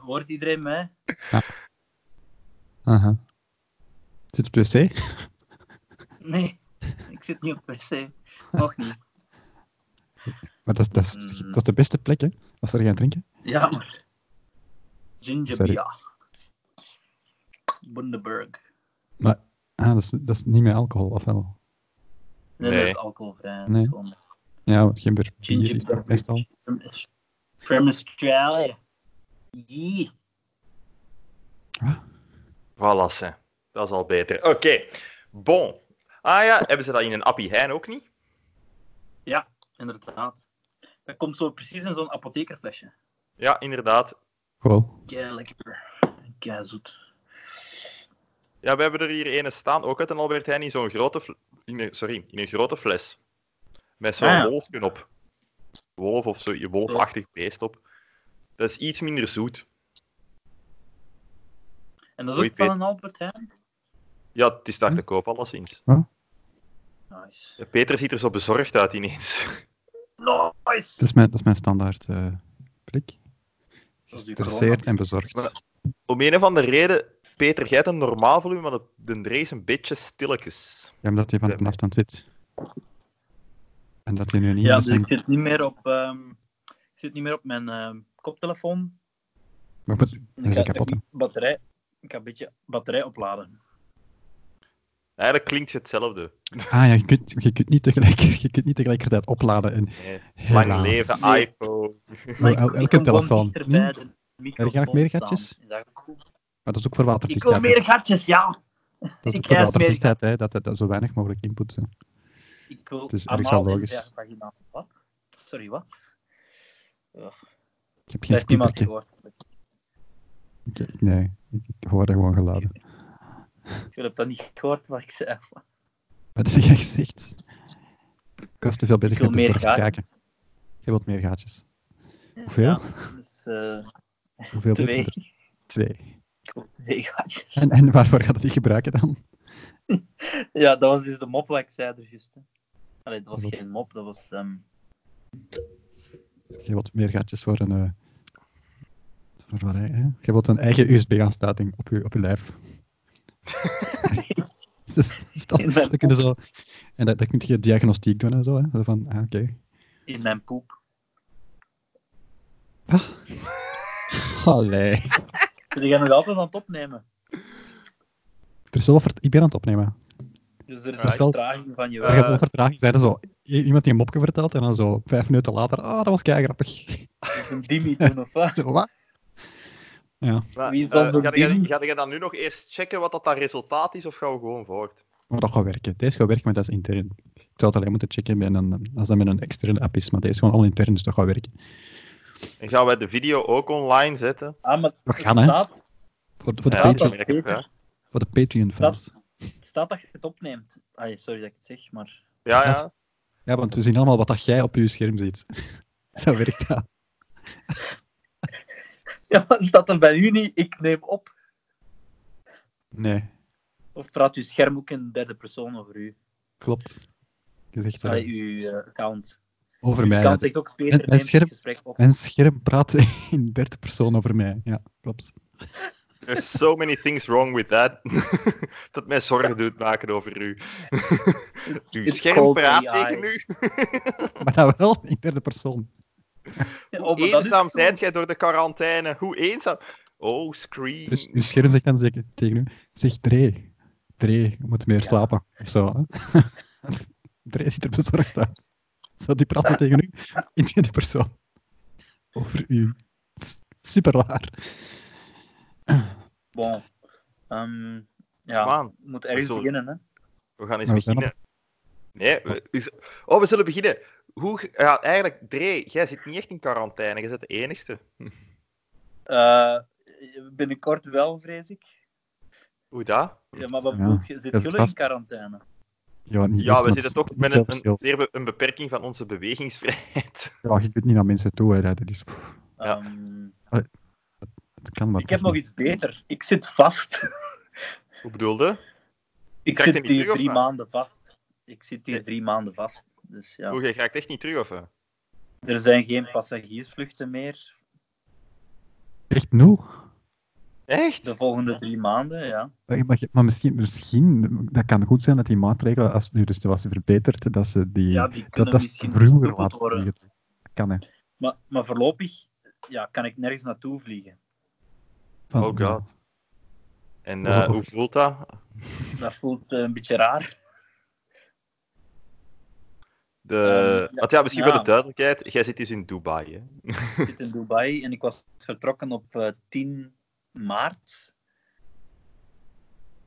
hoort iedereen mij? Aha. Zit op wc? Nee, ik zit niet op wc. Nog niet. Maar dat is, dat, is, Mm. dat is de beste plek, hè? Als ze er gaan drinken. Ja, maar. Ginger Sorry. beer. Bundaberg. Maar ah, dat, is, dat is niet met alcohol, of wel? Nee, Nee. dat is alcoholvrij. Nee. Dat is gewoon- Ja, maar geen bier bier is Ginger dat meestal. beer. From Australia. Yee. Voilà, ze. dat is al beter. Oké, bon. Ah ja, hebben ze dat in een appie hein ook niet? Inderdaad. Dat komt zo precies in zo'n apothekerflesje. Ja, inderdaad. Cool. Kei lekker. Kei zoet. Ja, we hebben er hier ene staan, ook uit een Albert Heijn, in zo'n grote, fl- in een, sorry, in een grote fles. Met zo'n Ah, ja. wolfje op. Wolf of zo, wolfachtig beest op. Dat is iets minder zoet. En dat is ook Oei, van een Albert Heijn. Ja, het is daar Hm. te koop, alleszins. Nice. Peter ziet er zo bezorgd uit ineens. Dat Nice! is mijn, dat is mijn standaard eh prik. is die Gestresseerd en bezorgd. Maar- Om een of andere reden, Peter, jij hebt een normaal volume, maar de, de Dre is een beetje stilletjes. Ja, omdat je van Ja. op een afstand zit. En dat je nu niet Ja, in dus de zin- ik zit niet meer op, ehm, ik zit niet meer op mijn ehm, koptelefoon. Maar goed, dat is ga- een kapotte. ik- Batterij, ik ga een beetje batterij opladen. Eigenlijk klinkt het hetzelfde. Ah ja, je kunt, je, kunt niet tegelijk, je kunt niet tegelijkertijd opladen. En Nee. helaas. Lang leven Nee. iPhone. Maar ik- el- ik kom elke gewoon telefoon. dichter bij Hm? de je graag microfoon meer staan. gatjes? Is dat cool? Maar dat is ook voor Ik waterdichtheid. wil meer gatjes, ja. Dat is ik ook voor eis meer waterdichtheid, hè, dat, dat, zo weinig mogelijk input. hè. Ik wil Het is ergens anaal wel en logisch. via vaginaal. nou. Wat? Sorry, wat? Ik heb geen Heeft niemand speakertje. gehoord. Ik- Nee, ik ik hoor dat gewoon geladen. Ik heb dat niet gehoord, wat ik zei. Wat heb jij gezegd? Ik was dus te veel bezig Ik wil met meer bezorgd kijken. gaatjes. Je wilt meer gaatjes. Hoeveel? Ja, dus eh, Hoeveel wil je twee. er? Twee. Ik wil twee gatjes. En, en waarvoor gaat dat die gebruiken dan? Ja, dat was dus de mop wat ik zei er juist. hè. Allee, dat was Wat? geen mop, dat was... ehm, Je wilt meer gaatjes voor een... eh, voor wat, hè? Je wilt een eigen USB-aansluiting op je, op je lijf. dus, stel, In mijn dat kun je zo... En dat, dat kun je diagnostiek doen en zo, hè? Zo Van, ah, oké. in mijn poep. Allee. Dus die gaan nog altijd aan het opnemen. Er is wel wat vert- Ik ben aan het opnemen. Dus er is Ja, een ik- vertraging van je Er Eh, werk. gaat wel vertraging zijn. en Zo, i- iemand die een mopje vertelt en dan zo vijf minuten later... Ah, dat was kei grappig. Dus een dimmy doen, of wat? Zo, wat? Ja, Maar, Wie is dan eh, zo'n ga jij- ding? Ga je dan nu nog eerst checken wat dat, dat resultaat is, of gaan we gewoon voort? maar dat gaat werken. Deze gaat werken, maar dat is intern. Ik zou het alleen moeten checken bij een, eh, als dat met een externe app is, maar deze is gewoon al intern, dus dat gaat werken. En gaan wij de video ook online zetten? Ah, maar We het gaan, hè. staat, Voor, voor, de, dat Ja, Patreon, dan werkt het, ja. voor de Patreon-fans. het staat dat je het opneemt. Ai, sorry dat ik het zeg, maar... Ja, ja. Dat- Ja, want we zien allemaal wat dat jij op je scherm ziet. Zo werkt dat. Ja, maar staat er bij u niet, ik neem op? Nee, Of praat uw scherm ook in derde persoon over u? klopt. Je zegt wel Allee, iets. uw eh, account. over Uw mij. account ja. zegt ook, Peter Mijn neemt scherm- het gesprek op. Mijn scherm praat in derde persoon over mij. Ja, klopt. There's so many things wrong with that. dat mij zorgen doet maken over u. Uw It's scherm called praat AI. tegen u. Maar dan wel in derde persoon. Ja, Hoe oh, maar dat is eenzaam cool. zijt jij door de quarantaine? Hoe eenzaam? Oh, screen. Dus je scherm zegt dan zeker tegen u: zeg Dree, Dree, je moet meer Ja. slapen. Of zo. hè. Dree ziet er bezorgd uit. Zo, die praten tegen u in derde persoon. Over u. Super raar. Bon. Ehm, ja, Kom aan. het moet ergens Zo. beginnen, hè. We gaan eens Nou, we zijn beginnen. Nee, we, is- oh, we zullen beginnen. Hoe, ge- ja, eigenlijk, Dre, jij zit niet echt in quarantaine. Jij bent de enigste. Eh, binnenkort wel, vrees ik. Hoe dat? Ja, maar wat Ja, bedoel je? dat Zit is jullie in vast. quarantaine? Ja, niet echt, Ja, we maar zitten het is toch niet met veel een, een, verschil. zeer be- een beperking van onze bewegingsvrijheid. Ja, je kunt niet naar mensen toe hè, rijden, dus pff, Ja. Ehm, dat kan maar. ik heb toch nog niet. iets beter. Ik zit vast. Hoe bedoelde? Ik Krijg je zit niet hier terug, of drie wat? maanden vast. Ik zit hier Nee. drie maanden vast. Dus ja. Hoe, jij raakt echt niet terug, of? hè? Er zijn geen passagiersvluchten meer. Echt nul? Echt? De volgende drie maanden, ja. Eh, Maar, maar- maar misschien, misschien, dat kan goed zijn dat die maatregelen, als nu de situatie verbetert, dat ze die... ja die dat kunnen dat is misschien vroeger goed wat worden. geregeld. Kan, hè. Maar, maar voorlopig ja, kan ik nergens naartoe vliegen. Van- Oh god. En Dat is eh, ook- hoe voelt dat? Dat voelt eh, een beetje raar. De... Ehm, ja. Want ja, misschien voor Ja. de duidelijkheid, jij zit dus in Dubai. Hè? Ik zit in Dubai en ik was vertrokken op eh, 10 maart.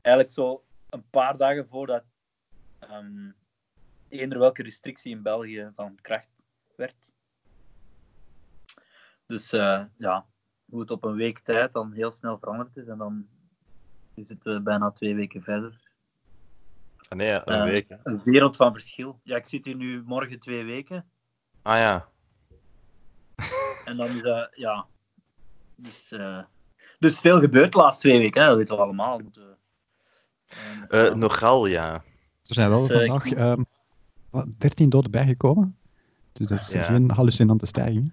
Eigenlijk zo een paar dagen voordat ehm eender welke restrictie in België van kracht werd. Dus eh, ja, hoe het op een week tijd dan heel snel veranderd is en dan zitten we bijna twee weken verder. Ah, nee, een Ehm, week. hè. Een wereld van verschil. Ja, ik zit hier nu morgen twee weken Ah ja. en dan is dat, ja. Dus, eh, dus veel gebeurt de laatste twee weken, hè? dat weten we allemaal. Want, eh, en, Eh, ja. Nogal, ja. Er zijn wel Dus, eh, vandaag ik- ehm, wat, 13 doden bijgekomen. Dus dat is Ja. geen hallucinante stijging.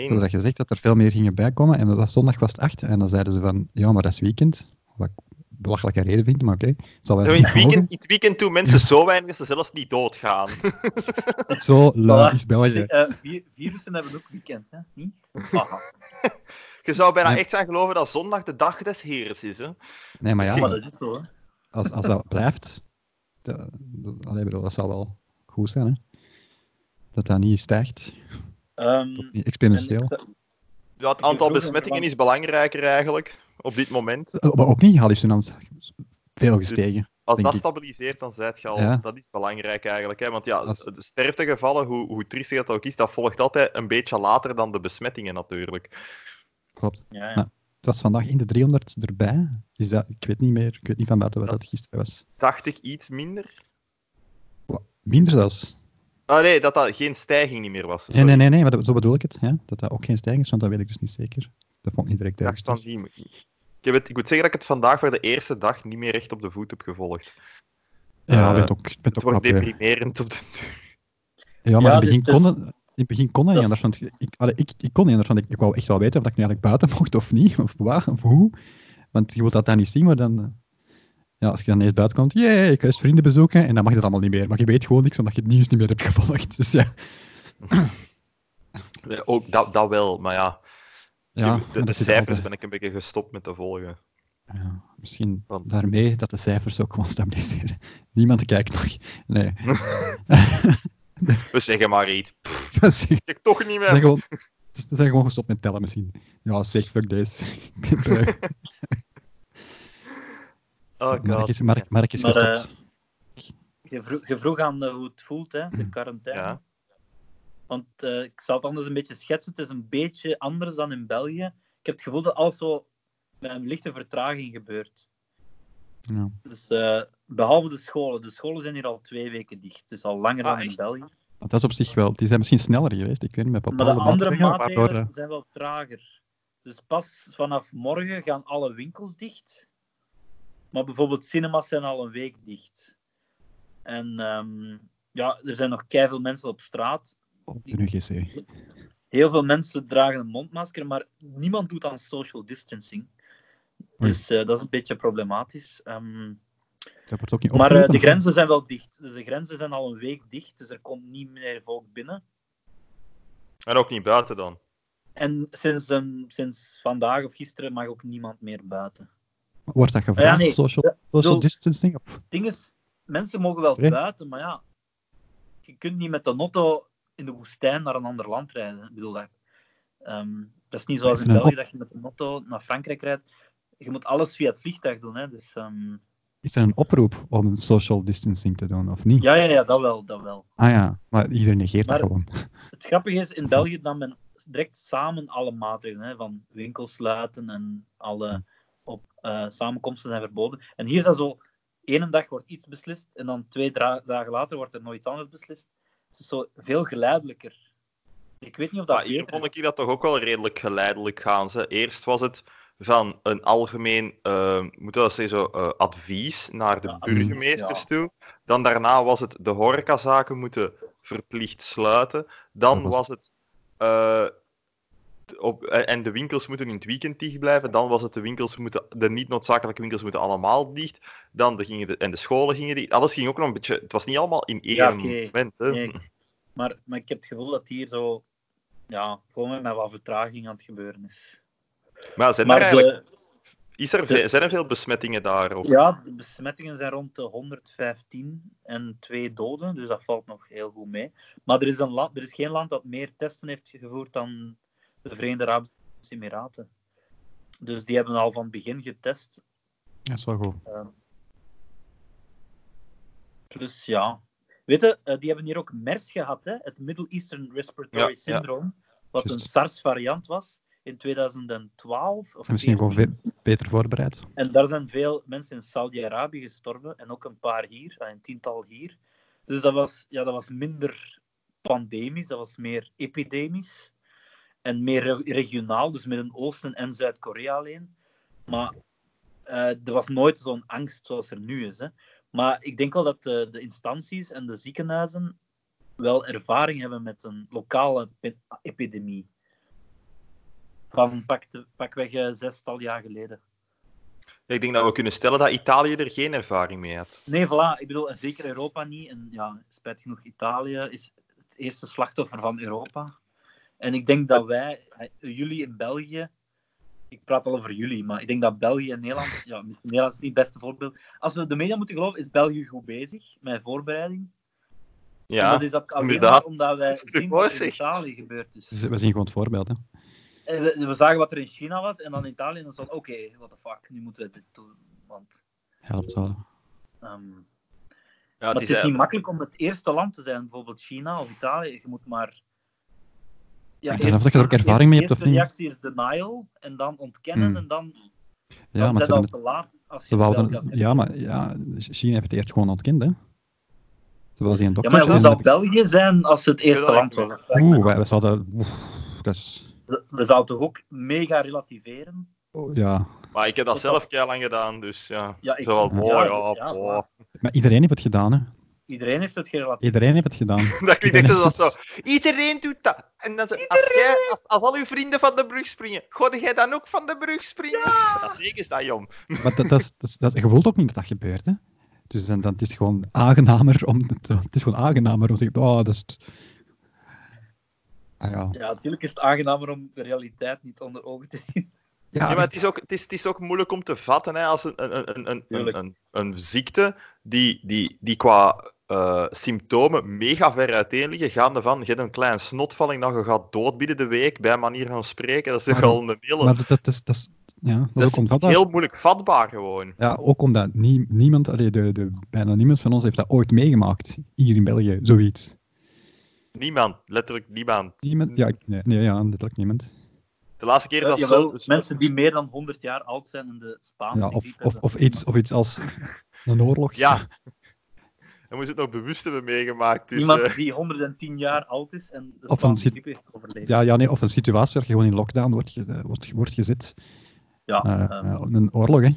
Ze hadden dat gezegd dat er veel meer gingen bijkomen. En dat was, zondag was het 8. En dan zeiden ze van, ja, maar dat is weekend. Wat ik belachelijke reden vind, maar oké. Zal wel Zo, in, niet het mogen. weekend, in het weekend doen mensen zo weinig dat ze zelfs niet doodgaan. Zo lui Voilà. is België. Eh, vi- virussen hebben ook weekend, hè? Niet? Ah, Haha. Je zou bijna Nee. echt zijn geloven dat zondag de dag des heers is. Hè? Nee, maar Maar ja, dat is het zo, hè? als, als dat blijft... Dat, dat, allee, bedoel, dat zal wel goed zijn, hè. Dat dat niet stijgt. Ehm, Niet en exponentieel. ik zou- Ja, het Ik vroeg aantal hem, besmettingen want- is belangrijker eigenlijk, op dit moment. Eh, Maar ook niet hallucinant. Veel Dus- gestegen. Als Denk dat ik. stabiliseert, dan zijt je al... Ja. Dat is belangrijk eigenlijk. Hè? Want ja, Als- de sterftegevallen, hoe, hoe triestig dat ook is, dat volgt altijd een beetje later dan de besmettingen natuurlijk. Klopt. Ja, ja. Nou, Het was vandaag in de 300 erbij. Is dat, ik weet niet meer, ik weet niet van buiten wat Dat dat gisteren was. 80 iets minder? Minder zelfs. Ah nee, dat dat geen stijging niet meer was. Nee, nee, Sorry. nee, nee, maar dat- zo bedoel ik het. Ja? Dat dat ook geen stijging is, want dat weet ik dus niet zeker. Dat vond ik niet direct Ik dacht van duidelijk. die... Ik, heb het, ik moet zeggen dat ik het vandaag voor de eerste dag niet meer recht op de voet heb gevolgd. Ja, Eh, ik ben ook, ik ben Het ook knap. wordt weer. deprimerend op de duur. Ja, maar Ja, in dus het begin het is- kon het- in het begin kon dat niet dat anders. is- Want ik, allee, ik, ik kon niet anders, want ik, ik wou echt wel weten of ik nu eigenlijk buiten mocht of niet, of waar, of hoe. Want je wilt dat dan niet zien, maar dan... eh, Ja, als je dan eerst buiten komt, jee, ik ga eens vrienden bezoeken, en dan mag dat allemaal niet meer. Maar je weet gewoon niks, omdat je het nieuws niet meer hebt gevolgd. Dus ja, Ja, Ook dat, dat wel, maar ja. ja de- maar de dat de zit er cijfers altijd- ben ik een beetje gestopt met te volgen. Ja, misschien Want- daarmee dat de cijfers ook gewoon stabiliseren. Niemand kijkt nog. Nee. We zeggen maar iets. Pff, Dat is- dat Ik toch niet zijn meer. gewoon, ze zijn gewoon gestopt met tellen misschien. Ja, zeg, fuck deze. Ik heb, eh, Oh, Mark God. is, Mark, Mark is Maar, gestopt. Je, vroeg, je vroeg aan eh, hoe het voelt, hè? De quarantaine. Ja. Want eh, ik zal het anders een beetje schetsen. Het is een beetje anders dan in België. Ik heb het gevoel dat alles zo met een lichte vertraging gebeurt. Ja. Dus eh, behalve de scholen. De scholen zijn hier al twee weken dicht. Dus al langer Ah, dan in echt? België. Want dat is op zich wel... Die zijn misschien sneller geweest, ik weet niet, met Maar de bepaalde andere maatregelen, maatregelen waardoor, eh, zijn wel trager. Dus pas vanaf morgen gaan alle winkels dicht. Maar bijvoorbeeld cinema's zijn al een week dicht. En ehm, ja, er zijn nog keiveel mensen op straat. eh, op de UGC. Heel veel mensen dragen een mondmasker, maar niemand doet aan social distancing. Oei. Dus eh, dat is een beetje problematisch. Ehm, Dat wordt ook niet maar eh, opgeroepen, de of- grenzen zijn wel dicht. Dus de grenzen zijn al een week dicht, dus er komt niet meer volk binnen. En ook niet buiten dan. En sinds, ehm, sinds vandaag of gisteren mag ook niemand meer buiten. Wordt dat gevraagd, Ah, nee. social, social bedoel- distancing? Of- Het ding is, mensen mogen wel Nee. buiten, maar ja, je kunt niet met de notto in de woestijn naar een ander land rijden. Ik bedoel, dat, ehm, dat is niet zoals Is in er een België op- dat je met de notto naar Frankrijk rijdt. Je moet alles via het vliegtuig doen, hè. Dus, ehm, Is er een oproep om een social distancing te doen, of niet? ja, ja, ja, dat wel, dat wel. Ah ja, maar iedereen negeert Maar- dat gewoon. Het grappige is, in België nam men direct samen alle maatregelen, hè, van winkels sluiten en alle op, eh, samenkomsten zijn verboden. En hier is dat zo, één dag wordt iets beslist en dan twee dra- dagen later wordt er nog iets anders beslist. Het is zo veel geleidelijker. Ik weet niet of dat Maar hier beter vond is. ik dat toch ook wel redelijk geleidelijk gaan. Ze. Eerst was het van een algemeen, eh, moet dat zeggen, zo, eh, advies naar de Ja, advies, burgemeesters ja. toe. Dan daarna was het de Mhm. horecazaken moeten verplicht sluiten. Dan Dat was- was het eh, op, en de winkels moeten in het weekend dicht blijven. Dan was het de winkels moeten, de niet noodzakelijke winkels moeten allemaal dicht. Dan de, gingen de, en de scholen gingen dicht. Alles ging ook nog een beetje. Het was niet allemaal in één Ja, oké. moment. Hè. Nee, ik- maar, maar ik heb het gevoel dat hier zo... Ja, gewoon met wat vertraging aan het gebeuren is. Maar, zijn er Maar eigenlijk, de, is de- er, ve- zijn er veel besmettingen daar? Ook? ja, de besmettingen zijn rond de 115 en twee doden, dus dat valt nog heel goed mee. Maar er is, een land, er is geen land dat meer testen heeft gevoerd dan de Verenigde Arabische Emiraten. Dus die hebben al van het begin getest. Dat is wel goed. Plus, Dus ja. Weet je, eh, die hebben hier ook MERS gehad, hè? het Middle Eastern Respiratory Ja, ja. Syndrome, wat Juist. een SARS-variant was in 2012. Of En misschien gewoon 14. ve- beter voorbereid. En daar zijn veel mensen in Saudi-Arabië gestorven en ook een paar hier, eh, een tiental hier. Dus dat was, ja, dat was minder pandemisch, dat was meer epidemisch en meer re- regionaal, dus Midden-Oosten en Zuid-Korea alleen. Maar eh, er was nooit zo'n angst zoals er nu is. Hè. Maar ik denk wel dat de, de instanties en de ziekenhuizen wel ervaring hebben met een lokale pe- epidemie. Van pak- pakweg eh, zestal jaar geleden. Ik denk dat we kunnen stellen dat Italië er geen ervaring mee had. Nee, voilà. Ik bedoel, en zeker Europa niet. En ja, spijt genoeg, Italië is het eerste slachtoffer van Europa. En ik denk dat wij, eh, jullie in België, ik praat al over jullie, maar ik denk dat België en Nederland, ja, misschien Nederland is niet het beste voorbeeld. Als we de media moeten geloven, is België goed bezig met voorbereiding. En Ja, dat is ook alleen inderdaad. maar omdat wij Dat is toch zien wat mooi, er in zeg. Italië gebeurd is. Dus we zien gewoon het voorbeeld. Hè. En we, we zagen wat er in China was en dan in Italië, en dan stond, oké, what the fuck, nu moeten we dit doen. Want, Helpt wel. ehm, ja Maar het is het is niet eigenlijk- makkelijk om het eerste land te zijn, bijvoorbeeld China of Italië. Je moet maar. Ja, Ik denk of dat je er ook ervaring mee hebt of eerste niet. reactie is denial en dan ontkennen Hmm. en dan Ja, maar zijn ze al hebben te laat. Als Ze je wel wouden- dat hebt. ja, maar ja, China heeft het eerst gewoon ontkend, hè. Terwijl ze een Ja, dokter maar hoe zijn, zou heb ik- België zijn als het eerste dat land niet. was? Dat vraag ik me Oeh, af. wij- we zouden... oeh, dat is... We- We zouden toch ook mega relativeren? oh, ja. Maar ik heb dat Tot dat- zelf keihard lang gedaan, dus ja. Ja, ik- Zo wel, ja, boah, ja, ja, ja, boah. maar- Maar iedereen heeft het gedaan, hè. Iedereen heeft het gerelativeerd. Iedereen heeft het gedaan. Dat klinkt Iedereen echt als doet- zo. Iedereen doet dat. En dan zo, als, jij, als, als al uw vrienden van de brug springen, gooi jij dan ook van de brug springen? Dat zeker is dat, jong. Maar dat, dat, is- dat, is- dat, je wilt ook niet dat dat gebeurt, hè. Dus dan, dan het is gewoon aangenamer om te, het is gewoon aangenamer om te zeggen, oh, dat is... het." Ah, ja. Ja, natuurlijk is het aangenamer om de realiteit niet onder ogen te zien. Ja, Ja, maar het is, ook, het, is, het is ook moeilijk om te vatten hè, als een, een, een, een, Tuurlijk. een, een, een ziekte die, die, die qua eh, symptomen mega ver uiteen liggen. Gaande van, je hebt een klein snotvalling, dan je gaat dood binnen de week, bij manier van spreken. Dat is toch Maar- al een hele... maar dat, dat, is, dat is... Ja, dat, dat is ook is onvatbaar. heel moeilijk vatbaar gewoon. Ja, ook omdat nie- niemand, allee, de, de, bijna niemand van ons heeft dat ooit meegemaakt. Hier in België, zoiets. Niemand, letterlijk niemand. Niemand? Ja, ik- nee, nee ja, letterlijk niemand. De laatste keer dat Jawel, zo... mensen die meer dan 100 jaar oud zijn en de Spaanse Ja, of, griep of, hebben. of, iets, of iets als een oorlog. Ja. En moest het nog bewust hebben meegemaakt. Dus, Iemand eh, die 110 jaar oud is en de Of Spaanse een sit- griep heeft overleefd. Ja, ja, nee, of een situatie waar je gewoon in lockdown wordt, ge- eh, wordt, wordt gezet. Ja, Eh, Ah, ehm, ja, een oorlog, hè. dan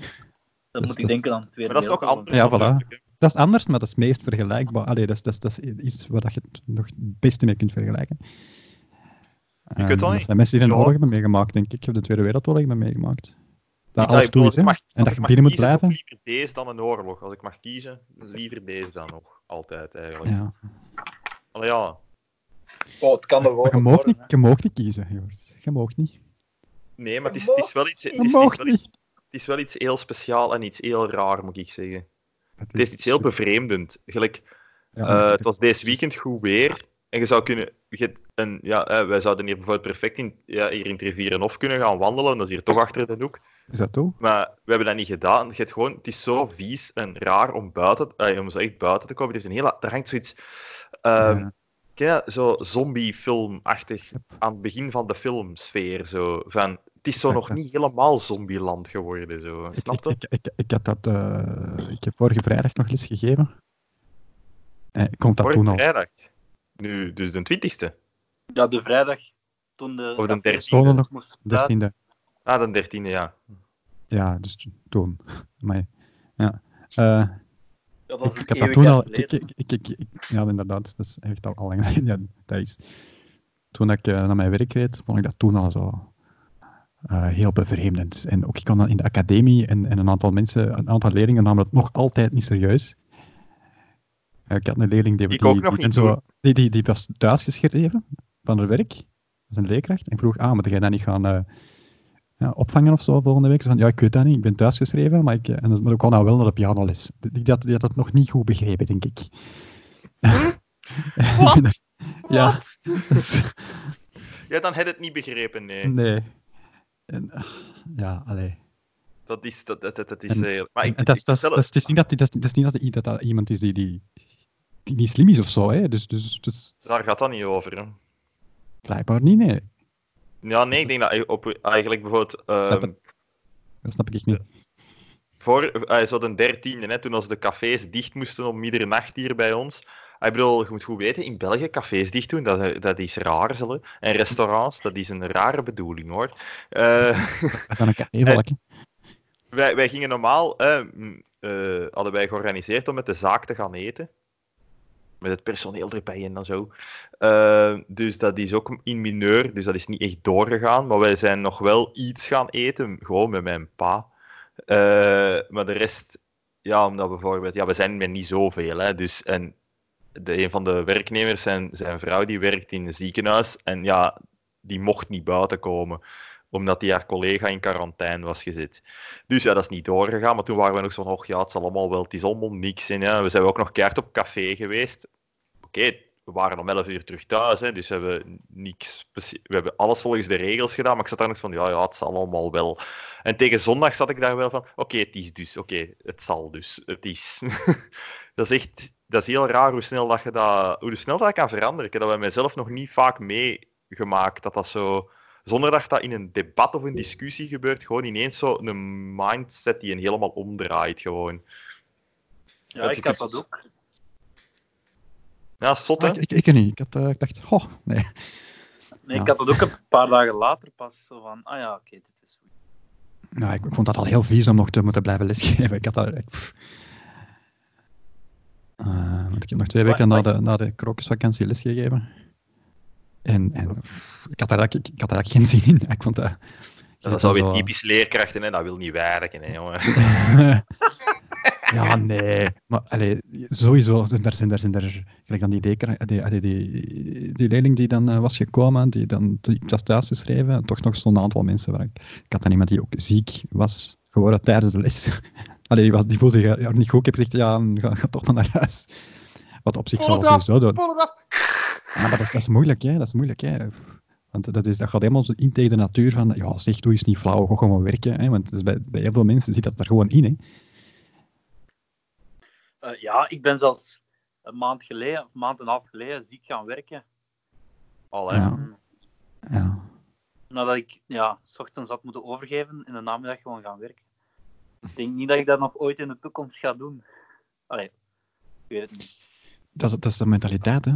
dus moet ik dat- denken aan het tweede maar dat is toch wereldoorlog. anders. Ja, voilà. natuurlijk, hè. Dat is anders, maar dat is meest vergelijkbaar. Allee, dat is, dat is, dat is iets waar dat je het nog het beste mee kunt vergelijken. Ehm, kunt wel dat niet- zijn mensen die een ja. oorlog hebben meegemaakt, denk ik. Ik heb de Tweede Wereldoorlog hebben meegemaakt. Dat Niet alles ik toe is, hè. mag- En als dat ik je mag binnen moet kiezen, toch blijven. liever deze dan een oorlog. Als ik mag kiezen, liever deze dan nog. Altijd, eigenlijk. Ja. Allee, ja. Oh, het kan er Maar je mag niet, je mag niet kiezen, Joost. Je mag niet. Nee, maar het is, het is wel iets... Het Je is, het is mag wel, niet. het is wel iets heel speciaal en iets heel raar, moet ik zeggen. Het Het is iets heel bevreemdend. Gelijk, Ja, Eh, maar- het was deze weekend goed weer. En je zou kunnen. je- en, ja, eh, wij zouden hier bijvoorbeeld perfect in, ja, hier in het Rivierenhof kunnen gaan wandelen. Dat is hier toch achter de hoek. Is dat toch? Maar we hebben dat niet gedaan. Je hebt gewoon, het is zo vies en raar om buiten, eh, om zo echt buiten te komen. Het heeft een hele, daar hangt zoiets. ehm, Ja. ken je dat? zo zombiefilmachtig Yep. aan het begin van de filmsfeer. Zo, van, het is zo Exact, nog ja. niet helemaal zombieland geworden. Zo. Ik- Snap je? Ik, ik, ik, ik had dat... eh, ik heb vorige vrijdag nog les gegeven. Eh, ik kon dat Vorige toen al. vrijdag. Nu, dus de 20e. Ja, de vrijdag, toen de... Of de dat feest 13e. nog moest praten. 13e. Ah, de 13e, ja. Ja, dus t- toen. Maar ja. Eh, Ja, dat ik, was een ik had dat eeuwig toen jaar al... Ik, geleden. ik, ik, ik- ik- ja, inderdaad. Dat is echt al, al lang geleden. Ja, dat is... toen ik eh, naar mijn werk reed, vond ik dat toen al zo eh, heel bevreemdend. En ook ik kwam dan in de academie en, en een aantal mensen, een aantal leerlingen namen dat nog altijd niet serieus. Eh, ik had een leerling die, Ik die, ook nog die- niet, en hoor. die, die, die was thuis geschreven van haar werk, dat is een leerkracht, en ik vroeg, ah, moet jij dat niet gaan eh, ja, opvangen of zo volgende week? Ze van, ja, ik weet dat niet, ik ben thuisgeschreven, maar ik, eh, en dat moet ook al nou wel naar de pianoles. Die, die, had- die had dat nog niet goed begrepen, denk ik. Wat? ja. Dus- Ja, dan had het niet begrepen, nee. Nee. En, ah, ja, allee. Dat is, dat, dat, dat, dat is En- heel... Maar En ik, dat is- ik dat is- stel dat is- Het is niet dat die- dat is- dat is niet dat die- dat dat iemand is die, die, die niet slim is of zo, hè. Dus, dus, dus het- daar gaat dat niet over. hè. blijkbaar niet, nee. Ja, nee, ik denk dat eh, op, eigenlijk bijvoorbeeld... ehm, Snap het. Dat snap ik echt niet. voor, eh, zo de dertiende, hè, toen als de cafés dicht moesten om middernacht hier bij ons. Ah, Ik bedoel, je moet goed weten, in België cafés dicht doen, dat, dat is raar. zullen. En restaurants, dat is een rare bedoeling hoor. Eh, Dat is aan een cafévalk, hè. wij, wij gingen normaal, eh, mm, eh, hadden wij georganiseerd om met de zaak te gaan eten. Met het personeel erbij en dan zo. Eh, dus dat is ook in mineur, dus dat is niet echt doorgegaan. Maar wij zijn nog wel iets gaan eten, gewoon met mijn pa. Eh, maar de rest, ja, omdat bijvoorbeeld, ja, we zijn met niet zoveel, hè, dus en de, een van de werknemers, zijn, zijn vrouw, die werkt in een ziekenhuis en ja, die mocht niet buiten komen omdat die haar collega in quarantaine was gezet. Dus ja, dat is niet doorgegaan. Maar toen waren we nog zo nog, ja, het zal allemaal wel, het is allemaal niks. En ja, we zijn ook nog keihard op café geweest. Oké, we waren om 11 uur terug thuis, hè, dus we hebben niks. specie- We hebben alles volgens de regels gedaan, maar ik zat daar nog van, ja, ja, het zal allemaal wel. En tegen zondag zat ik daar wel van, oké, het is dus, oké, het zal dus, het is. dat is echt, dat is heel raar hoe snel dat je dat, hoe snel dat kan veranderen. Ik heb dat bij mezelf nog niet vaak meegemaakt, dat dat zo, zonder dat dat in een debat of een discussie gebeurt, gewoon ineens zo een mindset die een helemaal omdraait gewoon. Ja, Dat ik je heb kunt- dat ook. Ja, zot, hè? Ah, ik, ik, ik weet niet. Ik, had, eh, ik dacht, oh, nee. Nee, Ja. Ik had dat ook een paar dagen later pas. Zo van, ah ja, oké, dit is goed. Nou, ik, ik vond dat al heel vies om nog te moeten blijven lesgeven. Ik had dat... Ik, pff. Eh, want ik heb nog twee weken na Wacht, de, na de krokusvakantie lesgegeven. En, en pff, ik, had daar, eigenlijk- ik, ik had daar eigenlijk geen zin in. Ik vond dat... Dat dat is wel weer zo- typisch leerkrachten, hè? dat wil niet werken. Hè, jongen. ja, nee. Maar allee, sowieso, zijn er, zijn er, zijn er gelijk dan die, dekra- die, allee, die, die leerling die dan eh, was gekomen, die dan die was thuisgeschreven, toch nog zo'n aantal mensen waar ik... Ik had dan iemand die ook ziek was geworden tijdens de les. Allee, die, was, die voelde zich ja, niet goed. Ik heb gezegd, ja, ga, ga toch maar naar huis. Wat op zich zal Pull it up, sowieso doen. pull it up. Ja, maar dat is, dat is moeilijk, hè. Dat is moeilijk, hè. Want dat, is, dat gaat helemaal zo in tegen de natuur van, ja, zeg, doe eens niet flauw, ga gewoon werken, hè. Want het is bij, bij heel veel mensen zit dat er gewoon in, hè. Eh, ja, ik ben zelfs een maand geleden, of een maand en een half geleden, ziek gaan werken. Mm. Al, hè. Ja. ja. Nadat ik, ja, s ochtends had moeten overgeven, in de namiddag gewoon gaan werken. Ik denk niet dat ik dat nog ooit in de toekomst ga doen. Allee, ik weet het niet. Dat, is, dat is de mentaliteit, hè.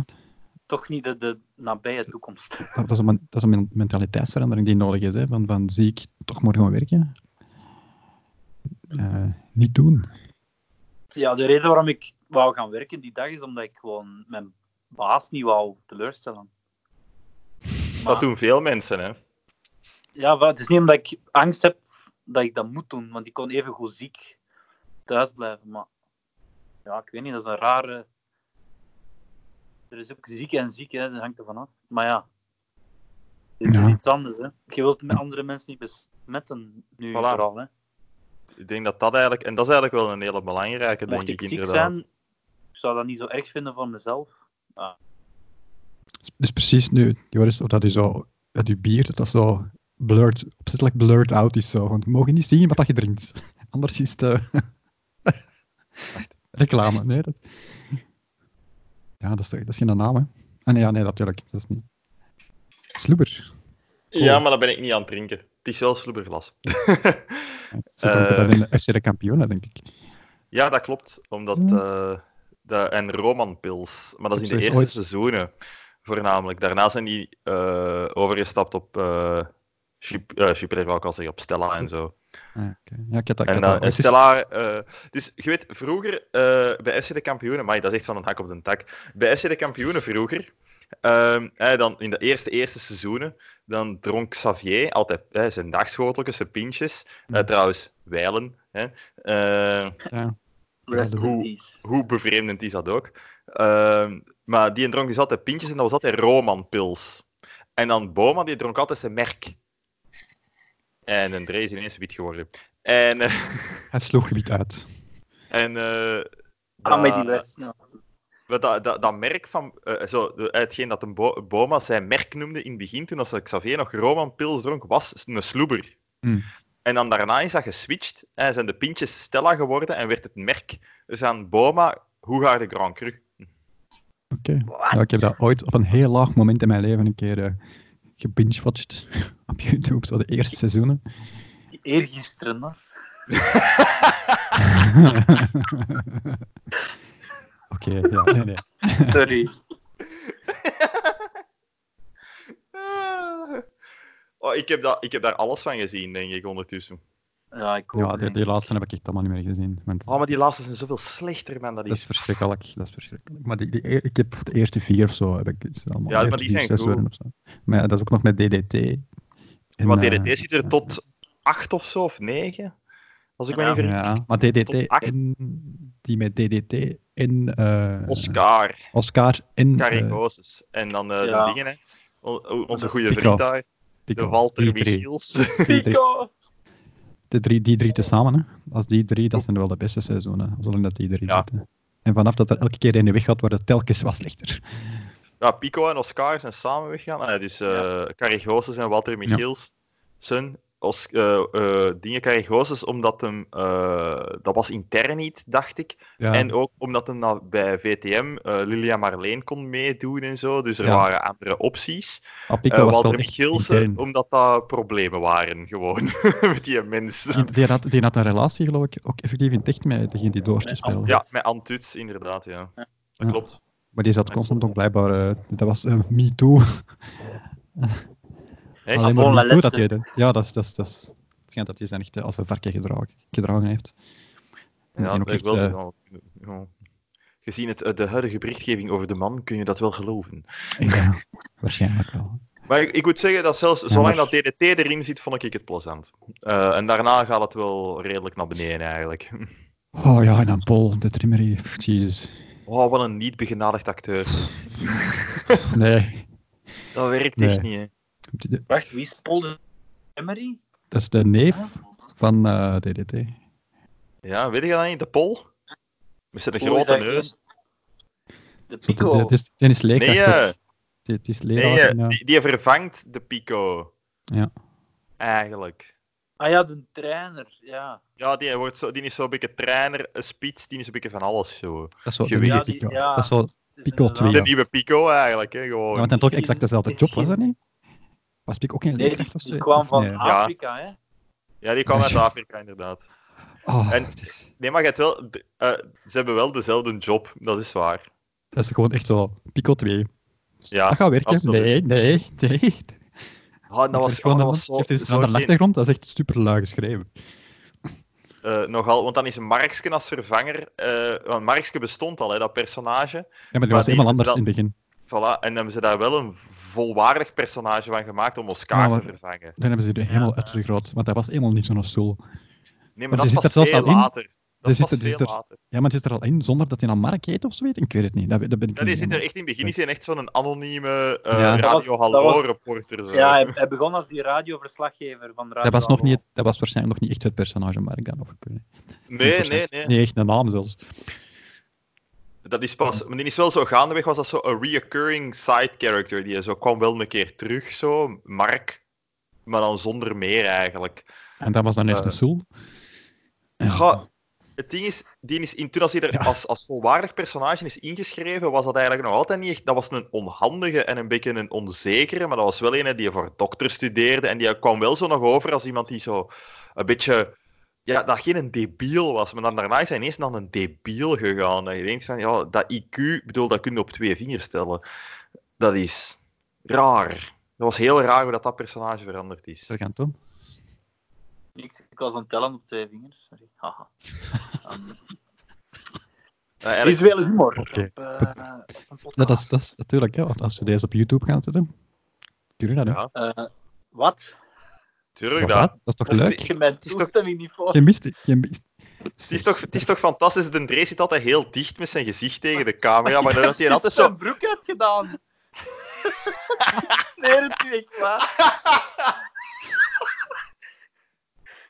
Toch niet de, de nabije toekomst. Dat is, een, men- dat is een men- mentaliteitsverandering die nodig is, hè. Van, van ziek, toch maar gewoon werken. Eh, niet doen. Ja, de reden waarom ik wou gaan werken die dag is omdat ik gewoon mijn baas niet wou teleurstellen. Dat Maar- doen veel mensen, hè. Ja, wel, het is niet omdat ik angst heb dat ik dat moet doen, want ik kon even goed ziek thuis blijven. Maar ja, ik weet niet, dat is een rare. Er is ook ziek en ziek, hè, dat hangt er vanaf. Maar ja, dit Ja. is iets anders. Hè. Je wilt met andere mensen niet besmetten, nu Voilà. vooral. Hè. Ik denk dat dat eigenlijk... En dat is eigenlijk wel een hele belangrijke, Mocht denk ik ik, ziek inderdaad. zijn, ik zou dat niet zo erg vinden voor mezelf. Dus- Dus precies nu, Joris, dat u zo, dat u bier, dat dat zo blurred, opzettelijk blurred out is zo. Want we mogen niet zien wat dat je drinkt. Anders is het... eh, reclame, nee. Dat... Ja, dat is, toch- dat is geen naam, hè. Ah, nee, ja, nee, natuurlijk, dat is niet... Sloeber. Ja, maar dat ben ik niet aan het drinken. Het is wel slubberglas. Zit ook Eh. dat in de FC de kampioenen, denk ik. ja, dat klopt. Omdat... Hmm. eh, de, en Romanpils. Maar dat is Ik in de heb eerste zoiets seizoenen. Voornamelijk. Daarna zijn die eh, overgestapt op... eh Jup- eh, Jupiter, wou ik al zeggen. Op Stella en zo. Ah, ja, oké. Ja, ik had dat, ik En had dan dat ooit eens- Stella, eh, dus je weet, vroeger eh, bij FC de Kampioenen, maar dat is echt van een hak op de tak. Bij FC de Kampioenen vroeger Ehm, hè, dan in de eerste, eerste seizoenen, dan dronk Xavier altijd hè, zijn dagschoteltjes, zijn pintjes. Eh, Ja. trouwens, wijlen. Hè. Eh, Ja. Rest in Hoe- peace. hoe bevreemdend is dat ook. Ehm, maar die dronk dus altijd pintjes en dat was altijd Romanpils. En dan Boma, die dronk altijd zijn merk. En een Dre is ineens wit geworden. En, eh, Hij sloeg gebied uit. en eh, Ah, met die dat- les. Ja. wat dat, dat, dat merk van, eh, zo, de- hetgeen dat een Bo- Boma zijn merk noemde in het begin, toen als Xavier nog Roman Pils dronk, was een sloeber. Hmm. En dan daarna is dat geswitcht en zijn de pintjes Stella geworden en werd het merk dus aan Boma, hoe ga je de Grand Cru? Oké. Ah. Ja, ik heb dat ooit op een heel laag moment in mijn leven een keer eh gebingewatcht op YouTube, zo de eerste seizoenen. Eergisteren, hoor. Oké, ja, nee, nee. Sorry. Ah. Oh, ik, heb dat, ik heb daar alles van gezien, denk ik, ondertussen. Ja, ik Ja, ook. die, denk die ik. laatste heb ik echt allemaal niet meer gezien. Want Oh, maar die laatste zijn zoveel slechter, man. Dat dat is is... verschrikkelijk, dat is verschrikkelijk. Maar die, die, e- ik heb voor de eerste vier of zo, heb ik het allemaal. Ja, maar eerste die vier zijn seizoenen cool. Of zo. Maar ja, dat is ook nog met DDT. En, Want eh, DDT zit er tot acht of zo, of negen. Als ik me Ja. niet vergis. Ja, maar DDT Tot acht. en die met DDT en eh, Oscar. Oscar en eh, Caricosis. En dan eh, ja. de dingen, hè. O- o- onze is goede Pico. vriend daar, Pico. de Walter Die drie. Michiels. Die drie, Pico! de drie, die drie tezamen, hè. Als die drie, dat zijn wel de beste seizoenen. Zolang dat die drie Ja. zitten. En vanaf dat er elke keer in de weg gaat, wordt het telkens wat slechter. ja, Pico en Oscar zijn samen weggegaan. Ah, dus eh Carigosis en Walter Michiels. Zijn Os- eh, eh, dingen Carigosis, omdat hem... eh, dat was intern niet, dacht ik. Ja, En ook omdat hem nou bij VTM eh, Lilia Marleen kon meedoen en zo. Dus er Ja. waren andere opties. maar Eh Pico was Walter eh, wel echt Michielsen, intern. omdat dat problemen waren gewoon met die mensen. Die, die had, die had een relatie, geloof ik, ook effectief in het echt met degene die door te Met spelen. Ja, met Antuts inderdaad, ja. Ja. Dat Ja. klopt. Maar die zat constant ook blijkbaar... eh, dat was eh, Me Too. Echt? Alleen Gewoon maar Me Too dat letten. hij... dat- Ja, dat is... Dat is, dat is het schijnt dat hij zijn echt eh, als een varken gedragen, gedragen heeft. En Ja, ook ik echt, wil eh, ja, ja. Gezien het, eh, de huidige berichtgeving over de man, kun je dat wel geloven. eh, ja, waarschijnlijk wel. Maar ik, ik moet zeggen dat zelfs zolang dat DDT erin zit, vond ik het plezant. Eh, en daarna gaat het wel redelijk naar beneden eigenlijk. Oh ja, en dan Paul, de trimmerie. Pff, Jezus. Oh, wat een niet begenadigd acteur. Nee. Dat werkt Nee. echt niet, hè. De- Wacht, wie is Paul de Emery? Ah. Dat is de neef van eh, DDT. Ja, weet je dat niet? De pol? Met zijn Hoe is grote dat neus. eerst? De Zo, de- de- Pico. Het is, het is Nee, leerkracht. eh, hè. Het- Het is nee leraar. eh, en, eh, die, die vervangt de Pico. Ja. Eigenlijk. Ah ja, de trainer. Ja, Ja, die, wordt zo, die is zo'n beetje trainer, een spits, die is een beetje van alles. Zo. dat is zo de Gewin- nieuwe Ja, die- Pico. ja. Dat is zo, Oh, het is Pico inderdaad- twee. De Ja. nieuwe Pico eigenlijk, hè, ja, gewoon. want dan toch exact dezelfde job, was dat niet? Was Pico ook geen Nee, die, leerkracht of zo? die kwam Of van nee? Afrika, hè? Ja, die kwam uit Ja. Afrika, inderdaad. Oh, en- het is- Nee, maar je hebt wel, de- eh, ze hebben wel dezelfde job, dat is waar. Dat is gewoon echt zo, Pico 2. Ja, dat gaat werken. absoluut. Nee, nee, nee. Ah, dat, Er was, is oh, gewoon dat een- was zo, Heeft er iets zo aan de geen- achtergrond? Dat is echt super lui geschreven. eh, nogal, want dan is Markske als vervanger, eh, want Markske bestond al, hè, dat personage. Ja, maar die Maar was die helemaal is anders wel- in het begin. Voilà, en hebben ze daar wel een volwaardig personage van gemaakt om Oscar Ja, maar- te vervangen. Dan hebben ze er helemaal uit vergroot, want dat was helemaal niet zo'n stoel. Nee, Maar die maar dat zit is er pas zelfs veel al in. later. Dat Die is zit pas er- die veel zit er- later. Ja, maar het is er al in zonder dat hij naar Mark heet of zo weet. Ik weet het niet. Dat, dat ben ik Ja, die niet zit er helemaal- echt in het begin. Die zijn echt zo'n anonieme eh Ja. Dat was- Radio dat Hallo was- reporter. Zo. Ja, hij, hij begon als die radioverslaggever van Radio dat was, nog Hallo. niet, dat was waarschijnlijk nog niet echt het personage Mark dan. Of, nee, nee, nee, nee, Niet echt een naam zelfs. Dat is pas... Maar die is wel zo gaandeweg, was dat zo een reoccurring side character. Die zo kwam wel een keer terug, zo. Mark. Maar dan zonder meer, eigenlijk. En dat was dan eerst Eh. een stoel. Goh, het ding is, die is in, toen als hij er Ja. als, als volwaardig personage is ingeschreven, was dat eigenlijk nog altijd niet echt... Dat was een onhandige en een beetje een onzekere, maar dat was wel een die voor dokter studeerde. En die kwam wel zo nog over als iemand die zo een beetje... Ja, dat geen een debiel was, maar dan daarna is hij ineens naar een debiel gegaan. Dat je denkt van, ja, dat IQ, ik bedoel, dat kun je op twee vingers stellen. Dat is raar. Dat was heel raar hoe dat, dat personage veranderd is. Zo gaan doen. Niks, ik was aan het tellen op twee vingers. Sorry. Haha. Ehm, Eh, eigenlijk- Visuele humor. Oké. Op, eh, op een podcast. Dat is, dat is natuurlijk, hè, want als we deze op YouTube gaan zetten, kun je dat doen. Ja, Eh, wat? tuurlijk Wat? dat. Dat is toch Dat is leuk? niet- Je bent is toch- toestemming niet voor. Je mist het. Je mist. Het is, toch, het is toch fantastisch, de Dre zit altijd heel dicht met zijn gezicht tegen de camera, maar dan had hij altijd zo... zijn broek hebt gedaan. Sneer het u, ik klaar.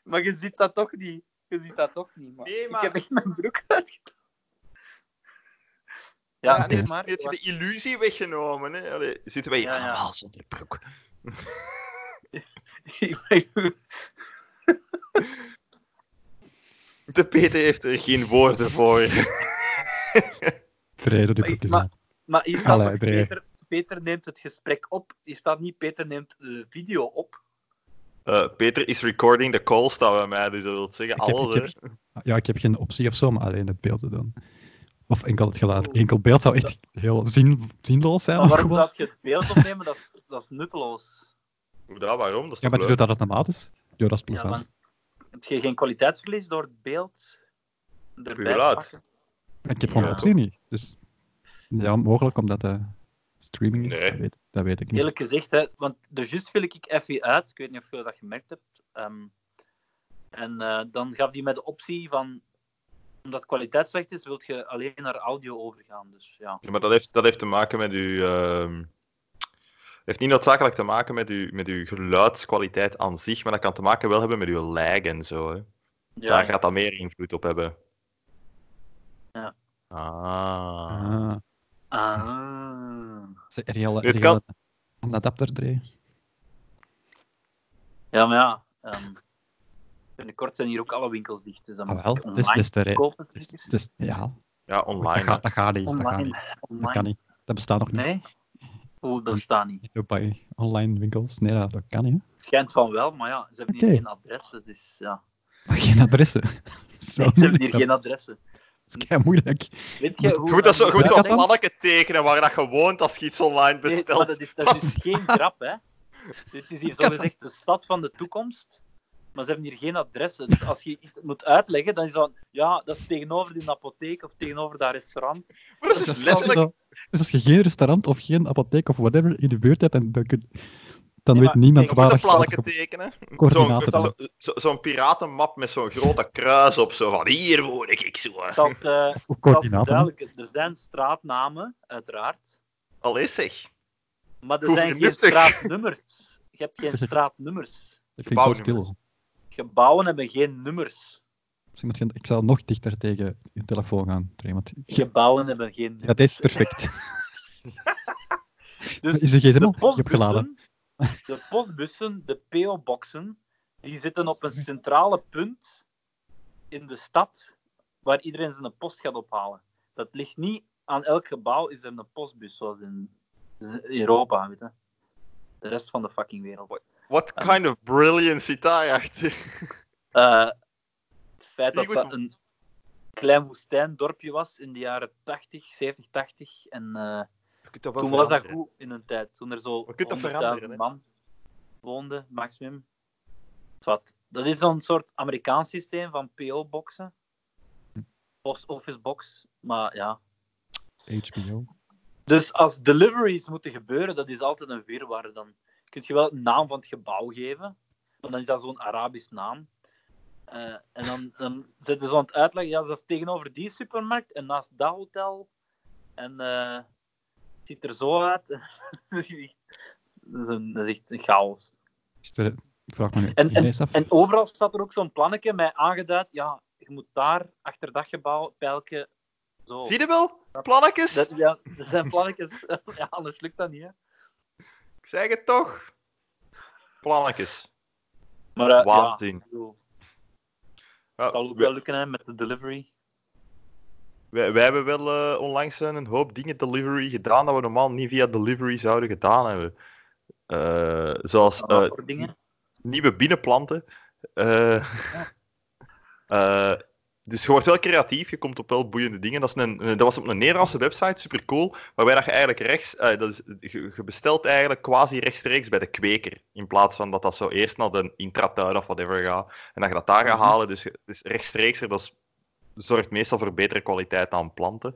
maar je ziet dat toch niet. Je ziet dat toch niet, man. Nee, Ik maar- heb echt mijn broek uitgedaan. Ja, zeg Ja, nee, maar. Nu heb je de illusie weggenomen, hè. Allee, zitten wij hier Ja, ja. allemaal zonder broek. De Peter heeft er geen woorden voor. Vrij Maar- door die broekjes maar- aan. maar hier staat Allee, toch Dre. Peter, Peter neemt het gesprek op. Hier staat niet Peter neemt de video op. Eh, Peter is recording the call staan bij mij, dus dat wil zeggen Ik heb- alles. ik heb- Ja, ik heb geen optie of zo, maar alleen het beeld te doen. Of enkel het geluid. Oh. Enkel beeld zou echt heel zin, zinloos zijn. Maar maar waarom gewoon- dat je het beeld opnemen, dat, is- dat is nutteloos. hè. Ja, waarom? Dat is Ja, toch maar je leuk? doet dat automatisch. Ja, dat is Ja, plezant. want heb je geen kwaliteitsverlies door het beeld erbij te geluid. pakken? Ik heb gewoon Ja. de optie niet. Dus ja, mogelijk omdat de streaming is. Nee. Dat, weet, dat weet ik niet. Eerlijk gezegd, hè, want er juist viel ik even uit. Ik weet niet of je dat gemerkt hebt. Ehm, en eh, dan gaf die mij de optie van, omdat het kwaliteit slecht is, wil je alleen naar audio overgaan. Dus ja. Ja, maar dat heeft, dat heeft te maken met uw. ehm, heeft niet noodzakelijk te maken met uw, met uw geluidskwaliteit aan zich, maar dat kan te maken wel hebben met uw lag en zo. Hè. Ja, Daar ja. gaat dat meer invloed op hebben. Ja. Ah. Ah, Ah. dat is een reële- Het reële- kan. Een adapter draaien. Ja, maar ja. ehm, binnenkort zijn hier ook alle winkels dicht. Dus dan Ah, moet wel. ik Dus online het is te re- kopen. het is- zeker? het is- Ja, Ja, dat online. gaat, dat gaat niet. Dat, gaat niet. Online. dat kan Online. niet. Dat bestaat nog niet. Nee? Hoe, dat staat niet. Ook Bij online winkels. Nee, dat, dat kan niet. hè. Schijnt van wel, maar ja, ze hebben Oké. hier geen adressen. Dus ja. Maar geen adressen. Dat is wel Nee, ze hebben hier moeilijk, geen adressen. Dat is kei moeilijk. Weet je hoe... Je moet, dat zo, je moet Ja, zo'n dat kan. plannetje tekenen waar dat je woont als je iets online Nee, bestelt. maar dat is, dat is dus geen grap, hè. Dit is hier zogezegd de stad van de toekomst, maar ze hebben hier geen adressen. Dus als je iets moet uitleggen, dan is dat... Ja, dat is tegenover die apotheek of tegenover dat restaurant. Maar dat is Dus dus als- als letterlijk... je- dus als je geen restaurant of geen apotheek of whatever in de buurt hebt, dan, dan, kun- dan Ja, weet maar niemand kijk, Je waar moet dat je- een waar plannetje dat je tekenen. Zo'n coördinaten zo, zo, zo'n piratenmap met zo'n grote kruis op. Zo van, hier woon ik, ik zo. Dat, eh, dat of is coördinaten. duidelijk. Er zijn straatnamen, uiteraard, Allee zeg. maar er Hoe zijn geen vernuftig. straatnummers. Je hebt geen straatnummers. Dat klinkt wel gebouwnummers. stil. Gebouwen hebben geen nummers. Misschien moet je- ik zou nog dichter tegen je telefoon gaan, Trey, want je- Gebouwen hebben geen nummers. dat is perfect. Dus is er geen zin de op? Je hebt geladen. postbussen, de postbussen, de PO-boxen, die zitten op een centrale punt in de stad waar iedereen zijn post gaat ophalen. Dat ligt niet aan elk gebouw is er een postbus zoals in Europa, weet je. De rest van de fucking wereld. What kind of brilliance zit daarachter? Eh, het feit Die dat goed- dat een klein woestijndorpje was in de jaren 80, 70, 80 en eh, Je kunt dat wel Toen was dat veranderen. goed in een tijd. Toen er zo We kunnen dat 100.000 veranderen, man woonde, maximum. Zwat. Dat is zo'n soort Amerikaans systeem van PO-boxen. Post office box. Maar ja. HBO. Dus als deliveries moeten gebeuren, dat is altijd een wirwar. Dan kun je wel een naam van het gebouw geven. Maar dan is dat zo'n Arabisch naam. Eh, en dan, dan zitten ze aan het uitleggen, ja, dat is tegenover die supermarkt en naast dat hotel. En eh, het ziet er zo uit. dat, is echt, dat, is een, dat is echt een chaos. Is er- Ik vraag me nu En- ineens af. En overal staat er ook zo'n plannetje met aangeduid, ja, je moet daar, achter dat gebouw, pijlke, zo. Zie je wel? Plannetjes? dat, ja, er zijn plannetjes, ja, anders lukt dat niet, hè. Ik zeg het toch? Plannetjes. Maar, eh, Waanzin. Ja, ik bedoel, Ah, Ja, zal ook wij, wel lukken hè, met de delivery. wij- wij hebben wel eh, onlangs eh, een hoop dingen delivery gedaan dat we normaal niet via delivery zouden gedaan hebben. Eh, zoals Dat eh, soort dingen. nieuwe binnenplanten. Eh, eh, dus je wordt wel creatief, je komt op wel boeiende dingen. Dat, is een, eh, dat was op een Nederlandse website, super cool. Waarbij dat je eigenlijk rechts, eh, dat is, je, je bestelt eigenlijk quasi rechtstreeks bij de kweker. In plaats van dat dat zo eerst naar de intratuin of whatever gaat. En dat je dat daar gaat halen. Dus het is rechtstreeks, dat is zorgt meestal voor betere kwaliteit aan planten.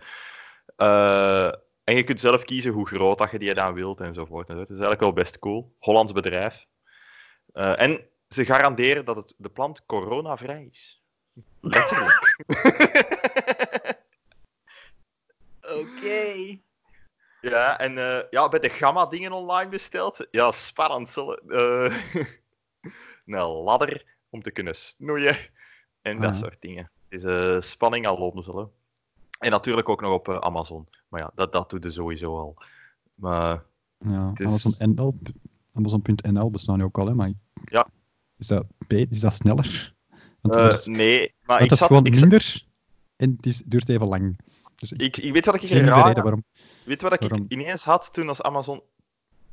Eh, en je kunt zelf kiezen hoe groot dat je die dan wilt enzovoort. enzovoort. Dat is eigenlijk wel best cool. Hollands bedrijf. Eh, en ze garanderen dat het, de plant coronavrij is. Letterlijk. Oké. ja, en eh, ja, bij de gamma-dingen online besteld. Ja, spannend. zullen- eh, een ladder om te kunnen snoeien. En dat Ah. soort dingen. Het is eh, spanning al omzelen. En natuurlijk ook nog op eh, Amazon. Maar ja, dat, dat doet er sowieso al. Maar Ja, Het is- Amazon NL Amazon.nl bestaan nu ook al, hè, maar... Ja. Is dat, be- is dat sneller? Want eh, anders- nee, maar want ik, dat is zat, gewoon ik, zat- minder en het is, duurt even lang. Dus ik, ik, ik weet wat ik ik zie niet de raar reden waarom. Weet je wat ik Waarom? ineens had toen als Amazon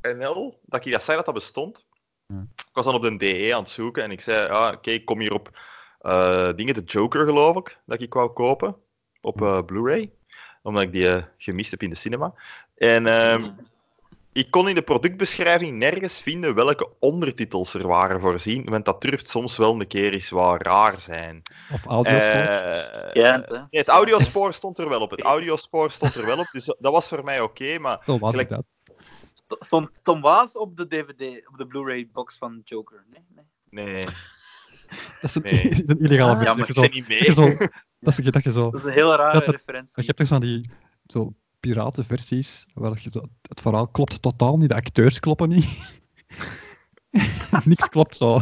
NL, dat ik dat zei dat dat bestond? Ja. Ik was dan op de DE aan het zoeken en ik zei, ah, oké, ik kom hier op eh, dingen, de Joker geloof ik, dat ik wou kopen op eh, Blu-ray, omdat ik die eh, gemist heb in de cinema. En ehm, ik kon in de productbeschrijving nergens vinden welke ondertitels er waren voorzien, want dat durft soms wel een keer eens wat raar zijn. Of audiospoor. Eh, Ja, het, hè. nee, het audiospoor stond er wel op. Het audiospoor stond er wel op, dus dat was voor mij oké, maar Zo was gelijk- het dat. St- Stond Tom Waas op de DVD, op de Blu-ray box van Joker? Nee, nee. nee. Dat is een, Nee. is een illegale Ah, Ja, versie. Ja, dat maar ik je zo- zit niet dat je mee. zo- dat je- dat je zo Dat is een heel rare Dat er- referentie. Je hebt toch van die zo, piratenversies waar je zo, het verhaal klopt totaal niet, de acteurs kloppen niet. Niks klopt zo.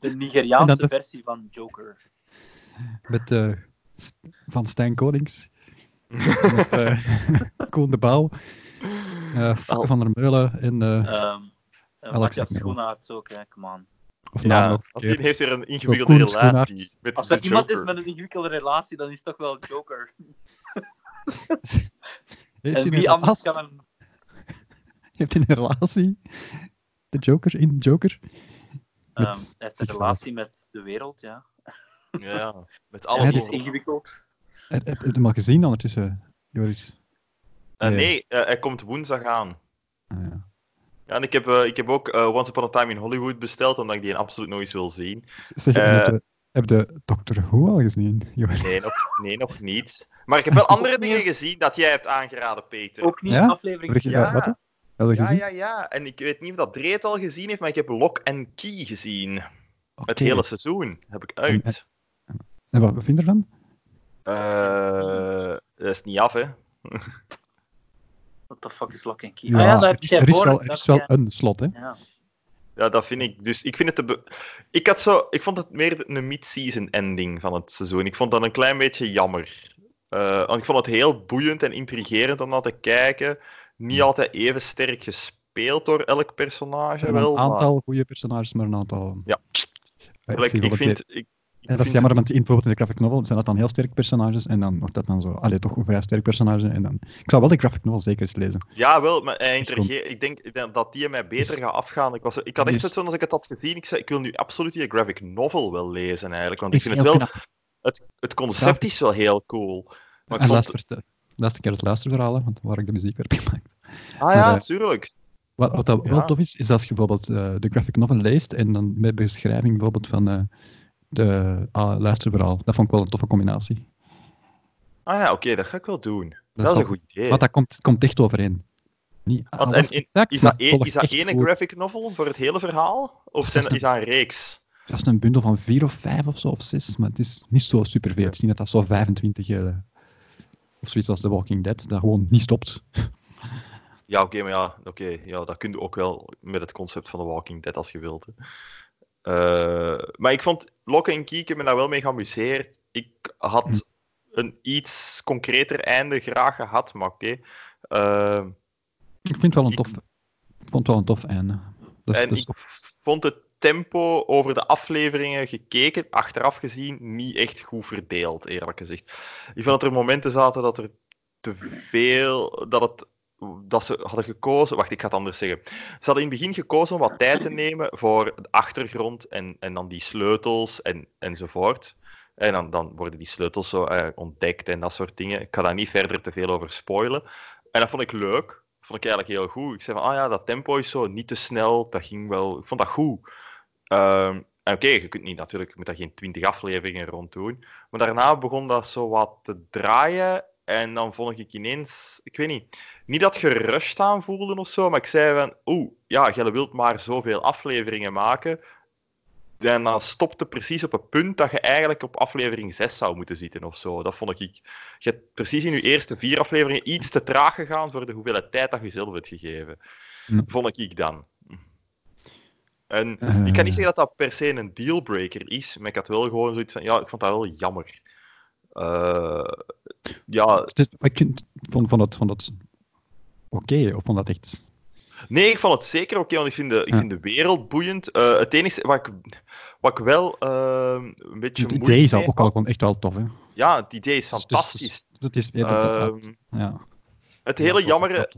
De En Nigeriaanse dat- versie van Joker. Met, eh, S- van Stijn Konings. Met, eh, Koen de Bouw. eh, Fokke van der Meulen. En, eh, Ehm uh, Alex Matja Agnew. Schoenaerts ook, hè, come on. of naam Ja, ook want die verkeerd. heeft weer een ingewikkelde Koen Schoenaerts. relatie met Als de er iemand is Joker. met een ingewikkelde relatie, dan is het toch wel Joker. Heeft En hij een wie anders relatie? kan hem... Heeft hij een relatie? De Joker in Joker? Met ehm, hij heeft een zichzelf. relatie met de wereld, ja. Ja, met Alles alles. is Het over- ingewikkeld. Heb heb je hem al gezien ondertussen, Joris? Eh, nee, eh, hij komt woensdag aan. Ah, ja. Ja, en ik heb, eh, ik heb ook eh, Once Upon a Time in Hollywood besteld, omdat ik die absoluut nog eens wil zien. Zeg, Eh. heb, je, heb je Doctor Who al gezien, Joris? Nee, nog, nee, nog niet. Maar ik heb wel andere dingen gezien dat jij hebt aangeraden, Peter. Ook niet Ja? een Heb aflevering. je, Ja. Wat? Heb je ja, gezien? ja, ja. En ik weet niet of dat Dreet al gezien heeft, maar ik heb Lock and Key gezien. Het Oké. hele seizoen heb ik uit. En wat wat vind je ervan? Eh, dat is niet af, hè. What the fuck is Lock and Key? ah ja, daar er, heb is, jij er is voor, wel, er dat is wel jij- een slot, hè. Ja. Ja, dat vind ik. Dus ik vind het te be- ik, had zo, ik vond het meer een mid-season ending van het seizoen. Ik vond dat een klein beetje jammer. Eh, want ik vond het heel boeiend en intrigerend om naar te kijken. Niet altijd even sterk gespeeld door elk Er personage. zijn een Wel, maar- aantal goede personages, maar een aantal... Ja. Eh, Like, wel ik dat vind, die- ik, ik eh, dat is vind jammer, het- want in, bijvoorbeeld in de graphic novel zijn dat dan heel sterk personages, en dan wordt dat dan zo... Allee, toch een vrij sterk personage, en dan... Ik zou wel de graphic novel zeker eens lezen. Ja, wel, maar hij Is goed. intrigeert- ik denk dat- dat die mij beter Is- gaat afgaan. Ik, was, ik had echt Is- zoiets van, als ik het had gezien, ik zei, ik wil nu absoluut die graphic novel wel lezen eigenlijk. Want ik Is vind het heel wel, knap. het, het concept Grafisch. is wel heel cool. Maar ik en vond, luister, de laatste keer het luisterverhaal, hè, want waar ik de muziek heb gemaakt. ah ja, eh, tuurlijk. Wat, wat dat wel Ja. tof is, is als je bijvoorbeeld eh, de graphic novel leest en dan met beschrijving bijvoorbeeld van eh, de ah, luisterverhaal. Dat vond ik wel een toffe combinatie. Ah ja, oké, dat ga ik wel doen. Dat, is wel- een goed idee. Want dat komt, komt echt overeen. Niet Want, alles en in- exact, is maar dat, één- volgt is dat echt ene goed. graphic novel voor het hele verhaal? Of zijn, Dat is is dat een reeks? Dat is een bundel van vier of vijf of zo, of zes, maar het is niet zo superveel. Het is niet dat dat zo 25 eh, of zoiets als The Walking Dead, dat gewoon niet stopt. Ja, oké, maar ja, oké, ja, dat kun je ook wel met het concept van The Walking Dead als je wilt. hè. Eh, maar ik vond Lock en Key, ik heb me daar wel mee geamuseerd. Ik Hm. had een iets concreter einde graag gehad, maar oké. Eh, Ik vind het wel een Ik- tof, ik vond het wel een tof einde. Dat is, en dat is ik vond het tempo over de afleveringen gekeken, achteraf gezien, niet echt goed verdeeld, eerlijk gezegd. Ik vond dat er momenten zaten dat er te veel, dat het dat ze hadden gekozen, wacht, ik ga het anders zeggen. Ze hadden in het begin gekozen om wat tijd te nemen voor de achtergrond en, en dan die sleutels en, enzovoort. En dan, dan worden die sleutels zo eh, ontdekt en dat soort dingen. Ik ga daar niet verder te veel over spoilen. En dat vond ik leuk. Vond ik eigenlijk heel goed. Ik zei van, ah ja, dat tempo is zo niet te snel. Dat ging wel... Ik vond dat goed. Ehm, En Oké, je kunt niet natuurlijk, je moet daar geen twintig afleveringen rond doen. Maar daarna begon dat zo wat te draaien. En dan vond ik ineens, ik weet niet, niet dat gerust aanvoelde of zo, maar ik zei van, oeh, ja, jij wilt maar zoveel afleveringen maken. En dan stopte precies op een punt dat je eigenlijk op aflevering 6 zou moeten zitten of zo. Dat vond ik. Je hebt precies in je eerste vier afleveringen iets te traag gegaan voor de hoeveelheid tijd dat je zelf hebt gegeven. Hm. Vond ik dan. En Eh. ik kan niet zeggen dat dat per se een dealbreaker is, maar ik had wel gewoon zoiets van, ja, ik vond dat wel jammer. Eh, ja, Het is- maar ik vind- vond, vond dat, vond dat oké, of vond dat echt... nee, ik vond het zeker oké, want ik vind de, ik Ja. vind de wereld boeiend. Eh, het enige wat ik, wat ik wel eh, een beetje Het moeilijk idee is al mee ook wel gewoon echt wel tof, hè. Ja, het idee is Dus- dus- fantastisch. Dus, het is, ja, dat- dat- dat- Ehm, ja. het hele Ja, dat- dat- jammere, dat-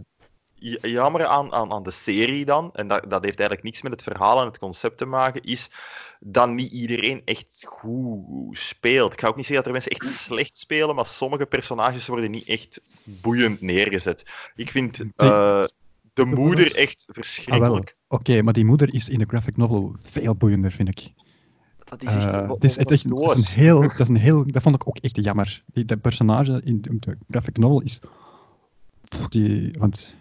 j- jammere aan, aan, aan de serie dan, en dat, dat heeft eigenlijk niks met het verhaal en het concept te maken, is dat niet iedereen echt goed speelt. Ik ga ook niet zeggen dat er mensen echt slecht spelen, maar sommige personages worden niet echt boeiend neergezet. Ik vind eh, de moeder echt Ah, wel. verschrikkelijk. Oké, maar die moeder is in de graphic novel veel boeiender, vind ik. Dat is echt... Eh, wat- het is echt, wat het is een doos. heel, dat is een heel, dat vond ik ook echt jammer. Die, dat personage in de, de graphic novel is, Pff, die, want,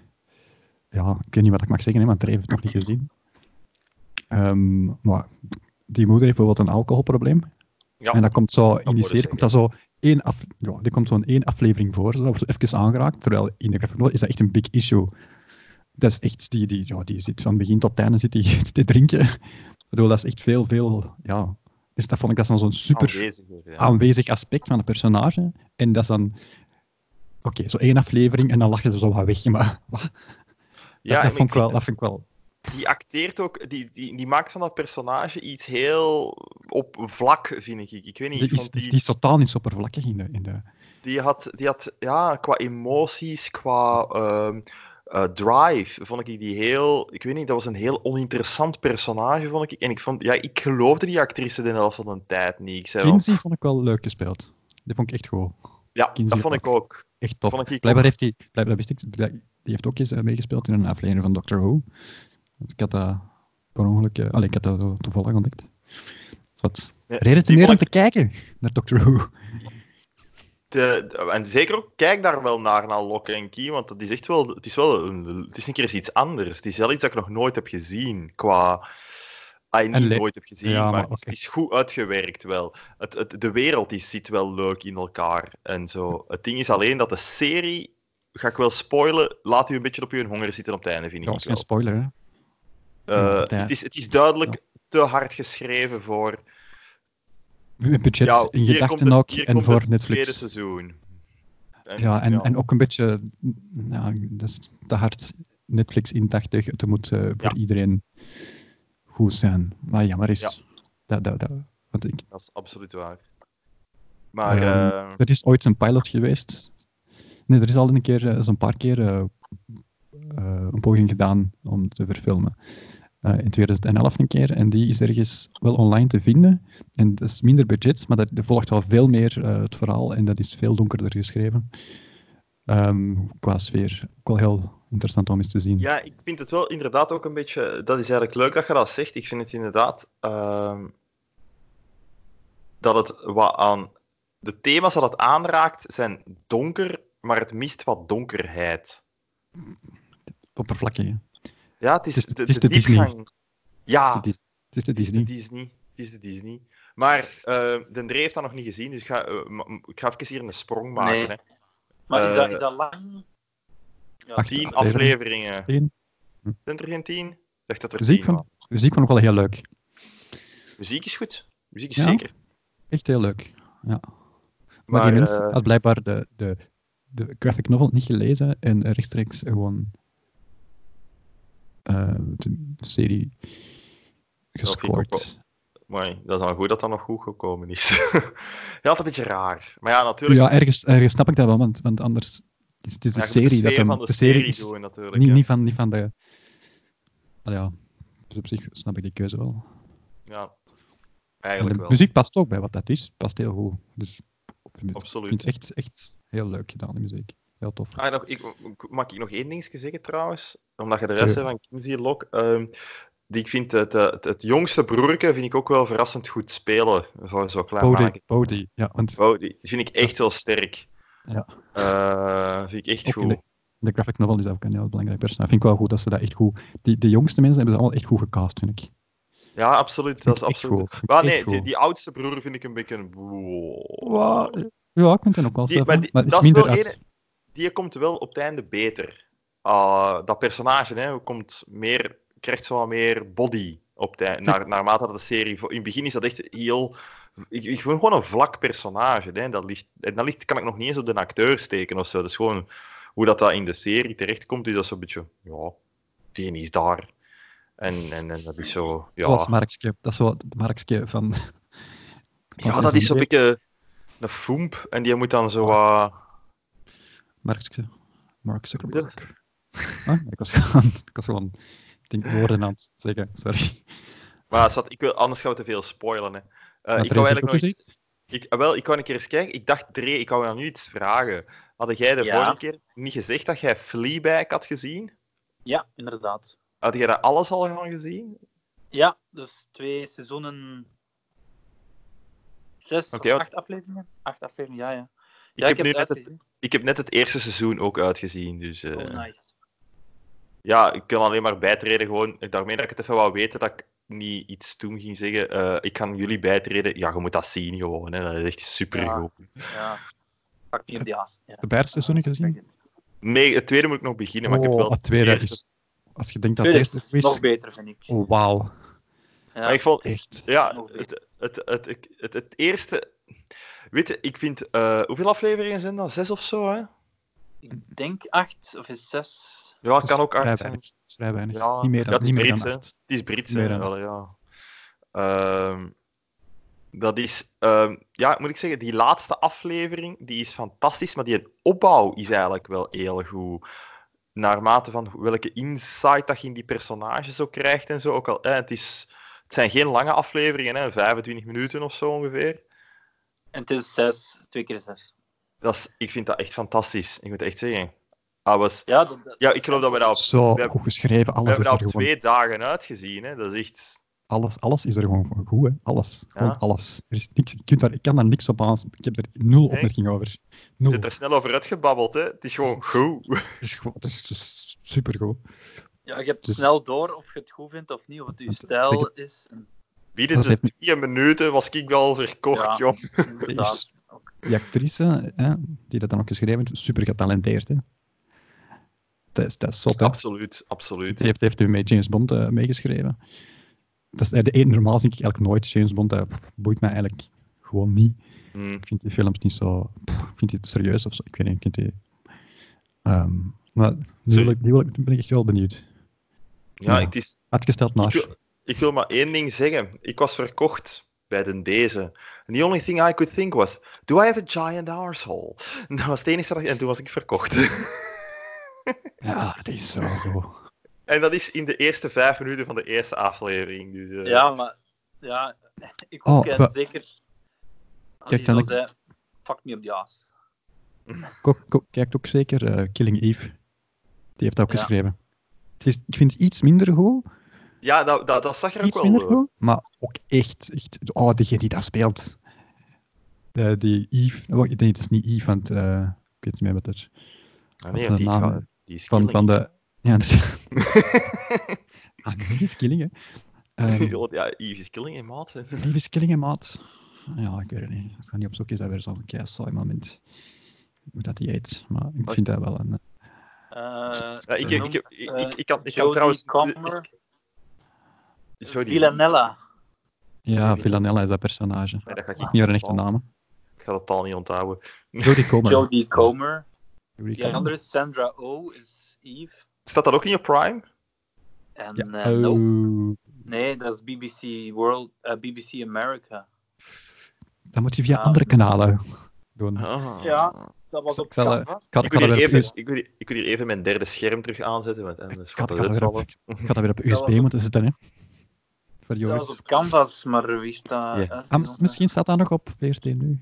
ja, ik weet niet wat ik mag zeggen, hè, want er heeft het nog niet gezien. Ehm, maar die moeder heeft bijvoorbeeld een alcoholprobleem. Ja. En dat komt zo in moet die ik serie, komt dat zo één af, ja, die komt zo'n één aflevering voor, zo, dat wordt even aangeraakt, terwijl in de graphic novel is dat echt een big issue. Dat is echt, die, die, ja, die zit van begin tot einde zit die te drinken. Ik bedoel, dat is echt veel, veel, ja. Dus dat vond ik, dat is dan zo'n super Ah, Aanweziger, ja. aanwezig aspect van een personage. En dat is dan, oké, zo één aflevering en dan lach je er zo wat weg, maar dat, Ja, en dat, vond ik wel, vind- dat vind ik wel, die acteert ook, die, die, die maakt van dat personage iets heel op vlak, vind ik. Ik weet niet, die ik is, vond die, die, is totaal niet zo oppervlakkig in de, in de, die, had, die had, ja, qua emoties, qua ehm, eh, drive, vond ik die heel, ik weet niet, dat was een heel oninteressant personage, vond ik. En ik vond, ja, ik geloofde die actrice de helft van de tijd niet. Ik zei wel, Kinsey vond ik wel leuk gespeeld. Die vond ik echt goed. ja, Kinsey dat vond ik ook. Echt top. Vond ik ook. Blijkbaar heeft hij, blijkbaar dat wist ik, blijk- die heeft ook eens eh, meegespeeld in een aflevering van Doctor Who. Ik had dat per ongeluk, eh, allee, ik had dat zo toevallig ontdekt. Dus Wat Ja, reden te die meer om vond te kijken naar Doctor Who. De- de- en zeker ook, kijk daar wel naar, naar Lock en Key, want dat is echt wel, het is wel, een- het is een keer eens iets anders. Het is wel iets dat ik nog nooit heb gezien, qua, ah, niet En le- nooit heb gezien, Ja, maar, maar het, is, oké. het is goed uitgewerkt wel. Het, het, de wereld is, zit wel leuk in elkaar en zo. Het ding is alleen dat de serie, ga ik wel spoilen, laat u een beetje op uw honger zitten op het einde, vind Ja, dat ik is geen wel. spoiler, hè. Eh, ja. het, is, het is duidelijk te hard geschreven voor, Een budget ja, in hier komt gedachten het, ook, hier en komt voor het Netflix. tweede seizoen. En- Ja, en, en ook een beetje, nou, dat is te hard Netflix indachtig. Het moet eh, voor Ja. iedereen goed zijn. Maar jammer is, Ja. dat, dat, dat, want ik, Dat is absoluut waar. Maar Ehm, eh, Er is ooit een pilot geweest. Nee, er is al een keer, eh, zo'n paar keer eh, eh, een poging gedaan om te verfilmen. Eh, in 2011 een keer. En die is ergens wel online te vinden. En dat is minder budget, maar dat, er volgt wel veel meer eh, het verhaal. En dat is veel donkerder geschreven. Ehm, qua sfeer. Ook wel heel interessant om eens te zien. ja, ik vind het wel inderdaad ook een beetje. Dat is eigenlijk leuk dat je dat zegt. Ik vind het inderdaad ehm, dat het wat aan de thema's dat het aanraakt zijn donker, maar het mist wat donkerheid. Oppervlakkig. hè. Het Ja, het is, Het is- de, het is de de Disney. diepgang. Ja, is de Dis- Ah. Het is de Het is de Disney. Disney. Het is de Disney. Maar eh Den Dree heeft dat nog niet gezien, dus ik ga, eh, ma- ik ga even hier een sprong maken. Nee. Hè. Maar is, dat, Eh, is dat lang? Ja, Acht- Tien afleveringen. afleveringen. Tien. Zijn er geen tien? Ik dacht dat er Muziek tien waren. vond, muziek vond ik wel heel leuk. Muziek is goed. Muziek is Ja, zeker. Echt heel leuk. Ja. Maar, Maar, die mens eh, had blijkbaar de, de, de graphic novel niet gelezen en rechtstreeks gewoon eh, de serie ook gescoord. mooi. dat is dan goed dat dat nog goed gekomen is. ja, dat is een beetje raar. Maar ja, natuurlijk. Ja, ergens, ergens snap ik dat wel, want, want anders het is het is de ja, je moet serie de dat sfeer hem, van de, serie serie is doen, natuurlijk. niet, hè. niet, van, niet van de. Nou ja, dus op zich snap ik die keuze wel. Ja, En eigenlijk de wel. muziek past ook bij wat dat is, past heel goed. Dus ik vind Absoluut. het echt, echt heel leuk gedaan, de muziek. Heel tof. Ah, nog, ik, ik- mag ik nog één ding zeggen trouwens? Omdat je de rest Tuurlijk. hebt van Kinsey Lok. ehm die ik vind, het, eh, het, het jongste broerke vind ik ook wel verrassend goed spelen voor zo'n klein Bodie, maken. Bodie. Ja, want Oh, die vind ik echt wel sterk. Ja. Eh, vind ik echt Ook in goed. de graphic novel is dat ook een heel belangrijk personage. Vind ik wel goed dat ze dat echt goed... Die, de jongste mensen hebben ze allemaal echt goed gecast, vind ik. Ja, absoluut. Dat is Vind ik echt absoluut. goed. Vind ik Maar echt nee, die, goed. die oudste broer vind ik een beetje... een- Wa- Ja, ik vind het ook wel Die- zelf, maar hè. die- maar het is dat is minder wel uit. Die komt wel op het einde beter. Ah, dat personage hè, komt meer, krijgt zo wat meer body op het einde. Naar, naarmate dat de serie... vo- In het begin is dat echt heel... Ik, ik vind gewoon een vlak personage. Hè. Dat ligt, en dat ligt, kan ik nog niet eens op de acteur steken of zo. Dat is gewoon hoe dat, dat in de serie terechtkomt. Is dat zo'n beetje... Ja, die is daar. En, en, en dat is zo... Ja. Zoals Markske. Dat is wel het Markske van... Ja, dat is zo'n beetje een foemp. En die moet dan zo... wat Markske. Mark Zuckerberg. Ah, ik was gewoon... Ik was gewoon ik denk, woorden aan het zeggen, sorry. maar schat, ik wil, anders gaan we te veel spoilen. Hè. Eh, Maar ik er wou is eigenlijk nog ook iets... Ik, ah, wel, ik wou een keer eens kijken. Ik dacht, Dre, ik wou jou nu iets vragen. Had jij de Ja. vorige keer niet gezegd dat jij Fleabag had gezien? Ja, inderdaad. Had jij dat alles al gaan gezien? Ja, dus twee seizoenen. Zes Oké, of wat- acht afleveringen? Acht afleveringen, ja, ja. Ik, ja, heb nu net het het, ik heb net het eerste seizoen ook uitgezien. Dus, eh, uitgezien. Oh, nice. Ja, ik kan alleen maar bijtreden. Gewoon eh, daarmee dat ik het even wou weten dat ik niet iets toen ging zeggen. eh, ik kan jullie bijtreden. Ja, je moet dat zien gewoon. Hè. Dat is echt super goed. Ja. Pak niet op die haas. Ja. De beide Ah, seizoenen gezien? Nee, het tweede moet ik nog beginnen, maar ik heb Oh, wel het tweede het eerste. is... Als je denkt dat het Tweede eerste is goed nog is... beter, vind ik. Oh, wauw. Ja. Maar ik vond, Echt. ja, het, het, het, het, het, het eerste... Weet je, ik vind... eh, hoeveel afleveringen zijn dat? Zes of zo, hè? Ik denk acht of is zes. Ja, het is kan ook vrij acht zijn. weinig. Het is vrij weinig. Ja, niet meer ja, dan, het is niet meer dan Brits, hè. acht. Het is Brits, Meer hè? dan- Wel, ja. Ehm, dat is... ehm, ja, moet ik zeggen, die laatste aflevering, die is fantastisch, maar die opbouw is eigenlijk wel heel goed. Naarmate van welke insight dat je in die personages ook krijgt en zo. Ook al, eh, het, is, het zijn geen lange afleveringen, hè, 25 minuten of zo ongeveer. En het is zes, twee keer zes. Dat is, ik vind dat echt fantastisch. Ik moet echt zeggen. Ah, was, Ja, dat, dat- ja, ik geloof dat we dat op, Zo we hebben- goed geschreven. we Alles hebben is dat er op gewoon... twee dagen uitgezien. Hè. Dat is echt... Alles, alles is er gewoon voor goed, hè. Alles. Gewoon Ja. alles. Er is niks, je kunt daar, ik kan daar niks op aan. Ik heb er nul Nee. opmerking over. Je Nul. zit er snel over uitgebabbeld. Hè. Het is gewoon goed. Het is, gewoon- het is, het is supergoed. ja, je hebt dus- snel door of je het goed vindt of niet, of het je Want, eh, stijl ik is. En, Binnen Dat de heeft- twee minuten was ik wel verkocht, Ja. joh. inderdaad. Die actrice, hè, die dat dan ook geschreven heeft, super getalenteerd, hè. Dat is, dat is zot, hè. Absoluut, absoluut. Die heeft, heeft nu met James Bond eh, meegeschreven. Dat is, eh, de ene, normaal zie ik eigenlijk nooit James Bond. Dat pff, boeit mij eigenlijk gewoon niet. Mm. Ik vind die films niet zo... pff, ik vind die te serieus of zo. Ik weet niet, ik vind die... Ehm, maar nu, wil ik, nu wil ik- nu ben ik echt wel benieuwd. Ja, Ja. het is, Uitgesteld ik, naar... wil, ik wil maar één ding zeggen. Ik was verkocht bij de deze. And the only thing I could think was... Do I have a giant arsehole? En Dat was het enige dat ik... En toen was ik verkocht. Ja, het is zo goed. En dat is in de eerste vijf minuten van de eerste aflevering. Dus, eh, Ja, maar ja, ik Oh, ook en wa- zeker. Als Kijk, Kijk, dan dan ik- zei, fuck me op die haas. Ko- ko- kijkt ook zeker eh, Killing Eve. Die heeft dat ook Ja. geschreven. Het is, ik vind het iets minder goed. Ja, dat, dat, dat zag er ook Iets wel eh, minder door. goed. Maar ook echt, echt... Oh, diegene die dat speelt. Eh, die Eve... Oh, ik denk, dat is niet Eve, want... eh, ik weet niet meer wat het is. Ah, nee, Wat die, de is, naam- wel- die is Van, killing. van de... Ja, dat is... ah, Eve is killing, hè. Ehm, ja, Yves is killing in maat. hè. Lief is killing, hè, maat. Ja, ik weet het niet. Ik ga niet op zoek, is dat weer zo'n kei saai moment. Hoe dat die eet. Maar ik Wacht. vind dat wel een... eh, Eh Ja, ik, ik, ik, ik, ik, ik kan, ik kan Jodie trouwens... eh, Comer, Sorry. Villanella. Ja, Villanella is dat personage. Nee, dat ga ik Oh, Ik niet haar echte naam. Ik ga dat taal niet onthouden. Jodie Comer. Jodie Comer. Jodie Die Comer. andere is Sandra O, oh, is Eve. Staat dat ook in je Prime? En Ja. eh, no. Oh, Nee, dat is BBC World, eh, BBC America. dan moet je via Ah. andere kanalen doen. Ah. Ja. Dat was Ik op zal, eh, Canvas. Ik had, Ik ik wil, had hier dat weer even, op, ik, wil, hier- ik wil hier even mijn derde scherm terug aanzetten. Want anders ik had- gaat ik dat had dat weer op, uitvallen. ik had dat weer op USB was op- moeten zitten, hè. Voor Dat Joris. was op Canvas, maar wie heeft dat? Ja. uitgezonden? Ah, mis- misschien staat dat nog op VRT nu.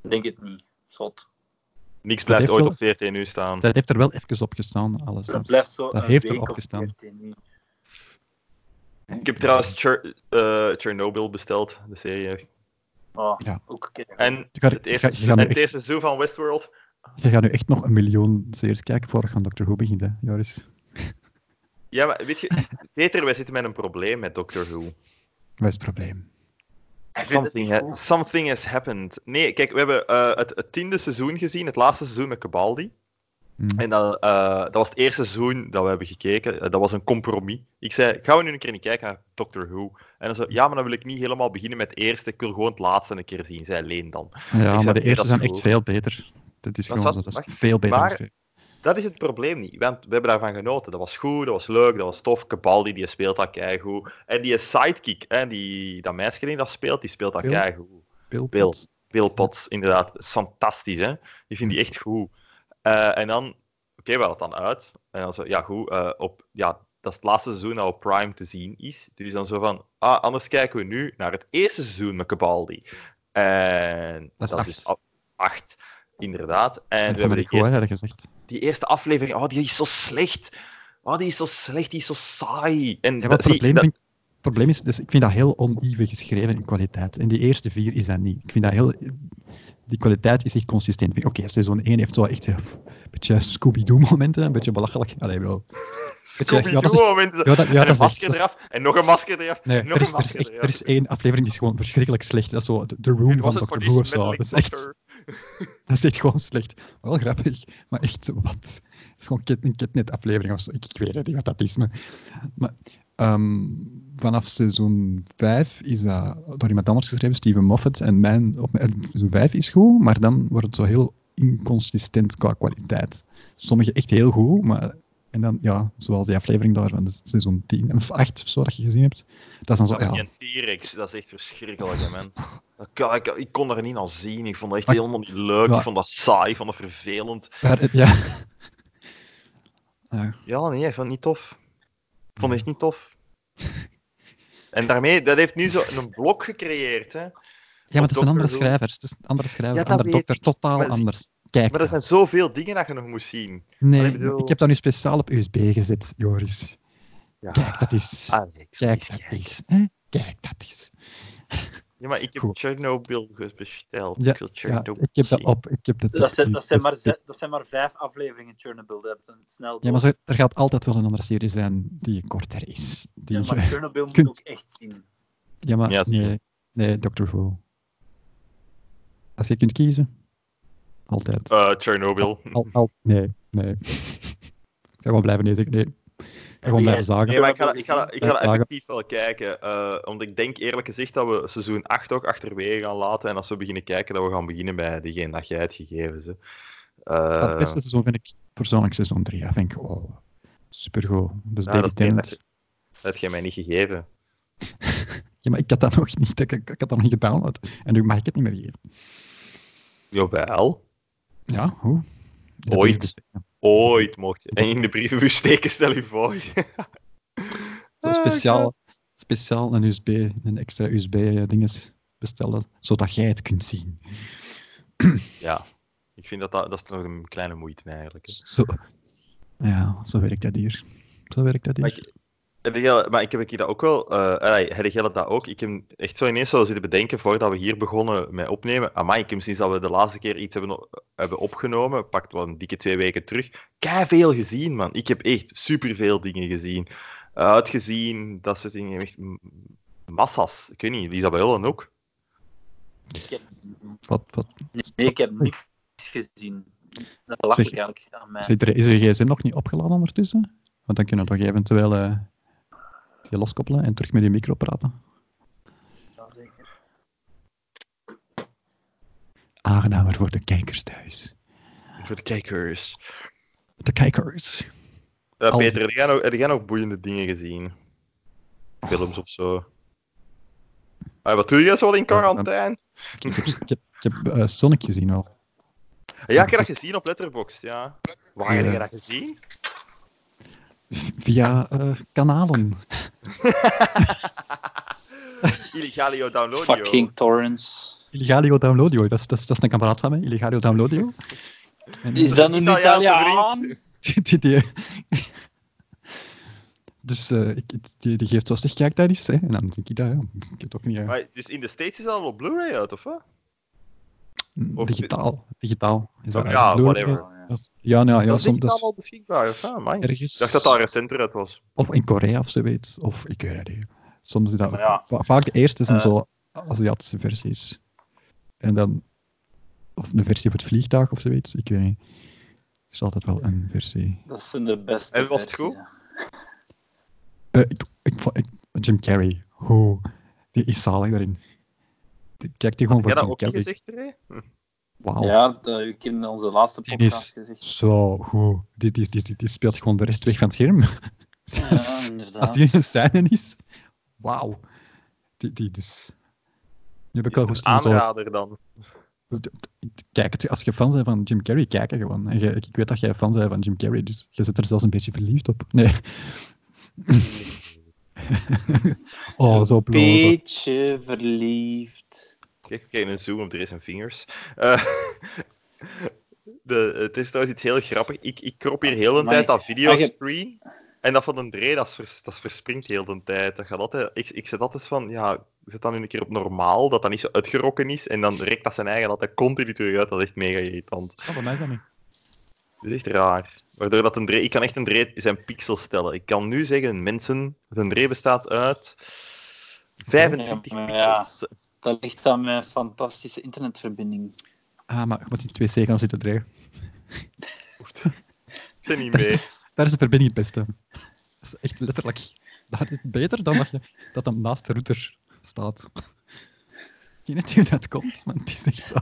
Denk het niet. Zot. Niks blijft heeft ooit wel- op VRT nu staan. Dat heeft er wel even op gestaan, alles. Dat blijft zo Dat een heeft week erop of gestaan. veertien. Ik heb trouwens Cher- eh, Chernobyl besteld, de serie. Oh, Ja. ook keer. En Je gaat- het je eerste, gaat- je gaat nu en het echt- eerste seizoen van Westworld. Je gaat nu echt nog een miljoen series kijken voor je aan Doctor Who begint, hè, Joris. Ja, maar weet je, Peter, wij zitten met een probleem met Doctor Who. Wat is het probleem? Ik vind het Something, niet ha- cool. something has happened. Nee, kijk, we hebben eh, het, het tiende seizoen gezien, het laatste seizoen met Cabaldi. Hm. En dan, eh, dat was het eerste seizoen dat we hebben gekeken. Eh, dat was een compromis. Ik zei, gaan we nu een keer niet kijken naar Doctor Who? En dan zei ja, maar dan wil ik niet helemaal beginnen met het eerste. Ik wil gewoon het laatste een keer zien, zei Leen dan. Ja, zeg, maar de nee, eerste dat is zijn echt zo. veel beter. Dat is gewoon Dat is zo, wat- dat is wacht, veel beter maar- geschreven. Dat is het probleem niet, want we hebben daarvan genoten. Dat was goed, dat was leuk, dat was tof. Cabaldi, die speelt dat keigoed. En die sidekick, hè, die, dat meisje die dat speelt, die speelt dat Bill? keigoed. Bill Bill. Potts. Bill Potts, inderdaad. is Fantastisch, hè? Ik vind die echt goed. Eh, en dan, oké, we hadden het dan uit. En dan zo, ja, goed. eh, op, ja, dat is het laatste seizoen dat op Prime te zien is. Dus dan zo van, ah, anders kijken we nu naar het eerste seizoen met Cabaldi. En Dat is acht. dus af- acht, inderdaad. En En we dat hebben ik de goed, hè, eerste, dat gezegd. die eerste aflevering, oh, die is zo slecht. Oh, die is zo slecht, die is zo saai. En Ja, maar het zie- probleem, vind ik- het probleem is, dus ik vind dat heel oneven geschreven in kwaliteit. En die eerste vier is dat niet. Ik vind dat heel... Die kwaliteit is echt consistent. Ik vind- Oké, seizoen 1 heeft zo echt eh, een beetje Scooby-Doo-momenten, een beetje belachelijk. Allee, bro. Scooby-Doo ja, dat is- momenten. Ja, dat, ja, dat en een is echt- masker dat is- eraf, en nog een masker eraf, Nee, nog er is, een er, is masker echt, eraf. er is één aflevering die is gewoon verschrikkelijk slecht. Dat is zo de, de Room En van was het voor Dr. die Who of zo. smettelijk Dat is, echt, dokter? dat is echt gewoon slecht. Maar wel grappig, maar echt, wat? Het is gewoon kit- een kitnet-aflevering of zo. Ik, ik weet het niet wat dat is. Maar, maar ehm, vanaf seizoen 5 is dat door iemand anders geschreven, Steven Moffat. En mijn, op mijn, eh, seizoen 5 is goed, maar dan wordt het zo heel inconsistent qua kwaliteit. Sommige echt heel goed, maar... En dan, ja, zoals die aflevering daar van seizoen 10 of 8 of zo dat je gezien hebt. Dat is dan zo, ja, Die een T-Rex, dat is echt verschrikkelijk, hè, man. Dat kan- ik, ik kon er niet aan zien. Ik vond dat echt Maar- helemaal niet leuk. Ja. Ik vond dat saai, ik vond dat vervelend. Maar het- ja. Ja, Ja, nee, ik vond het niet tof. Ik vond het echt niet tof. En daarmee, dat heeft nu zo een blok gecreëerd, hè. ja maar het is een Doctor andere Who. schrijver. Het is een andere schrijver, dat andere weet dokter, ik. totaal Maar- anders. Kijk, Maar er zijn zoveel dingen dat je nog moest zien. nee, maar ik bedoel- ik heb dat nu speciaal op USB gezet, Joris. Ja. Kijk, dat is. Alex, Kijk, please, dat Ah, kijk. is. Hè? Kijk, dat is. Ja, maar ik heb Goed. Chernobyl besteld. Ja, ik wil Ja, Chernobyl ik heb dat zien. op. Ik heb dat Dat op zijn, nu, dat, zijn dus maar ik- zes- dat zijn maar vijf afleveringen Chernobyl. Dat hebt een snel Ja, maar door. zo- er gaat altijd wel een andere serie zijn die korter is. Die, Ja, maar Chernobyl moet kunt- ook echt zien. Ja, maar Ja, zeker. nee, nee, Doctor Who. Als je kunt kiezen, altijd. Eh, Chernobyl. Al, al, nee, nee. Ik ga gewoon blijven nee. nee. Ik ga gewoon blijven zagen. Nee, maar ik ga, dat- ik ga, dat- ik ga dat Ja, dagen. effectief wel kijken. eh, want ik denk eerlijk gezegd dat we seizoen 8 ook achterwege gaan laten. En als we beginnen kijken, dat we gaan beginnen bij degene dat jij hebt gegeven. Ze. Eh, Maar Het beste seizoen vind ik persoonlijk seizoen 3. I think, wow, supergoed. Dus Ja, dat David is geen Tennant. dat dat heb jij mij niet gegeven. Ja, maar ik had dat nog niet, ik, ik had dat nog niet gedownload. En nu mag ik het niet meer geven. Jawel. Ja, hoe? In de Ooit. brievenbus steken. Ooit mocht je. En in de brievenbus steken, stel je voor. Zo speciaal, speciaal een USB, een extra USB-dinges eh, bestellen, zodat jij het kunt zien. Ja. Ik vind dat, dat dat is nog een kleine moeite eigenlijk. hè. Zo. Ja, zo werkt dat hier. Zo werkt dat Maar hier. ik, heb jij- maar ik heb hier dat ook wel. eh allee, heb jij dat ook? Ik heb echt zo ineens zo zitten bedenken voordat we hier begonnen met opnemen. Amai, ik heb sinds dat we de laatste keer iets hebben, o- hebben opgenomen, pakt wel een dikke twee weken terug. Kei veel gezien, man. Ik heb echt superveel dingen gezien. Uitgezien, dat soort dingen. Echt m- massa's. Ik weet niet, Isabel dan ook. Ik heb, Wat, wat? nee, ik heb niks gezien. Dat lag Zeg- eigenlijk aan mij. Zit er, is je gsm nog niet opgeladen ondertussen? Want dan kunnen we toch eventueel eh, je loskoppelen en terug met je micro praten. Ja, zeker. Aangenamer voor de kijkers thuis. Voor de kijkers. De kijkers. Eh, Al- Peter, heb jij, nog, heb jij nog boeiende dingen gezien? Films of zo. Ah, wat doe jij zo in quarantaine? Ik heb, ik heb, ik heb eh, Sonic gezien al. Ja, ik heb dat gezien op Letterboxd, ja. Waar heb Ja. je dat gezien? Via eh, kanalen. Illegalio downloadio. Fucking torrents. Illegalio Downloadio. Dat is, dat, is, dat is een kameraad van mij. Illegalio Downloadio. En, eh, Is dat een Italiaanse Italiaan? vriend. die, die, die- Dus eh, ik, het- die, die geeft zo zeg, kijk, daar is. Hè. En dan denk ik, dat, ja, ik heb het ook niet... eh, Maar, dus in de States is dat al op Blu-ray uit, of wat? of- digitaal. Digitaal. Is dat Ja, eigenlijk Blu-ray? whatever. Ja. Dat- Ja, nou, ja, dat is soms, digitaal dat is al beschikbaar, of wat? Amai. Ik ergens... dacht dat dat recenter uit was. Of in Korea of zoiets. Of ik weet het niet. Soms is dat Maar ja. va- vaak de eerste zijn Eh. zo Aziatische versies. En dan. Of een versie voor het vliegtuig of zoiets. Ik weet niet. Er is altijd wel een versie. Dat zijn de beste. En was het versies, goed? ja. Eh, ik, ik, vo- ik- Jim Carrey. Hoe? Die is zalig daarin. Ik Kijk die gewoon Heb voor jij dat Jim ook niet Carrey. gezegd, Ray? Hm. Wauw. Ja, dat heb ik in onze laatste Oh. Die podcast is gezegd. Zo goed. Die, die, die, die, die speelt gewoon de rest weg van het scherm. Ja, Als inderdaad. die in een scène is. Wauw. Die, die dus. Nu heb ik Is wel het goed een aanrader dan. Kijk, het- als je fan bent van Jim Carrey, kijk er gewoon. En je- ik weet dat jij fan bent van Jim Carrey, dus je zit er zelfs een beetje verliefd op. Nee. oh, zo blozen. Beetje verliefd. Kijk, kijk, een zoom op de en vingers. Eh, de, het is trouwens iets heel grappig. Ik, ik krop hier heel de Amai. tijd dat Ah, je- videospree. En dat van een Dre, dat, is vers- dat is verspringt heel de tijd. Dat gaat altijd, ik, ik zet altijd van, ja, zet dan nu een keer op normaal, dat dat niet zo uitgerokken is. En dan rekt dat zijn eigen altijd continu terug uit. Dat is echt mega irritant. Oh, bij mij is dat niet. Dat is echt raar. Waardoor dat een Dre, ik kan echt een Dre zijn pixel stellen. Ik kan nu zeggen, mensen, een Dre bestaat uit 25 Ja, maar ja. pixels. Dat ligt aan mijn fantastische internetverbinding. Ah, maar je moet in twee seconden zitten, Dreer. Ik ben niet Daar is mee. Daar is de verbinding het beste. Dat is echt letterlijk. Dat is beter dan dat je dat dan naast de router staat. Ik weet niet hoe dat komt, maar het is echt zo.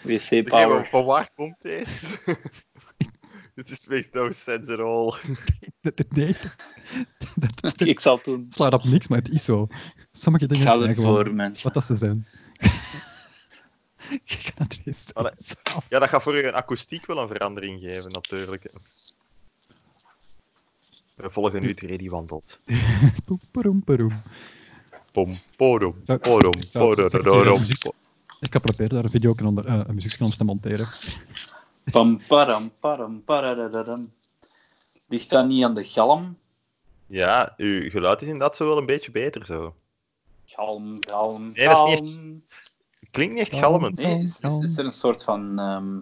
WC Degene waar- Power. van waar komt deze? Dit is makes no sense at all. Dat- dat- Nee. Dat, dat, Ik zal het doen. het slaat op niks, maar het is zo. Sommige dingen Ga zijn gewoon ervoor, mensen. wat dat ze zijn. Ik kan het niet Allee. zeggen. Ja, dat gaat voor je akoestiek wel een verandering geven, natuurlijk. We volgen nu het Reddy wandelt. Poem, poeroem, poeroem. Pom, porom, Zou- porom, Ik zou- ik zou- ik zou- porom, muziek- Ik ga proberen daar een video onder, eh, een muziekje onder te monteren. Pam, param, param, pararararam. Ligt dat niet aan de galm? Ja, uw geluid is inderdaad zo wel een beetje beter zo. Galm, galm, Nee, dat is niet galm. Het klinkt niet echt galmend. Nee, is, is, is er een soort van ehm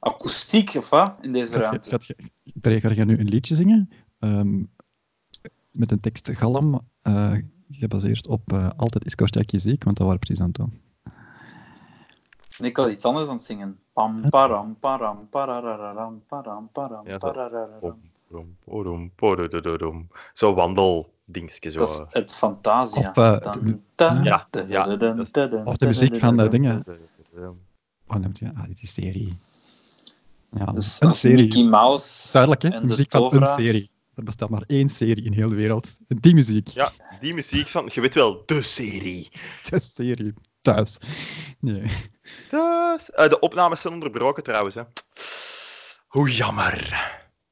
akoestiek of wat in deze Gaat je, ruimte? gaat je, Dre, ga je nu een liedje zingen? Ehm, met een tekst galm, eh, gebaseerd op eh, Altijd is Kortjakje ziek, want dat waren we precies aan het doen. Nee, ik was iets anders aan het zingen. Pam, param, param, pararararam, param, param, Ja, zo. pararararam. Pom, porom, porom, porom. Zo wandeldingsje zo. Dat is het Fantasia. Of, eh, de- Dan, ta, Ja, da, ja, da, da, dat is- da, da, Of de muziek van da, de da, da. dingen. Oh, nee, ja, ah, dit is serie. Ja, Dus een als serie. Mickey Mouse. is duidelijk, hè? en de muziek van een tovenaar. serie. Er bestaat maar één serie in heel de wereld. En die muziek. Ja, die muziek van, je weet wel, de serie. De serie. Thuis. Nee. Dus, eh, de opnames zijn onderbroken trouwens. Hè. Hoe jammer.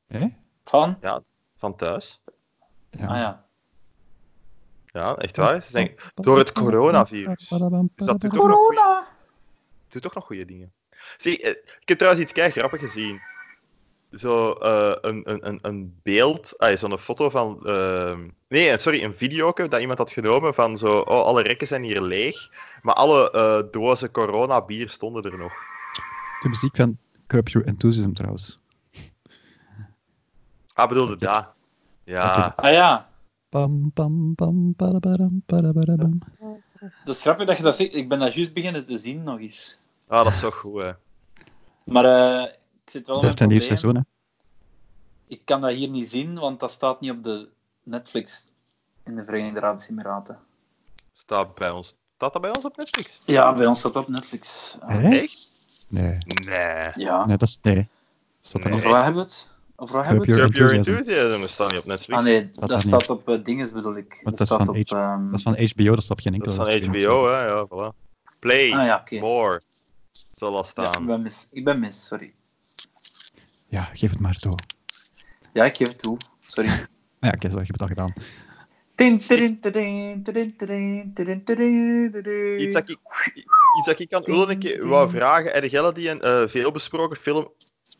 Hè? Van? Van thuis. Ja. Ah ja. Ja, echt waar. Ze zijn, door het coronavirus. Dus dat doet ook nog goeie- doet toch nog goede dingen. Zie, eh, ik heb trouwens iets kei grappig gezien. Zo eh, een, een, een, een beeld, ah, zo'n foto van... ehm, nee, eh, sorry, een video dat iemand had genomen van zo... Oh, alle rekken zijn hier leeg, maar alle eh, dozen corona-bier stonden er nog. De muziek van Curb Your Enthusiasm trouwens. Ah, bedoelde daar. Ja. Ah ja. Pam, pam, pam, parabaram, parabarabam. Dat is grappig dat je dat zegt. Ik ben dat juist beginnen te zien nog eens. Ah, dat is zo goed, hè. Maar eh, ik zit wel met Het een heeft een nieuw probleem. seizoen, hè. Ik kan dat hier niet zien, want dat staat niet op de Netflix in de Verenigde Arabische Emiraten. Staat, bij ons, staat dat bij ons op Netflix? Ja, bij ons staat dat op Netflix. Ah, Hè? Echt? Nee. Nee. Ja. Nee, dat is... Nee. Zat Nee. Over nee. waar hebben we het? Over waar hebben we Your het? Curb Your Enthusiasm. Enthusiasm staat niet op Netflix. Ah nee, Staat dat, daar staat op eh, dinges bedoel ik. Want Dat, dat is staat van op... ehm, Dat is van HBO, dat is op geen Dat enkele... is van streaming. HBO, hè. Ja, voilà. Play Ah ja, oké. More zal dat Ja, ik staan. ben mis. Ik ben mis, sorry. Ja, geef het maar toe. Ja, ik geef het toe. Sorry. Ja, oké, zo, ik heb het al gedaan. Tin, tidin, tidin, tidin, tidin, tidin, tidin, tidin. Iets dat ik, iets dat ik aan Ullen een keer wou vragen. Heb jij die een eh, veelbesproken film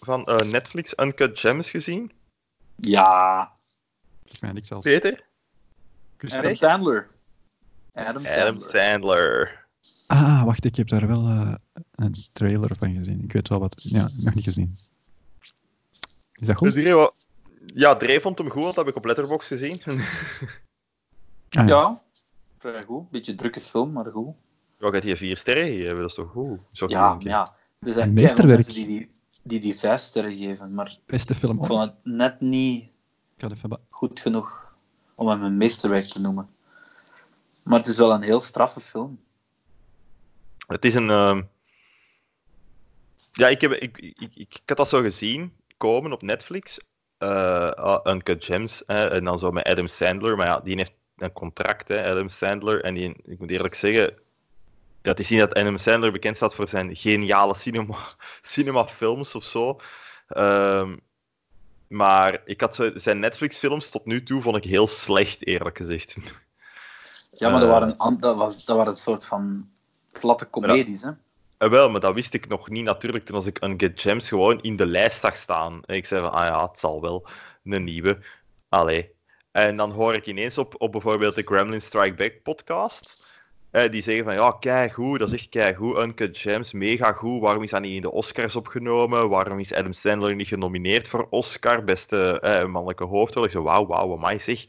van eh, Netflix, Uncut Gems, gezien? Ja. Waarschijnlijk zelfs. Peter? Adam Sandler. Adam Sandler. Adam Sandler. Ah, wacht, ik heb daar wel eh, een trailer van gezien. Ik weet wel wat. Ja, nog niet gezien. Is dat goed? Dus iedereen wa- Ja, Dre vond hem goed, dat heb ik op Letterboxd gezien. Ah, ja. Ja, vrij goed. Beetje drukke film, maar goed. Ja, gaat hier vier sterren geven, dat is toch goed? Zo Ja, denk ik. maar ja. Er Een zijn keihard meesterwerk. mensen die die, die die vijf sterren geven, maar Beste film ik ooit. vond het net niet Ik had even... ba- goed genoeg om hem een meesterwerk te noemen. Maar het is wel een heel straffe film. Het is een. ehm, Ja, ik, heb, ik, ik, ik, ik had dat zo gezien komen op Netflix. eh, ah, Uncut Gems. hè, en dan zo met Adam Sandler. Maar ja, die heeft een contract, hè, Adam Sandler. En die, ik moet eerlijk zeggen. Ja, het is niet dat Adam Sandler bekend staat voor zijn geniale cinema, cinemafilms of zo. Ehm, maar ik had zo, zijn Netflix-films tot nu toe vond ik heel slecht, eerlijk gezegd. Ja, maar dat, Eh. waren, an- dat, was, dat waren een soort van platte comedies, hè. Eh, wel, maar dat wist ik nog niet natuurlijk toen als ik Uncut Gems gewoon in de lijst zag staan. En ik zei van, ah ja, het zal wel, een nieuwe. Allee. En dan hoor ik ineens op, op bijvoorbeeld de Gremlin Strike Back podcast, eh, die zeggen van, ja, kijk goed, dat is echt kijk goed, Uncut Gems, mega goed, waarom is dat niet in de Oscars opgenomen, waarom is Adam Sandler niet genomineerd voor Oscar, beste eh, mannelijke hoofdrol. Ik zei, wauw, wauw, amai zeg.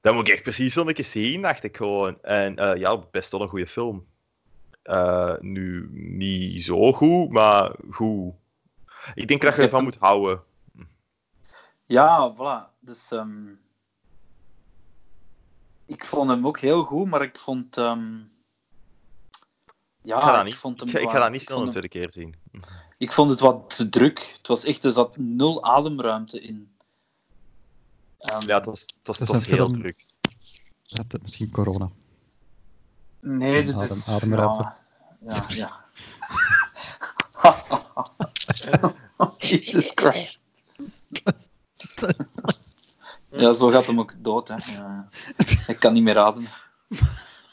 Dat moet ik echt precies zo'n keer zien, dacht ik gewoon. En eh, ja, best wel een goede film. Eh, nu niet zo goed, maar goed. Ik denk dat je ervan moet houden. Ja, voilà. Dus ehm, ik vond hem ook heel goed, maar ik vond. ehm, ja, Ik ga dat Ah, ik niet, vond hem. ik ga, ik wat- ga dat niet snel vond een hem- tweede keer zien. ik vond het wat te druk. Het was echt, er zat nul ademruimte in. Ehm, Ja, het was, het was, Dat het is was een heel film. druk. Dat, eh, misschien corona. Nee, dit Adem- is. ademruimte. Ja, ja. ja. Jesus Christ. Ja, zo gaat hem ook dood, hè. Ja. Hij kan niet meer ademen.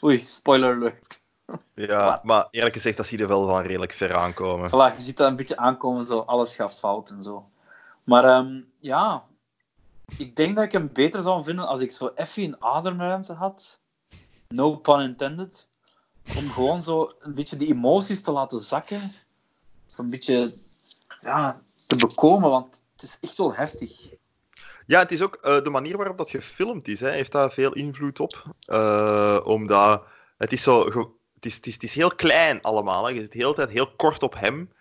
Oei, spoiler alert. Ja, Wat? Oh. maar eerlijk gezegd, dat zie je er wel van redelijk ver aankomen. Voilà, je ziet dat een beetje aankomen, zo. alles gaat fout en zo. Maar ehm, ja, ik denk dat ik hem beter zou vinden als ik zo even een ademruimte had. No pun intended. Om gewoon zo een beetje die emoties te laten zakken. Zo'n beetje ja, te bekomen, want het is echt wel heftig. Ja, het is ook eh, de manier waarop dat gefilmd is, hè, heeft daar veel invloed op. Eh, omdat het is zo... ge- Het is, het, is, het is heel klein allemaal. Hè. Je zit de hele tijd heel kort op hem.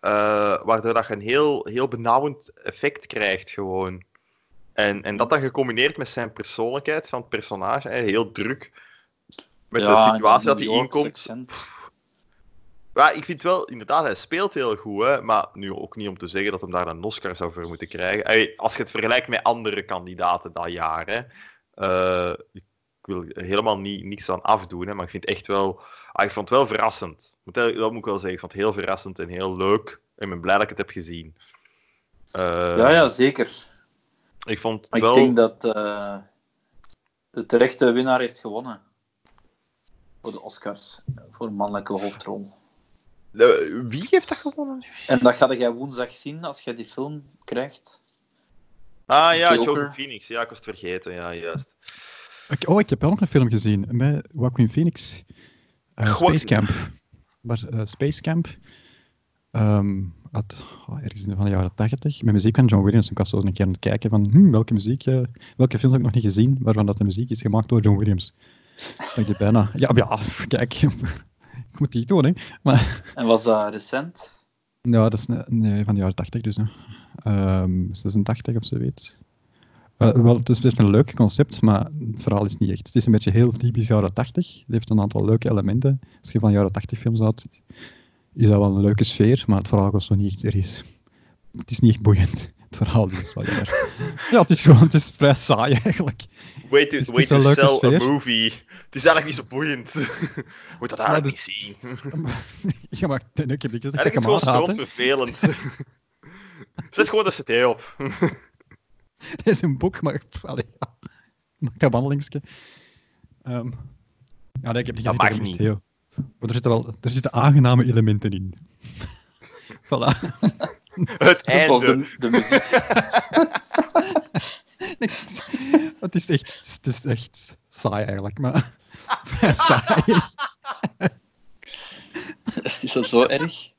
eh, waardoor dat je een heel, heel benauwend effect krijgt gewoon. En, en dat dan gecombineerd met zijn persoonlijkheid van het personage. Hè, heel druk. Met Ja, de en situatie dat New hij Yorks inkomt. accent. Ja, ik vind wel, inderdaad, hij speelt heel goed, hè, maar nu ook niet om te zeggen dat hem daar een Oscar zou voor moeten krijgen. Ey, als je het vergelijkt met andere kandidaten dat jaar, hè, eh, ik wil er helemaal niet, niks aan afdoen, hè, maar ik vind echt wel, ah, ik vond het wel verrassend. Moet wel- Dat moet ik wel zeggen, ik vond het heel verrassend en heel leuk. Ik ben blij dat ik het heb gezien. Eh, Ja, ja, zeker. Ik vond het Maar wel... ik denk dat eh, de terechte winnaar heeft gewonnen. Voor de Oscars. Voor mannelijke hoofdrol. Eh, wie heeft dat gewonnen? En dat ga jij woensdag zien als jij die film krijgt. Ah ja, Joker. Joker, Phoenix. Ja, ik was het vergeten. Ja, juist. Ik- oh, ik heb wel nog een film gezien met Joaquin Phoenix. Eh, Joaquin. Space Camp. Maar eh, Space Camp ehm, uit oh, ergens in de van de jaren 80. Met muziek van John Williams. Ik was zo eens een keer aan het kijken van hm, welke muziek, eh, welke films heb ik nog niet gezien waarvan dat de muziek is gemaakt door John Williams. Ik dacht bijna, ja, ja, kijk, ik moet die doen, hè. Maar En was dat recent? nou, dat is ne- nee, van de jaren 80 dus. Hè. Ehm, 86 of zoiets. Eh wel, het is, het is een leuk concept, maar het verhaal is niet echt. Het is een beetje heel typisch jaren 80. Het heeft een aantal leuke elementen. Als je van jaren 80 films houdt, is dat wel een leuke sfeer, maar het verhaal was nog niet echt er is. Het is niet echt boeiend. Het verhaal dus is wel jammer. ja, het is gewoon het is vrij saai eigenlijk. Way to, Het is wel way to een leuke sell sfeer. a movie. Het is eigenlijk niet zo boeiend. Moet dat eigenlijk dus niet zien. ja, maar nee, ik heb niks gezegd. Ik Eigenlijk is het gewoon kan hem aanraden. strontvervelend. Zet gewoon de cd op. Het is een boek, maar pff, allee, ja. maak dat wandelingske. Ehm, ja, nee, ik heb niet Dat gezien, mag is echt niet. Heel, maar er zitten wel er zitten aangename elementen in. voilà. Het Zoals Dus einde. de, de muziek. het, is echt, het is echt saai eigenlijk, maar vrij saai. Is dat zo erg? Oh,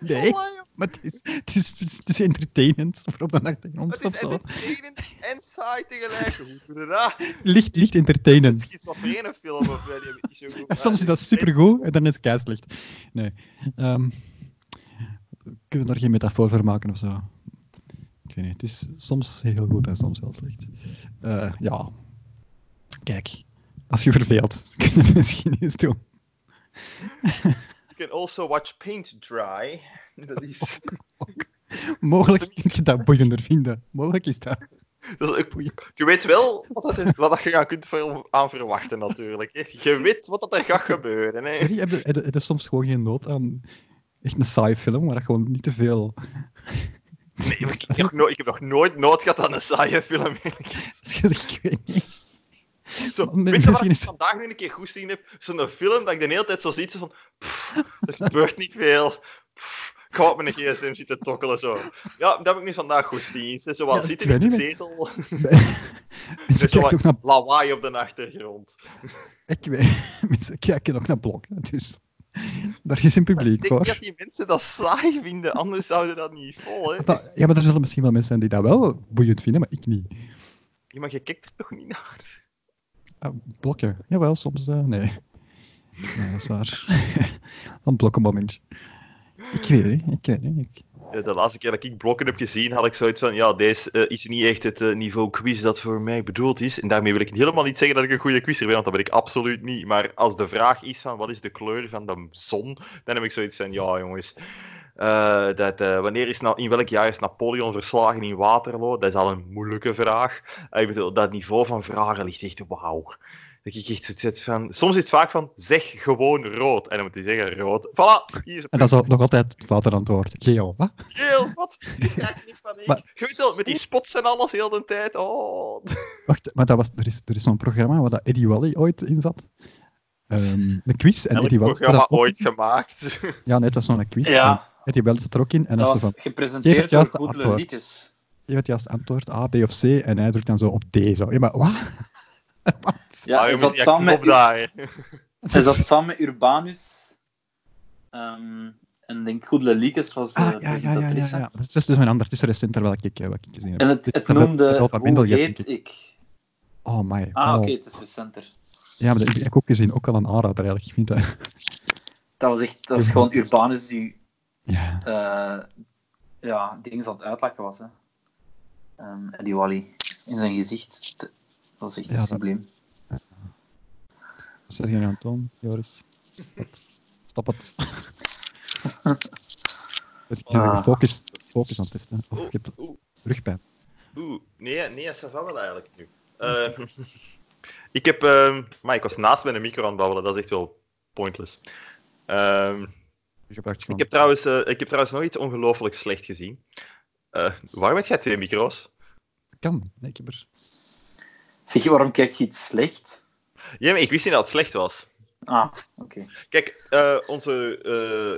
Nee, maar het is, het is, het is entertainend voor op de achtergrond Het is of zo. entertainend en saai tegelijk. Hoe doe je dat? Licht, licht Het entertainend. is schizofrene film of wel, die heb ik niet zo goed. En soms is dat supergoed en dan is het keislicht. Nee. Ehm, kunnen we daar geen metafoor voor maken of zo? Ik weet niet. Het is soms heel goed en soms heel slecht. Eh, ja. Kijk, als je verveelt, kunnen we misschien eens doen. You can also watch paint dry. Dat is, Mogelijk kun je dat boeiender vinden. Mogelijk is dat. dat is ook- je weet wel wat, dat, wat dat je aan kunt ver- aan verwachten, natuurlijk. hè. Je weet wat dat er gaat gebeuren. Hè. Jullie hebben hebben- hebben soms gewoon geen nood aan echt een saaie film, waar dat gewoon niet te veel. Nee, ik, ik, heb nog nooit- ik heb nog nooit nood gehad aan een saaie film. eigenlijk. ik weet niet. Zo, Maar weet je wat misschien ik is- vandaag nu een keer goed zien heb? Zo'n film dat ik de hele tijd zo ziet, zo van... pff, er gebeurt niet veel. Pff, ik ga op mijn gsm zitten tokkelen, zo. Ja, dat heb ik nu vandaag goed zien. Ze zo wat Ja, ik zitten in weet de niet, zetel. Mensen Ze zo kijken ook wat naar lawaai op de achtergrond. Ik weet, mensen kijken ook naar blokken, dus daar is een Ik publiek denk niet voor. dat die mensen dat saai vinden, anders zouden dat niet vol, hè. Maar- ja, maar er zullen misschien wel mensen zijn die dat wel boeiend vinden, maar ik niet. Ja, maar je kijkt er toch niet naar? Ah, blokken, jawel, soms eh, nee. Nee, dat is waar. een blokkenmomentje. Ik weet het niet, ik weet het niet. Ik... Ja, Eh, De laatste keer dat ik blokken heb gezien, had ik zoiets van... Ja, deze eh, is niet echt het eh, niveau quiz dat voor mij bedoeld is. En daarmee wil ik helemaal niet zeggen dat ik een goede quizzer ben, want dat ben ik absoluut niet. Maar als de vraag is van wat is de kleur van de zon, dan heb ik zoiets van... Ja, jongens... eh, dat, eh, wanneer is Na- in welk jaar is Napoleon verslagen in Waterloo? Dat is al een moeilijke vraag. Eh, ik bedoel, dat niveau van vragen ligt echt wauw. Dat ik echt zoiets heb van... Soms is het vaak van, zeg gewoon rood. En dan moet hij zeggen rood. Voilà, hier is het En dat is al- nog altijd het foute antwoord. Geel, wat? Geel, wat? Ik krijg niet van ik. Maar- Je weet wel, met die spots en alles heel de tijd. Oh. Wacht, maar dat was, er is, er is zo'n programma waar dat Eddie Wally ooit in zat. Ehm een quiz. En Elk Eddie Wally zat programma er ook ooit in. gemaakt. Ja, net was zo'n quiz. en Ja, Eddie Wally zat er ook in. En als dat ze van, was gepresenteerd het juiste door Goedele antwoord. Liekes. je hebt juist antwoord A, B of C. En hij drukt dan zo op D. Zo. Ja, maar wat? wat? Ah, Ja, hij jongens, zat die samen knop met, daar. hij zat samen met Urbanus. ehm, en ik denk Goedele Liekes was de Ah, ja, dus ja, ja, ja, presentatrice. ja. Het is, het is een ander. Het is recenter wat ik, eh, wat ik gezien heb. En het, Dit het is dat noemde met Rood van Hoe Wendelgem, heet denk ik? ik. Oh my. Ah, oh. oké, het is recenter. Ja, maar dat heb ik ook gezien. Ook al een aanrader eigenlijk. Ik vind dat... Dat was echt, dat is gewoon Urbanus die, Ja. eh ja, dingen aan het uitlachen was. Hè. Ehm, en die Wally in zijn gezicht. Dat was echt Ja, dat- subliem. Sergej Anton, Joris. Wat? Stop het. Dus Het is Ah. een focus, focus aan het testen. Of ik heb Oeh, rugpijn. oeh. Nee, nee, dat wel eigenlijk nu. Eh, ik heb... ehm, maar ik was naast mijn micro aan het babbelen, dat is echt wel pointless. Ehm, Je gebruikt ik, gewoon... heb trouwens, eh, ik heb trouwens nog iets ongelooflijk slecht gezien. Eh, waarom heb jij twee micro's? Het kan. Nee, ik heb er... Zeg je, waarom kijk je iets slecht? Ja, maar ik wist niet dat het slecht was. Ah, oké. Kijk, eh, onze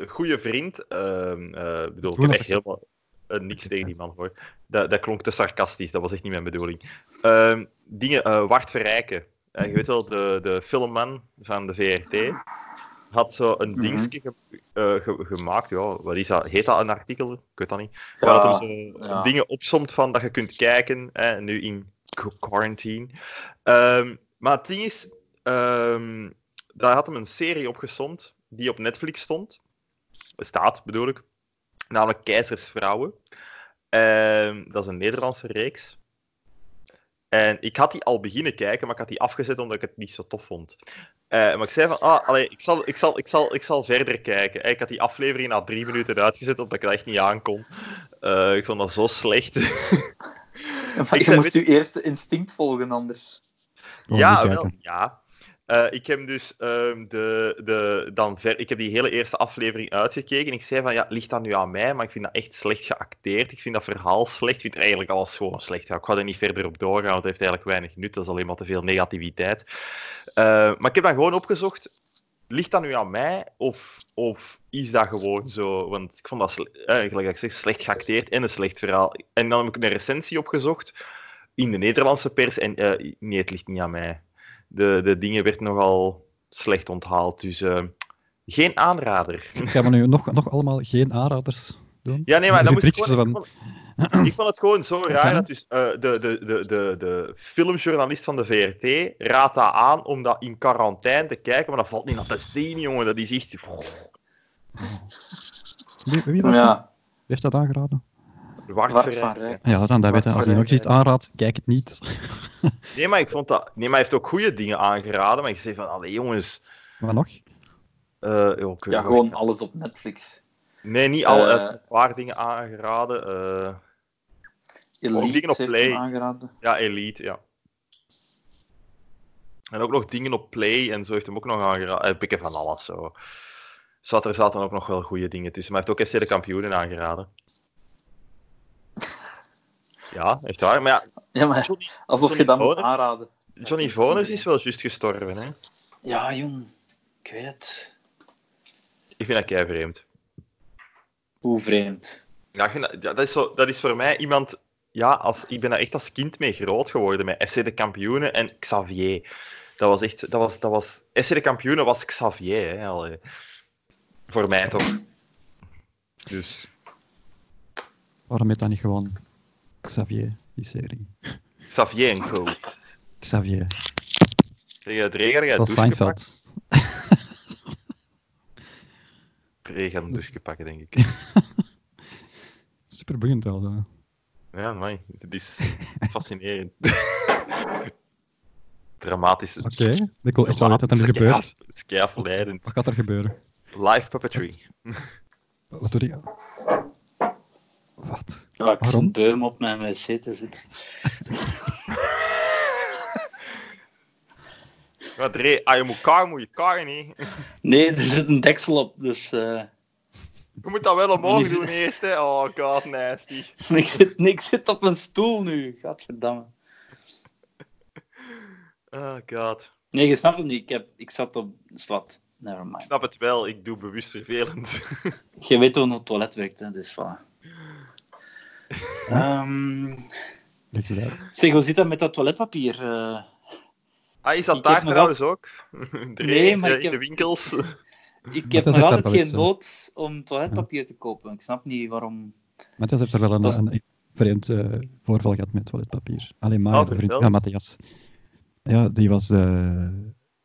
eh, goede vriend, ehm, eh, ik bedoel, ik Doe heb dat echt zeg. helemaal eh, niks tegen die man hoor. Dat, dat klonk te sarcastisch, dat was echt niet mijn bedoeling. Ehm, dingen, eh Wart Verrijken, Eh, je weet wel, de, de filmman van de VRT, had zo een Mhm. dingetje ge- eh, ge- gemaakt, ja, wat is dat? Heet dat een artikel? Ik weet dat niet. Ja, Waar dat hem zo eh, ja. dingen opsomt van dat je kunt kijken, eh, nu in qu- quarantine. Ehm, maar het ding is, ehm, daar had hem een serie opgesomd die op Netflix stond. Staat, bedoel ik. Namelijk Keizersvrouwen. Ehm, dat is een Nederlandse reeks. En ik had die al beginnen kijken, maar ik had die afgezet omdat ik het niet zo tof vond. Eh, maar ik zei van, ah, allee, ik, zal, ik, zal, ik, zal, ik zal verder kijken. Eh, Ik had die aflevering na drie minuten uitgezet, omdat ik dat echt niet aankon. Eh, ik vond dat zo slecht. Maar Ik je zei, moest je eerste instinct volgen anders. Gewoon ja, niet wel, kijken. ja. Eh, ik heb dus ehm, de, de, dan ver, ik heb die hele eerste aflevering uitgekeken. Ik zei van, ja, ligt dat nu aan mij? Maar ik vind dat echt slecht geacteerd. Ik vind dat verhaal slecht. Ik vind eigenlijk alles gewoon slecht. Ja, ik ga er niet verder op doorgaan, want het heeft eigenlijk weinig nut. Dat is alleen maar te veel negativiteit. Eh, maar ik heb dan gewoon opgezocht, ligt dat nu aan mij? Of, of is dat gewoon zo? Want ik vond dat, sle- eh, gelijk dat ik zeg, slecht geacteerd en een slecht verhaal. En dan heb ik een recensie opgezocht in de Nederlandse pers, en eh, nee, het ligt niet aan mij, de, de dingen werd nogal slecht onthaald. Dus eh, geen aanrader. Gaan we nu nog, nog allemaal geen aanraders doen? Ja, nee, maar De dan moest ik rubriekjes gewoon... Ik van- vond, ik vond het gewoon zo raar kan. dat dus, eh, de, de, de, de, de filmjournalist van de VRT raadt dat aan om dat in quarantaine te kijken, maar dat valt niet aan te zien, jongen. Dat is echt... Wie, wie was dat? Wie Ja, heeft dat aangeraden? Ah Wart Bart verrijkt, van hè. Rijk. Ja, dan dat weten. Als hij nog Verrijken. iets aanraadt, kijk het niet. Nee, maar ik vond dat... Nee, maar hij heeft ook goede dingen aangeraden, maar ik zei van, allee, jongens... Maar nog? eh, joh, ik weet ja, nog- gewoon alles op Netflix. Nee, niet al. Eh, het een paar dingen aangeraden. eh, Elite dingen op heeft hem Play. aangeraden. ja, Elite, ja. En ook nog dingen op Play en zo heeft hem ook nog aangeraden. Eh, pikken van alles, zo. Zat er zaten ook nog wel goede dingen tussen. Maar hij heeft ook FC de Kampioenen aangeraden. Ja, echt waar. Maar ja, Ja, maar Johnny, alsof je dat moet Voners? aanraden. Johnny Voners is wel juist gestorven, hè. Ja, jong. Ik weet het. Ik vind dat kei vreemd. Hoe vreemd. Ja, ik vind dat, ja, dat, is zo, dat is voor mij iemand... Ja, als, ik ben daar echt als kind mee groot geworden. Met FC de Kampioenen en Xavier. Dat was echt... Dat was, dat was, FC de Kampioenen was Xavier, hè. allee. Voor mij toch. Dus... Waarom heet dat niet gewoon Xavier, die serie? Xavier en Co. Xavier. Zeg je het regen? Heb je dat het is douche gepakt? Seinfeld. Regen Dus- aan de douche pakken, denk ik. Super boeiend wel. zo. Ja, man. Dit is fascinerend. Dramatisch. Oké, ik wil echt wel weten wat er nu gebeurt. Het is kei afleidend. Wat gaat er gebeuren? Live puppetry. Wat doe je? Wat? Ja, ik Waarom? zit beu om op mijn wc te zitten. Maar Dre, als je moet kaar, moet je kaar niet. Nee, er zit een deksel op, dus eh, Je moet dat wel omhoog Niet- doen eerst, hè. Oh god, nasty. ik, zit, nee, ik zit op een stoel nu. Gadverdamme. Oh god. Nee, je snapt het niet. Ik, heb, ik zat op slot. Never Ik mind. snap het wel, ik doe bewust vervelend. Je weet hoe een toilet werkt, hè, dus voilà. Ehm, Niks is uit. zeg, hoe zit dat met dat toiletpapier? eh? Ah, is Ik dat heb daar me trouwens ook? Dre, Nee, maar eh, ik in de heb- winkels. ik heb nog Matthias heeft altijd daar wel geen iets, hè. nood om toiletpapier te kopen. Ik snap niet waarom. Matthias heeft er wel een, Dat is- een vreemd eh, voorval gehad met toiletpapier. Alleen maar Ah, de vriend. vertel. Ja, Matthias. Ja, die was. eh,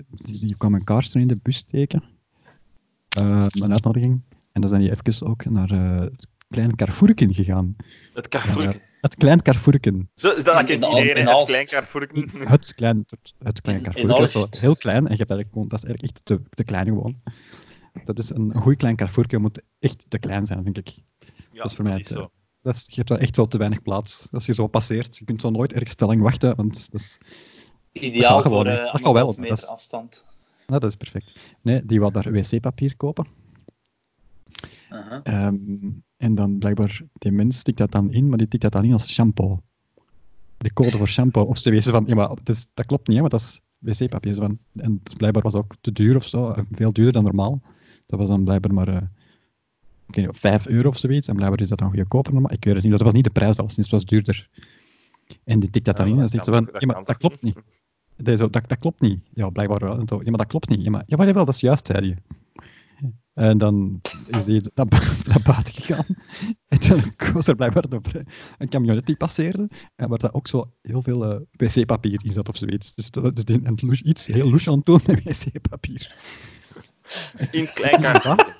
die, die kwam een kaars toen in de bus steken. Eh, een uitnodiging. En dan zijn die even ook naar eh, het klein Carrefourken gegaan. Het Carrefour. Ja, het klein Carrefourken. Zo, is dat In- kent in de Al- iedereen, in hè, het Aalst. klein Carrefour. Het klein, het, het klein In- in Carrefour. Dat is wel Aalst. heel klein en je hebt eigenlijk gewoon, dat is eigenlijk echt te, te klein gewoon. Dat is een goed klein Carrefourje moet echt te klein zijn, vind ik. Ja, dat is voor mij het, eh, zo. Dat is, je hebt daar echt wel te weinig plaats. Als je zo passeert, je kunt zo nooit erg stelling wachten, want dat is, Ideaal Dat kan voor wel, eh, hè. Dat kan wel, anderhalf maar meter dat is- afstand. nou, dat is perfect. Nee, die wou daar wc-papier kopen. Uh-huh. Ehm, en dan blijkbaar, die mens stikt dat dan in, maar die tikt dat dan in als shampoo. De code voor shampoo. Of ze wezen van, ja, maar het is, dat klopt niet, hè, want dat is wc-papier. Ze van- En het blijkbaar was dat ook te duur of zo, eh, veel duurder dan normaal. Dat was dan blijkbaar maar, eh, ik weet niet, 5 euro of zoiets. En blijkbaar is dat dan goedkoper normaal. Ik weet het niet, dat was niet de prijs, dat was, het was duurder. En die tikt dat Ja, dan in en dat zegt ze kan van, toch- dat ja, maar kan dat toch klopt niet. Dat, is zo, dat, dat klopt niet. Ja, blijkbaar wel. En zo, ja, maar dat klopt niet. Ja, maar, ja, maar jawel, dat is juist, zei je. En dan is hij naar, bu- naar buiten gegaan. En dan was er blijkbaar een, vri- een camionet die passeerde. En waar daar ook zo heel veel eh, wc-papier in zat of zoiets. Dus dat is die- een louche- iets heel louche aan het doen met wc-papier. eh, In het klein Carrefour.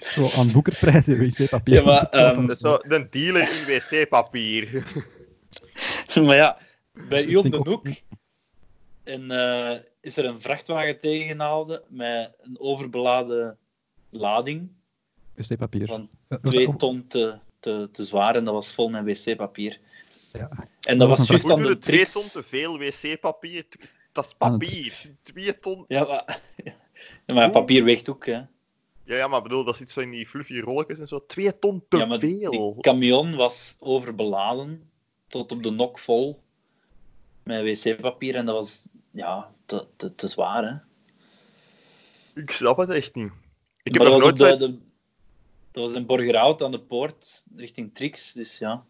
Zo aan boekerprijzen wc-papier. Ja, maar, verkopen ehm, of Dat is zo, de dealer in wc-papier. maar ja, bij u op Dus Ik de denk ook hoek en, eh, is er een vrachtwagen tegengehouden met een overbeladen lading wc-papier. van Eh, was dat twee ook- ton te, te, te zwaar en dat was vol met wc-papier. Ja. En dat, was een was juist Hoe dan doe de je twee tricks. ton te veel wc-papier? Dat is papier. Twee ton... Ja, maar, ja, maar papier weegt ook, hè. Ja, ja, maar bedoel, dat zit zo in die fluffy rolletjes en zo. Twee ton te ja, maar veel. die camion was overbeladen tot op de nok vol met wc-papier en dat was ja, te, te, te zwaar, hè. Ik snap het echt niet. Ik heb maar nog dat was, nooit op de, zo... de, dat was in Borgerhout aan de poort, richting Trix, dus ja. Ah,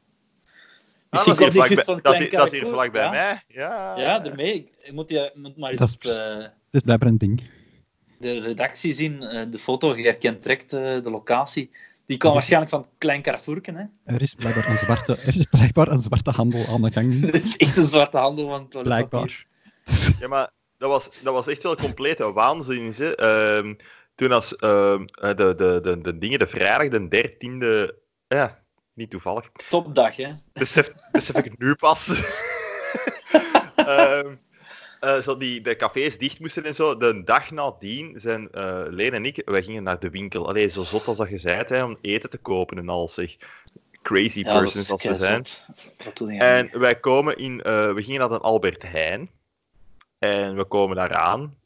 Misschien dat, is komt hier die juist vlak bij- van dat, is, hier- dat is Klein hier Karkoe. vlak bij Ja. mij. Ja, Ja, daarmee. Ik- Ik moet, je moet maar eens Dat is op precies- eh, Het is blijkbaar een ding. de redactie zien. eh, de foto, je herkent direct eh, de locatie. Die kwam Is- waarschijnlijk van Klein Carrefourken. Hè? Er is blijkbaar een zwarte, er is blijkbaar een zwarte handel aan de gang. Dat is echt een zwarte handel van toiletpapier. Blijkbaar. Ja, maar dat was, dat was echt wel complete waanzin. Hè. Ehm, toen als ehm, eh, de, de, de, de dingen, de vrijdag, de dertiende... Ja, niet toevallig. Topdag, hè? Besef, besef ik het nu pas. Ehm, eh, zo die de cafés dicht moesten en zo. De dag nadien zijn eh, Leen en ik, wij gingen naar de winkel. Allee, zo zot als dat je zei, hè, om eten te kopen en al, zeg. Crazy Ja, dat persons is als we zijn. keizot. Dat doe je niet. En wij komen in, eh, we gingen naar een Albert Heijn. En we komen daar aan.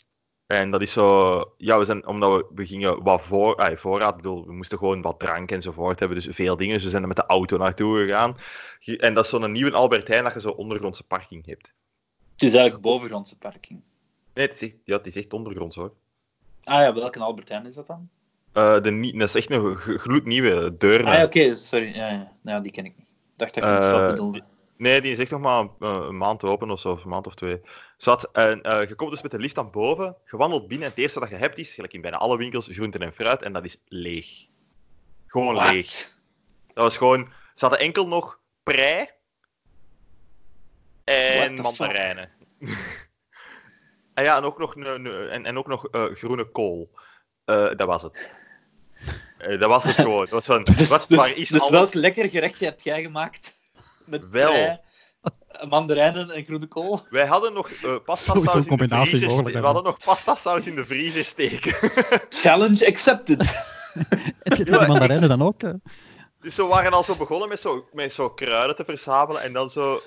En dat is zo, ja, we zijn, omdat we, we gingen wat voor, ah, voorraad, ik bedoel, we moesten gewoon wat drank enzovoort hebben, dus veel dingen. Dus we zijn er met de auto naartoe gegaan. Ge- En dat is zo'n nieuwe Albert Heijn dat je zo'n ondergrondse parking hebt. Het is eigenlijk bovengrondse parking. Nee, het is echt, ja, het is echt ondergronds hoor. Ah ja, welke Albert Heijn is dat dan? Eh, de, nie- dat is echt een g- gloednieuwe deur. Ah ja, oké, sorry. Ja, ja. Nou, die ken ik niet. Ik dacht dat je een Eh, stad bedoelde. Nee, die is echt nog maar een, eh, een maand open of zo, of een maand of twee. Zat, en, eh, je komt dus met de lift aan boven, je wandelt binnen en het eerste dat je hebt is, gelijk in bijna alle winkels, groenten en fruit, en dat is leeg. Gewoon leeg. Wat? Dat was gewoon, ze hadden enkel nog prei en What the fuck? mandarijnen. en ja, en ook nog, een- een- en, en ook nog eh, groene kool. Eh, dat was het. Eh, dat was het gewoon. Dat was van, Dus, wat, dus, waar is dus alles? welk lekker gerechtje hebt jij gemaakt? Met Wel. prei, mandarijnen en groene kool? Wij hadden nog eh pasta Sowieso saus in de combinatie vriezer. mogelijk, ste- We hè. hadden nog pasta saus in de vriezer steken. Challenge accepted. Het zit Ja, de ik- mandarijnen dan ook. eh. Dus we waren al zo begonnen met zo, met zo kruiden te verzamelen en dan zo.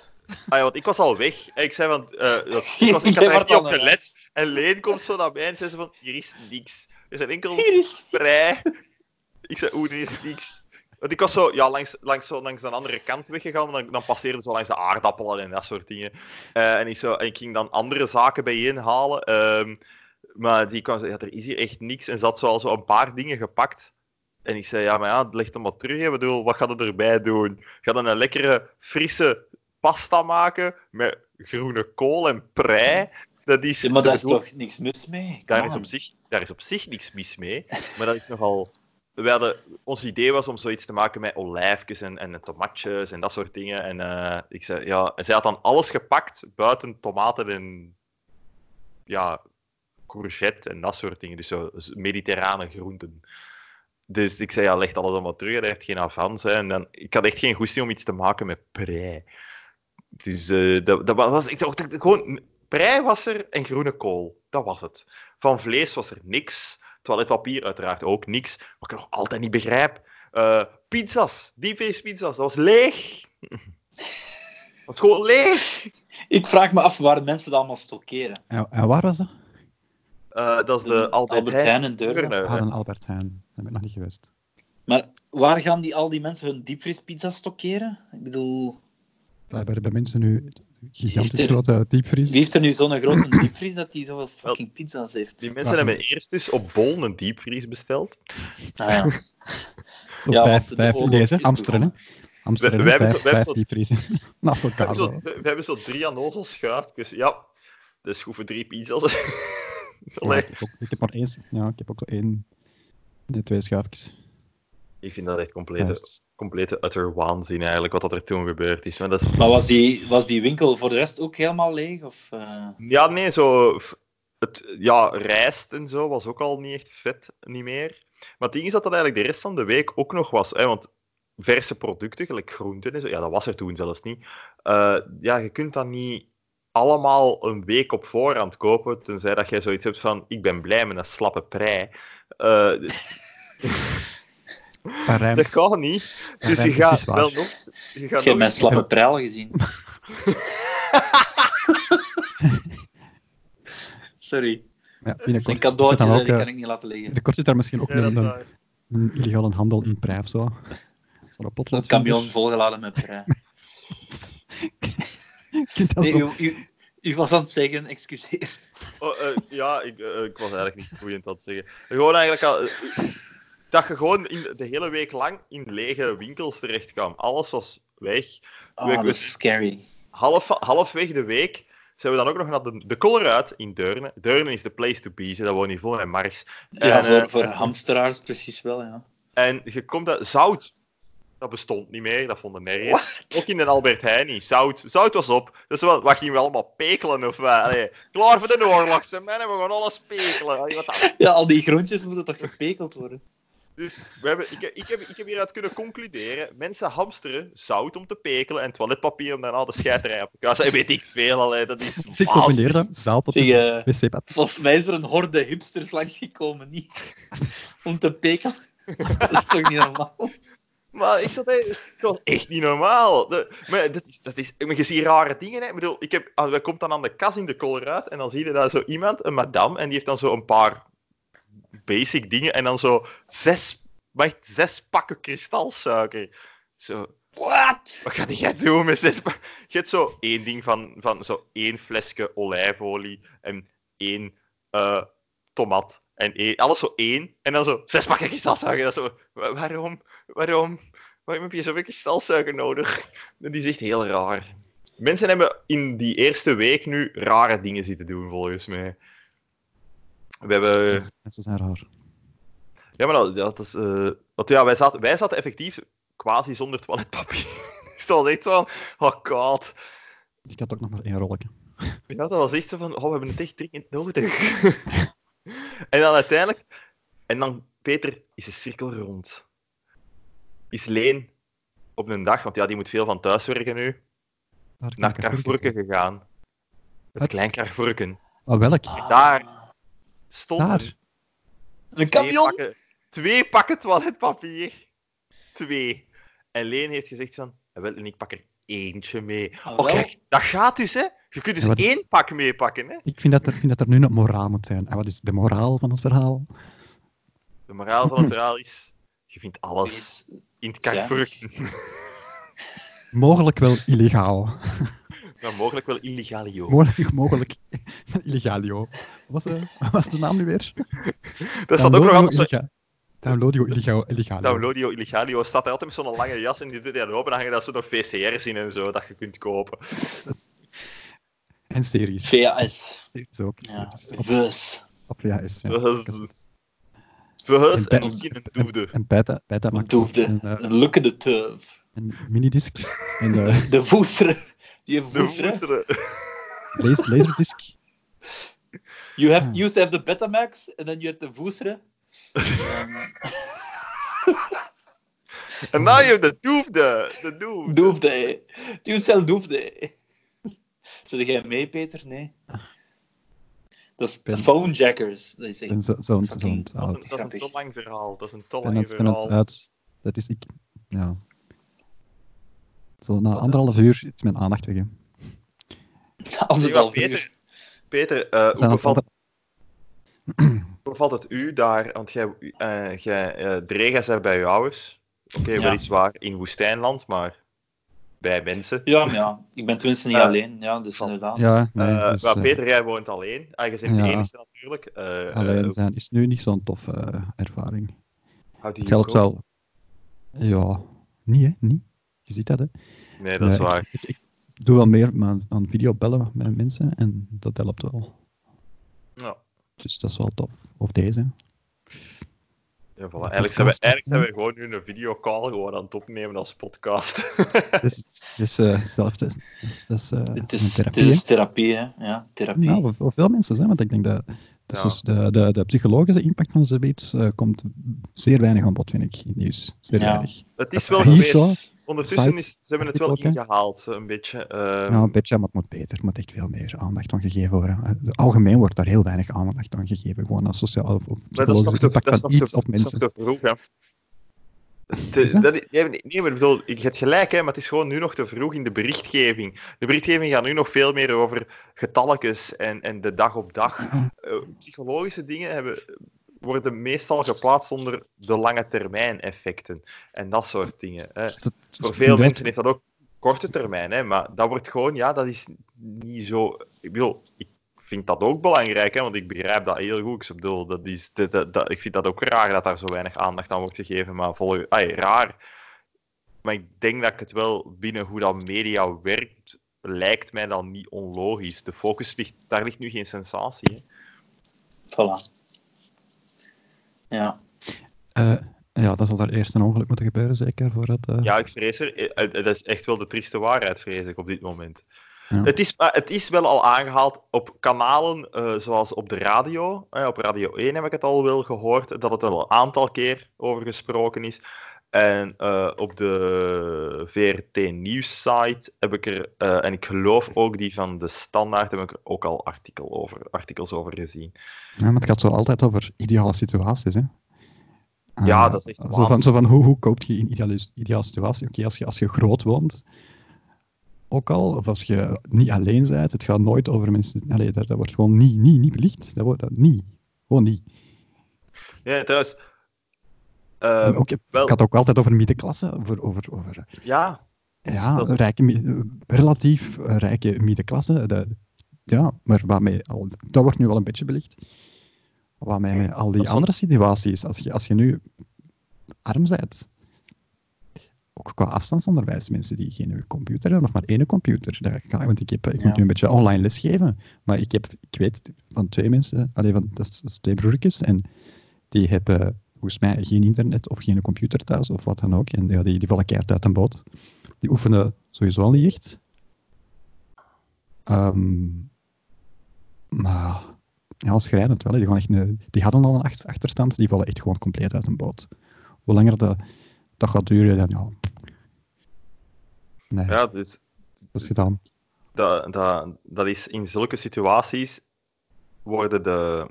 Ah ja, want ik was al weg. En ik zei van, eh, dat, ik, was, ik Jij had er echt wordt niet al op een gelet. En Leen komt zo naar mij en zei ze van, hier is niks. Er zijn enkel Hier is... prei. Ik zei, oeh, er is niks. Want ik was zo, ja, langs, langs, zo, langs de andere kant weggegaan, maar dan, dan passeerde zo langs de aardappelen en dat soort dingen. Eh, en, ik zo, en ik ging dan andere zaken bijeenhalen. ehm, maar die kwam zo, ja, er is hier echt niks. En ze had zo al zo een paar dingen gepakt. En ik zei, ja, maar ja, leg hem maar terug. hè. Ik bedoel, wat gaat het erbij doen? Ga dan een lekkere, frisse pasta maken met groene kool en prei. Dat is, Ja, maar daar is bedoel- toch niks mis mee? daar Come is, on. op zich, daar is op zich niks mis mee. Maar dat is nogal. We hadden, ons idee was om zoiets te maken met olijfjes en, en tomatjes en dat soort dingen. En eh, ik zei, ja, en zij had dan alles gepakt buiten tomaten en ja, courgette en dat soort dingen. Dus zo z- mediterrane groenten. Dus ik zei, ja, leg alles allemaal terug. En hij heeft geen avans. Hè. En dan, ik had echt geen goesting om iets te maken met prei. Dus eh, dat, dat was... Ik dacht, gewoon... Prei was er en groene kool. Dat was het. Van vlees was er niks. Toiletpapier uiteraard ook niks. Wat ik nog altijd niet begrijp. Eh, pizza's. Diepvriespizza's. Dat was leeg. Dat was gewoon leeg. Ik vraag me af waar mensen dat allemaal stockeren. En, en waar was dat? Eh, dat is de Albert, Albert Heijn en Deurne. Deurne. Ah, een Albert Heijn. Daar ben ik nog niet geweest. Maar waar gaan die, al die mensen hun diepvriespizza stockeren? Ik bedoel, Blijkbaar hebben mensen nu gigantisch Heeft er- grote diepvries. wie heeft er nu zo'n grote diepvries dat die zoveel fucking pizza's heeft? Die mensen hebben eerst dus op Bol een diepvries besteld. Ah, ja. Zo Ja, vijf, want de vijf oorlog deze, is Amsterdam. begonnen. Amsterdam, We- we hebben vijf, zo- we hebben vijf zo- diepvriezen. Naast We elkaar hebben zo, zo. we hebben zo drie aan ons schuifjes. Ja, dat is goed voor drie pizza's. Ja, Allee. ik, heb ook, ik heb maar één. Ja, ik heb ook zo één. Nee, twee schuifjes. Ik vind dat echt complete, Juist. complete utter waanzin eigenlijk, wat dat er toen gebeurd is. Maar dat is Maar was die, was die winkel voor de rest ook helemaal leeg? Of, eh? Ja, nee, zo. f- Het, ja, rijst en zo was ook al niet echt vet, niet meer. Maar het ding is dat dat eigenlijk de rest van de week ook nog was. Hè, want verse producten, gelijk groenten en zo, ja, dat was er toen zelfs niet. Eh, ja, je kunt dat niet allemaal een week op voorhand kopen, tenzij dat jij zoiets hebt van, ik ben blij met een slappe prei. Eh, Maar rijmt. dat kan niet. Ja, Dus je rijmt, het gaat is waar. wel nog... Je Heb gaat jij nog mijn slappe prijl gezien? Sorry. Ja, Zijn binnenkort zit cadeautje, dan hè, ook, die eh, kan ik niet laten liggen. binnenkort zit daar misschien ook Ja, dat een, is een, waar. een illegale handel in prij of zo. Zo'n potlood. Zo'n camion volgeladen met prei. Nee, u, u, u was aan het zeggen, excuseer. Oh, eh, ja, ik, eh, ik was eigenlijk niet boeiend aan het zeggen. Gewoon eigenlijk al, eh, dat je gewoon in, de hele week lang in lege winkels terecht kwam. Alles was weg. Oh, Ik dat weet- is scary. half, halfweg de week zijn we dan ook nog naar de, de Color uit in Deurne. Deurne is de place to be, ze, dat woont hier vol en Marx. Ja, En, eh, voor, voor hamsteraars precies wel, ja. En je komt dat... Zout, dat bestond niet meer, dat vonden nergens. Ook in de Albert Heijn niet. Zout, zout was op. Dus wat, wat gingen we allemaal pekelen of wat? Allee, klaar voor de oorlog, ze mannen, we gaan alles pekelen. Allee, wat dat- Ja, al die groentjes moeten toch gepekeld worden? Dus we hebben, ik, heb- ik, heb, ik heb hieruit kunnen concluderen, mensen hamsteren zout om te pekelen en toiletpapier om daarna de scheiterij op elkaar te zetten. Weet ik veel, allee, dat is Ik combineer dat zaal tot Zeg, een eh, wc-pad. volgens mij is er een horde hipsters langsgekomen, niet? Om te pekelen. Dat is toch niet normaal? Maar ik zat hey, het was echt niet normaal. De- maar, dat is, dat is, maar je ziet rare dingen. Hè. Ik bedoel, ik heb, ah, we komt dan aan de kas in de kolder uit en dan zie je daar zo iemand, een madame, en die heeft dan zo een paar basic dingen en dan zo zes, maar echt zes pakken kristalsuiker. Zo, What? wat ga jij doen met zes pakken? Je hebt zo één ding van, van zo één flesje olijfolie en één eh, tomat. En één- alles zo één. En dan zo zes pakken kristalsuiker. Dat is zo, wa- waarom? Waarom? Waarom heb je zoveel kristalsuiker nodig? Dat is echt heel raar. Mensen hebben in die eerste week nu rare dingen zitten doen, volgens mij. We hebben... Mensen zijn raar. Ja, maar dat, dat is... eh, want ja, wij zaten, wij zaten effectief quasi zonder toiletpapier. dus dat was echt zo van... Oh god. Ik had ook nog maar één rolletje. Ja, dat was echt zo van, oh, we hebben het echt dringend nodig. en dan uiteindelijk... En dan, Peter, is de cirkel rond. Is Leen op een dag, want ja, die moet veel van thuis werken nu, Naar naar Carrefourken gegaan. Het Wat? klein Carrefourken. Ah, welk? Daar stond Daar? er Een twee camion? pakken, twee pakken toiletpapier. Twee. En Leen heeft gezegd van, "Ah, wel, en ik pak er eentje mee. Ah, Oh, wel. kijk, dat gaat dus, hè. Je kunt dus Ja, wat is- één pak meepakken, hè. Ik vind dat, er, vind dat er nu een moraal moet zijn. En wat is de moraal van het verhaal? De moraal van het verhaal is: je vindt alles in het Carrefour. Mogelijk wel illegaal. Maar mogelijk wel illegaal joh. Mogelijk, mogelijk illegaal, joh. Wat was, eh, wat was de naam nu weer? Dat staat ook nog altijd zo. Downloadio illegaal. illegaal Downloadio illegalio staat er altijd met zo'n lange jas en die doet hij aan open. Dan hangen daar zo nog VCR's in en zo dat je kunt kopen. En series. VAS. Series ook. Ja, Series. Op, VUS. op VHS. Ja. Dat is- Verhuis En- en misschien een doede. En Beta, beta Een maakt doefde. een, eh, Een lukkende teuf. een minidisc. En eh De voesteren. Je De voesteren. voesteren. laser, laserdisc. You, have, you used to have the Betamax, en dan je hebt de voesteren. En nou je hebt de doefde. De doefde. Doefde, hé. You sell doefde, hé. Zit jij mee, Peter? Nee. Dat is Ben- phone jackers. Dat is echt... En zo- zo'n zo, Fucking- Dat is een, oud. dat is een Grappig. te lang verhaal. Dat is een te En lang het, en het verhaal. uit. Dat is ik. Ja. Zo, na anderhalf uur is mijn aandacht weg. hè. Anderhalf Ja, Peter. uur. Peter, eh, hoe Zijn dat bevalt Hoe bevalt het u daar? Want jij, eh jij eh, Drega zei bij jou ouders. Oké, Ja. weliswaar in woestijnland, maar bij mensen. Ja, maar ja. Ik ben tenminste niet Ja. alleen. Ja, dus Van- inderdaad. Ja, nee, Eh, dus, maar eh, Peter, jij woont alleen. Ah, je bent de ja. enige natuurlijk. Eh, eh, alleen zijn is nu niet zo'n toffe eh, ervaring. houdt die Het hier helpt ook? wel. Ja, niet hè, niet. Je ziet dat hè. Nee, dat is Nee, waar. Eh, Ik, ik doe wel meer aan, aan videobellen met mensen en dat helpt wel. Ja. Dus dat is wel tof. Of deze. Ja, voilà. Eigenlijk, zijn we, Podcast, eigenlijk hè? zijn we gewoon nu een videocall gewoon aan het opnemen als podcast. Dus, dus eh, hetzelfde. Dat is, dat is, eh, Het een is, het therapie. is therapie, hè. Ja, therapie. Ja, voor, voor veel mensen, hè, want ik denk dat, dat Ja. dus de, de, de psychologische impact van zoiets eh komt zeer weinig aan bod, vind ik, in het nieuws. Zeer Ja. weinig. Het is wel Hier geweest. zo, Ondertussen site, is, ze hebben het artikel wel ook, hè? ingehaald, een beetje. eh, nou, een beetje, maar het moet beter. Er moet echt veel meer aandacht aan gegeven worden. Eh, Algemeen wordt daar heel weinig aandacht aan gegeven, gewoon aan sociaal of of Maar dat is toch psychologische de, impact dat is van toch de, iets op dat is mensen. toch de vroeg, hè? Is Het is- dat? dat is- nee, nee, nee, maar ik bedoel, je hebt gelijk, hè, maar het is gewoon nu nog te vroeg in de berichtgeving. De berichtgeving gaat nu nog veel meer over getalletjes en, en de dag op dag. Ja. Eh, psychologische dingen hebben, worden meestal geplaatst onder de lange termijn effecten en dat soort dingen. Hè. Dat- Voor Dus dat- veel mensen is dat ook korte termijn, hè, maar dat wordt gewoon, ja, dat is niet zo. Ik bedoel, ik vind dat ook belangrijk, hè, want ik begrijp dat heel goed. Ik bedoel, dat is, dat, dat, dat- ik vind dat ook raar dat daar zo weinig aandacht aan wordt gegeven, maar volgens, ai, raar. Maar ik denk dat ik het wel binnen hoe dat media werkt, lijkt mij dan niet onlogisch. De focus ligt, daar ligt nu geen sensatie. Hè? Voilà. Ja. Eh, ja, dat zal daar eerst een ongeluk moeten gebeuren, zeker, voor het... eh, Ja, ik vrees er. eh, eh, Dat is echt wel de trieste waarheid, vrees ik, op dit moment. Ja. Het, is, maar het is wel al aangehaald op kanalen eh, zoals op de radio. Eh, op Radio 1 heb ik het al wel gehoord, dat het er al een aantal keer over gesproken is. En eh, op de VRT Nieuws site heb ik er, eh, en ik geloof ook die van de Standaard, heb ik er ook al artikel over, artikels over gezien. Ja, maar het gaat zo altijd over ideale situaties, hè. Eh, Ja, dat is echt Zo van, waanzin. zo van hoe, hoe koopt je in ideale, ideale situatie? Oké, als, je, als je groot woont, ook al, of als je niet alleen bent, het gaat nooit over mensen... Allee, dat, dat wordt gewoon niet, niet, niet belicht. Dat wordt dat, niet. Gewoon niet. Ja, trouwens. eh, ook, ik wel- had het ook altijd over middenklasse, over, over, over ja, Ja, Dat- rijke, mi- relatief eh, rijke middenklasse. de- ja, maar waarmee al, dat wordt nu wel een beetje belicht. Waarmee met al die dat is andere situaties, als je, als je nu arm bent, ook qua afstandsonderwijs, mensen die geen computer hebben, of maar één computer, dat kan, want ik, heb, ik Ja. moet nu een beetje online lesgeven, maar ik, heb, ik weet van twee mensen, alleen van dat is, dat is twee broertjes, en die hebben volgens mij geen internet of geen computer thuis of wat dan ook, en ja, die, die vallen keihard uit een boot die oefenen sowieso al niet echt. Ehm, maar ja, schrijnend wel. hè. Die, gaan echt een- die hadden al een ach- achterstand, die vallen echt gewoon compleet uit een boot. Hoe langer dat, dat gaat duren, dan ja. Nee, ja dus, dat is gedaan. dat, dat, dat is in zulke situaties worden de.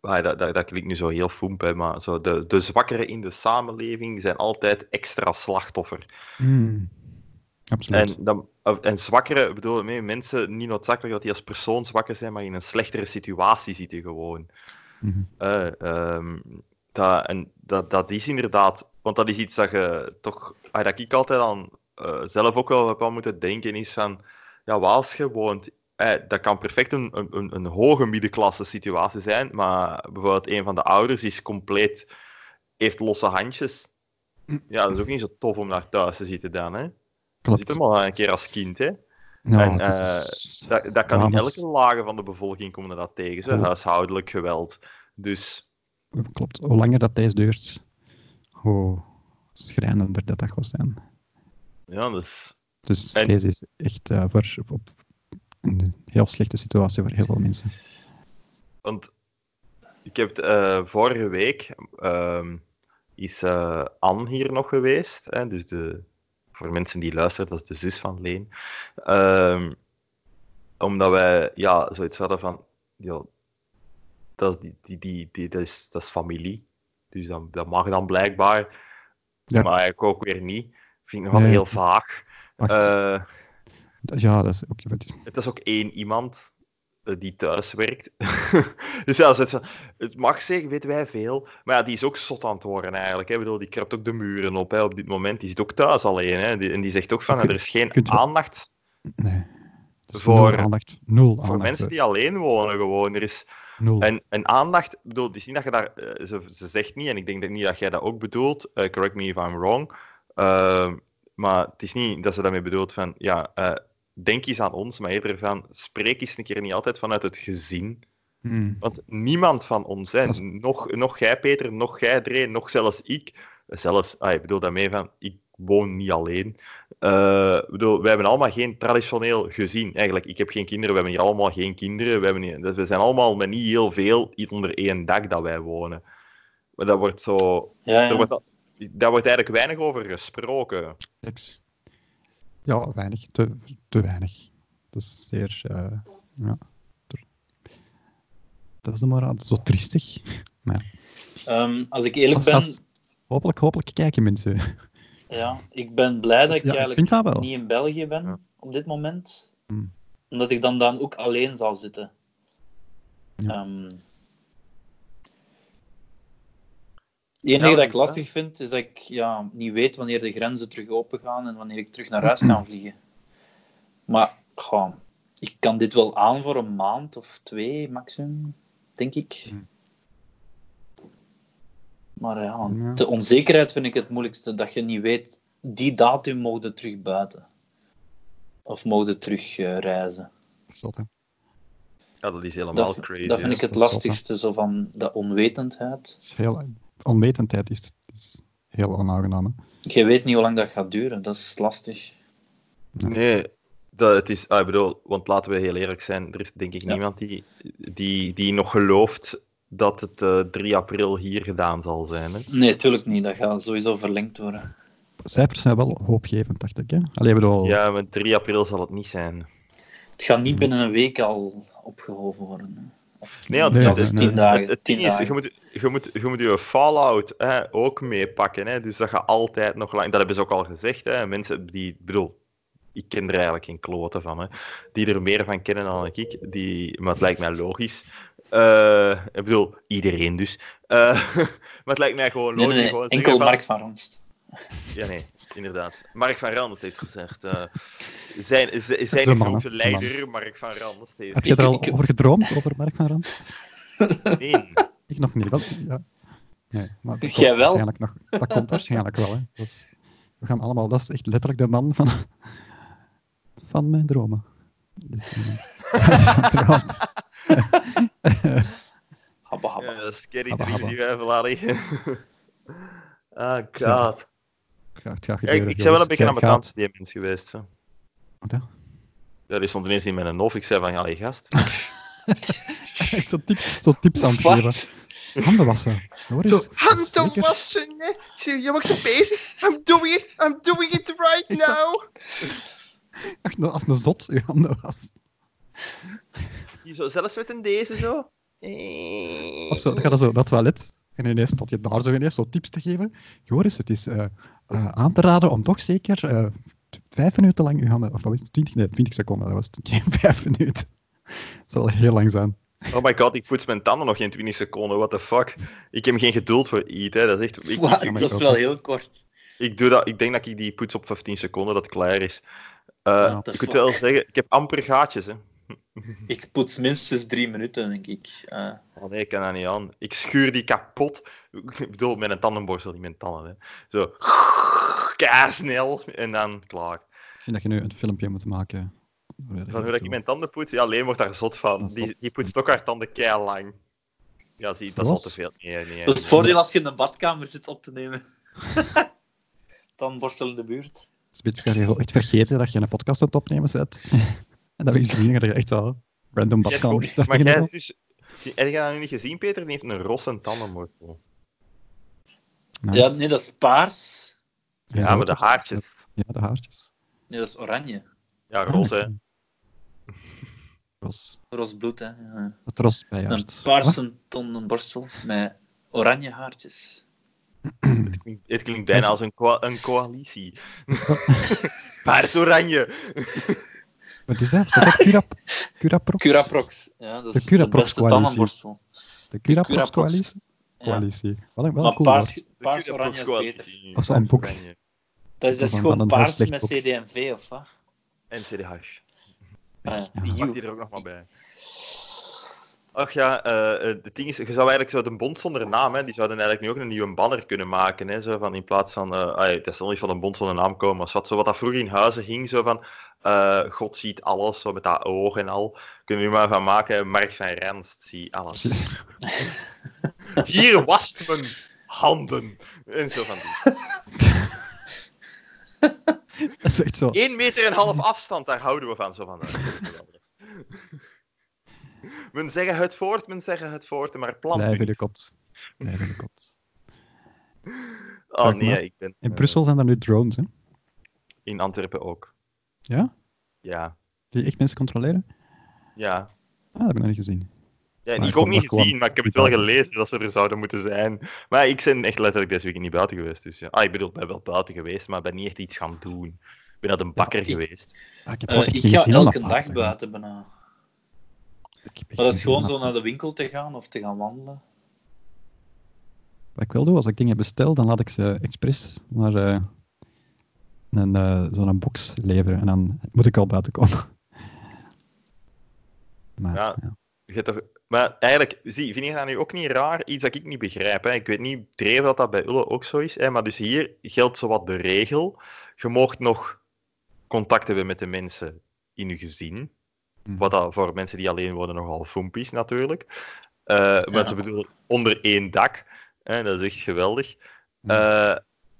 Ah, dat, dat, dat klinkt nu zo heel foemp, hè, maar zo de, de zwakkeren in de samenleving zijn altijd extra slachtoffer. Absoluut. En, dan, en zwakkeren, ik bedoel mee, mensen niet noodzakelijk dat die als persoon zwakker zijn, maar in een slechtere situatie zitten gewoon. Mhm. Eh, ehm, dat, en dat, dat is inderdaad, want dat is iets dat je toch, ah, dat ik altijd aan eh, zelf ook wel heb aan moeten denken, is van, ja, waar als je woont, eh, dat kan perfect een, een, een, een hoge middenklasse situatie zijn, maar bijvoorbeeld een van de ouders is compleet, heeft losse handjes. Ja, dat is ook niet zo tof om daar thuis te zitten dan, hè. Je Klopt. zit hem al een keer als kind, hè. Ja, en, dat is- Dat, dat kan in Dames. elke lage van de bevolking komen dat tegen, zo, Klopt. huishoudelijk geweld. Dus... Klopt. Hoe langer dat deze duurt, hoe schrijnender dat dat gaat zijn. Ja, dat is... Dus En- deze is echt eh, voor, op, op een heel slechte situatie voor heel veel mensen. Want ik heb het, eh, vorige week ehm, is eh Anne hier nog geweest. Hè? Dus de, voor mensen die luisteren, dat is de zus van Leen. Ehm, omdat wij ja, zoiets hadden van. Ja, dat, die, die, die, die- dat, is, dat is familie. Dus dat, dat mag dan blijkbaar. Ja. Maar eigenlijk ook weer niet. Vind ik nog wel Nee. heel vaag. Wacht. Eh, Dat- Ja, dat is ook. wat is- Het is ook één iemand eh, die thuis werkt. dus ja, ze- ze- het mag zeggen, weten wij veel. Maar ja, die is ook zot aan het worden eigenlijk. Hè. Ik bedoel, die krabt ook de muren op hè, op dit moment. Die zit ook thuis alleen. Hè. Die- en die zegt ook van, Oké, er is geen kunt je- aandacht Nee. Dus Voor- nul aandacht. Nul aandacht. voor mensen die alleen wonen gewoon. Er is, Nul. en, en aandacht, ik bedoel, het is niet dat je daar... eh, ze, ze zegt niet, en ik denk dat niet dat jij dat ook bedoelt. eh, correct me if I'm wrong. ehm, maar het is niet dat ze daarmee bedoelt van, ja, eh, denk eens aan ons, maar eerder van, spreek eens een keer niet altijd vanuit het gezin. Hmm. Want niemand van ons, hè, Dat is- nog, nog jij Peter, nog jij Dreen, nog zelfs ik, zelfs, ah, ik bedoel daarmee van, ik woon niet alleen. Eh, ik bedoel, wij hebben allemaal geen traditioneel gezin. Eigenlijk, ik heb geen kinderen, we hebben hier allemaal geen kinderen. We, hebben niet- dus we zijn allemaal met niet heel veel iets onder één dak dat wij wonen. Maar dat wordt zo... Ja, Er ja. wordt, al- daar wordt eigenlijk weinig over gesproken. Niks. Ja, weinig. Te, te weinig. Dat is zeer. eh, ja. Ter- Dat is de moraal. Dat is zo triestig. Ehm, als ik eerlijk Als- ben, als- Hopelijk, hopelijk kijken mensen. ja, ik ben blij dat ik Ja, ik vind eigenlijk dat wel. niet in België ben Ja. op dit moment. Hmm. Omdat ik dan dan ook alleen zal zitten. Ja. Ehm, het enige Ja, dat ik inderdaad. lastig vind, is dat ik ja, niet weet wanneer de grenzen terug open gaan en wanneer ik terug naar huis kan vliegen. Maar goh, ik kan dit wel aan voor een maand of twee maximum, denk ik. Hmm. Maar ja, Ja. de onzekerheid vind ik het moeilijkste. Dat je niet weet die datum mogen terug buiten. Of mogen terug eh, reizen. Zot, hè. Ja, dat is helemaal Dat, crazy. dat vind hè. ik het Dat is zot, lastigste, zo van de onwetendheid. Het is heel... de Onwetendheid is, is heel onaangenaam. hè. Je weet niet hoe lang dat gaat duren, dat is lastig. Nee, dat, het is, ah, ik bedoel, want laten we heel eerlijk zijn, er is denk ik Ja. niemand die, die, die nog gelooft dat het eh, 3 april hier gedaan zal zijn. Hè? Nee, tuurlijk niet, dat gaat sowieso verlengd worden. Cijfers zijn wel hoopgevend, dacht ik. Hè? Allee, ik bedoel... Ja, maar 3 april zal het niet zijn. Het gaat niet binnen een week al opgehoven worden. hè. Of Nee, ja, Nee, dat nee, is nee. tien Het, dagen. het tien ding is, je dagen. moet, je moet, je, moet je Fallout hè, ook meepakken. Hè? Dus dat gaat altijd nog lang. Dat hebben ze ook al gezegd. Hè? Mensen die, ik bedoel, ik ken er eigenlijk geen kloten van. Hè? Die er meer van kennen dan ik. Die, maar het lijkt mij logisch. Eh, ik bedoel, iedereen dus. Eh, maar het lijkt mij gewoon Nee, logisch. nee, nee, gewoon zeggen enkel van- Mark van Ranst. Ja, nee, inderdaad. Mark van Randst heeft gezegd. eh, zijn z- zijn man, grote hè. De man. leider, Mark van Randst, heeft Heb je er Ik- al ik- over gedroomd, over Mark van Rand? nee. Ik nog niet. Wel, ja. nee, maar dat Jij wel? komt waarschijnlijk nog- dat komt waarschijnlijk wel. Hè. Dat is- we gaan allemaal, dat is echt letterlijk de man van, van mijn dromen. Dus, eh, trouwens. Habba, habba. Ja, dat is scary Habba, habba. 3 zien wij verladen. ah, Zo. god. Ja, het gaat Ja, ik, gebeuren, ik ben wel een jongens. beetje Ja, aan mijn gaat- tante die mens geweest. Zo. Wat, hè? Ja, die stond ineens in mijn hoofd. Ik zei van, allee gast. Echt zo'n tip, zo tips aan het geven. Wat? Handen wassen. Hoor eens. Zeker. wassen. Je mag zo bezig. I'm doing it. I'm doing it right now. Echt, nou, Als een zot je handen was. Die zo, zelfs met een deze zo. Eh. Of zo, dan gaat dat zo, dat toilet. En ineens stond je daar zo ineens zo tips te geven. Joris, het is eh, eh, aan te raden om toch zeker eh, t- vijf minuten lang je handen... Of wat was het? 20, nee, 20 seconden. Dat was het. geen vijf minuten. Dat zal heel lang zijn. Oh my god, ik poets mijn tanden nog geen 20 seconden. What the fuck. Ik heb geen geduld voor iets. Hè. Dat is echt... Ik, Wat? ik, Dat is wel heel kort. ik doe dat, ik denk dat ik die poets op 15 seconden, dat het klaar is. Eh, What the ik moet fuck? wel zeggen, ik heb amper gaatjes. Hè. Ik poets minstens drie minuten, denk ik. Eh, Oh nee, ik kan dat niet aan. Ik schuur die kapot. Ik bedoel, met een tandenborstel, niet met tanden. Hè. Zo, snel en dan klaar. Ik vind dat je nu een filmpje moet maken. Van hoe dat ik mijn tanden poets, ja, alleen wordt daar zot van. Dat is Die, zot. die poetst ook haar tanden kei lang. Ja, zie, dat is al Zoals? te veel. Nee, nee, dat is het nee. voordeel als je in de badkamer zit op te nemen. Dan borstel in de buurt. Spits gaat heel echt vergeten dat je een podcast aan het opnemen zet. en dat wil je zien dat je echt al random Jij hebt ook- badkamer stuff Maar jij begint. dus... die- Heb je dat nu niet gezien, Peter? Die heeft een rosse tandenborstel. Nice. Ja, nee, dat is paars. Ja, Ja, maar de dat- haartjes. Ja, de haartjes. Nee, dat is oranje. Ja, roze. hè. Ros. Roze bloed, hè. Ja. Het ros bij Een haart. Wat? paarse tandenborstel met oranje haartjes. Het klinkt- Het klinkt bijna als een, coa- een coalitie. Paars-oranje. Wat is dat? Is dat Cura... Curaprox? Curaprox. Ja, dat De is de Curaprox beste coalitie. tandenborstel. De Curaprox. Curaprox-coalitie? Ja. Coalitie. Wat een, wel een Maar cool paars, woord. paars oranje is beter. Of zo'n boek. Paars-oranje. Dat is, dat is Van- van gewoon een paars slecht met boek. CDMV, of wat? En CDH. Ah, Ja. die eh, Pak die er ook nog maar bij. Ach ja, eh, eh, het ding is, je zou eigenlijk zo de bond zonder naam, hè, die zouden eigenlijk nu ook een nieuwe banner kunnen maken. Hè, zo van in plaats van, eh ai, dat zal niet van een bond zonder naam komen, maar wat, zo wat dat vroeger in huizen ging, zo van eh, God ziet alles, zo met dat oog en al. Kunnen we nu maar van maken, Mark van Renst ziet alles. Hier wast mijn handen. En zo van die. Dat is echt zo. Eén meter en een half afstand, daar houden we van. Zo van eh. men zeggen het voort, men zeggen het voort, maar plant u Blijf in de niet. kot. Blijf in de kot. Oh Kijk nee, maar. ik ben... In eh, Brussel zijn er nu drones, hè? In Antwerpen ook. Ja? Ja. Die echt mensen controleren? Ja. Ah, dat heb ik nog niet gezien. ja Maar ik kom ook niet er gewoon gezien, maar ik heb het wel niet gelezen dat ze er zouden moeten zijn. Maar ik ben echt letterlijk deze week niet buiten geweest. Dus ja. Ah, ik bedoel, ik ben wel buiten geweest, maar ben niet echt iets gaan doen. Ik ben naar de bakker ik- geweest. Ah, ik heb Eh, wel echt ik geen ga zin om elke naar dag buiten te gaan. buiten bijna. Ik heb Maar echt dat geen is zin gewoon om- zo naar de winkel te gaan of te gaan wandelen. Wat ik wil doen, als ik dingen bestel, dan laat ik ze expres naar eh, een, eh, zo'n box leveren. En dan moet ik al buiten komen. Maar, Ja. ja. Je hebt toch Maar eigenlijk, zie, vind je dat nu ook niet raar? Iets dat ik niet begrijp. Hè? Ik weet niet, dreef dat dat bij Ulle ook zo is. Hè? Maar dus hier geldt zowat de regel. Je mocht nog contact hebben met de mensen in je gezin. Mhm. Wat dat voor mensen die alleen wonen nogal foemp is, natuurlijk. Eh Ja. Maar ze bedoelen onder één dak. Hè? Dat is echt geweldig. Mhm. Eh,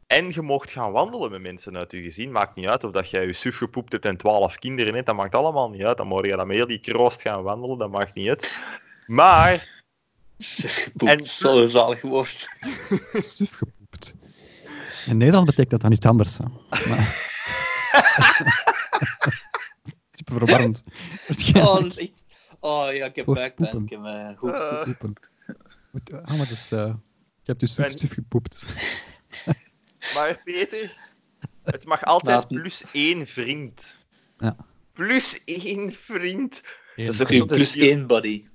en je mocht gaan wandelen met mensen uit je gezin. Maakt niet uit of dat jij je suf gepoept hebt en twaalf kinderen hebt. Dat maakt allemaal niet uit. Dan mag je dan met heel die kroost gaan wandelen. Dat maakt niet uit. Maar En- Gepoept, zo'n zalig woord. Suf gepoept. In Nederland betekent dat dan iets anders. hè. Maar... Super verwarrend. Oh, Waarschijnlijk. dat is echt... Oh ja, ik heb Voor buikpijn. poepen. Ik heb eh, goed Eh. zoet. Super. Moet- Ah, maar dat is... eh, Ik heb dus suf, Ben- suf gepoept. Maar Peter, het mag altijd Laat me- plus één vriend. Ja. Plus één vriend. Dat is ook zo Plus, de plus ziel- één buddy.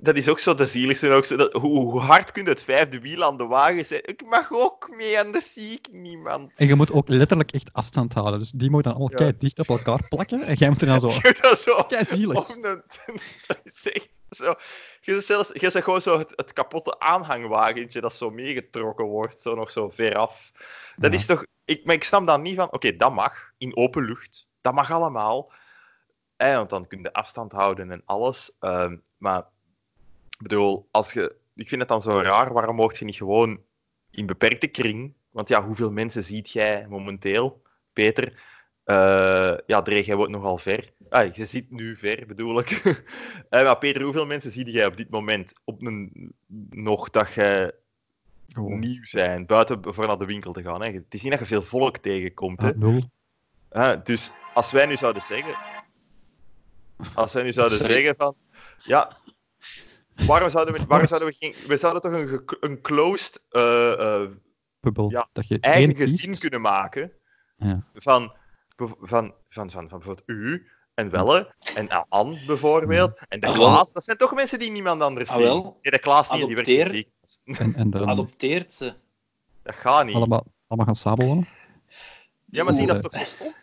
Dat is ook zo de zieligste. Ook zo dat, hoe, hoe hard kun je het vijfde wiel aan de wagen zijn? Ik mag ook mee en dat zie ik niemand. En je moet ook letterlijk echt afstand houden. Dus die moet dan allemaal Ja. kei dicht op elkaar plakken. En jij moet er dan zo... Ik vind dat zo Oh. Kei zielig. om een- dat is echt zo. Je bent, zelfs, je bent gewoon zo het, het kapotte aanhangwagentje dat zo meegetrokken wordt, zo nog zo veraf. Dat Ja. is toch... Ik, maar ik snap dan niet van... Oké, dat mag. In open lucht. Dat mag allemaal. Eh, want dan kun je afstand houden en alles. Ehm, maar ik bedoel, als je, ik vind het dan zo raar. Waarom mocht je niet gewoon in beperkte kring... Want ja, hoeveel mensen ziet jij momenteel, Peter? Eh, ja, Dreeg, jij wordt nogal ver. Ah, je ziet nu ver, bedoel ik. Eh, maar Peter, hoeveel mensen zie jij op dit moment op een, nog dat jij Gewoon. nieuw zijn, buiten voor naar de winkel te gaan. Hè. Het is niet dat je veel volk tegenkomt. Hè. Ah, nul. Hè, dus als wij nu zouden zeggen... Als wij nu zouden Sorry. zeggen van... Ja, waarom zouden we... Waarom zouden we, geen, we zouden toch een, ge- een closed eh, eh, Pubbel. Ja, Dat je één eigen kiest. gezin kunnen maken Ja. van, bev- van, van, van, van bijvoorbeeld u en Welle en A- Anne bijvoorbeeld. En de Ah, wel. Klaas, dat zijn toch mensen die niemand anders Ah, zien. wel. Nee, de Klaas niet, die werkt in de Adopteer. ziekenhuis. En, en dan Adopteert ze. Dat gaat niet. allemaal, allemaal gaan sabelwonen. Ja, maar zie, dat is Oeh. eh, toch zo stom?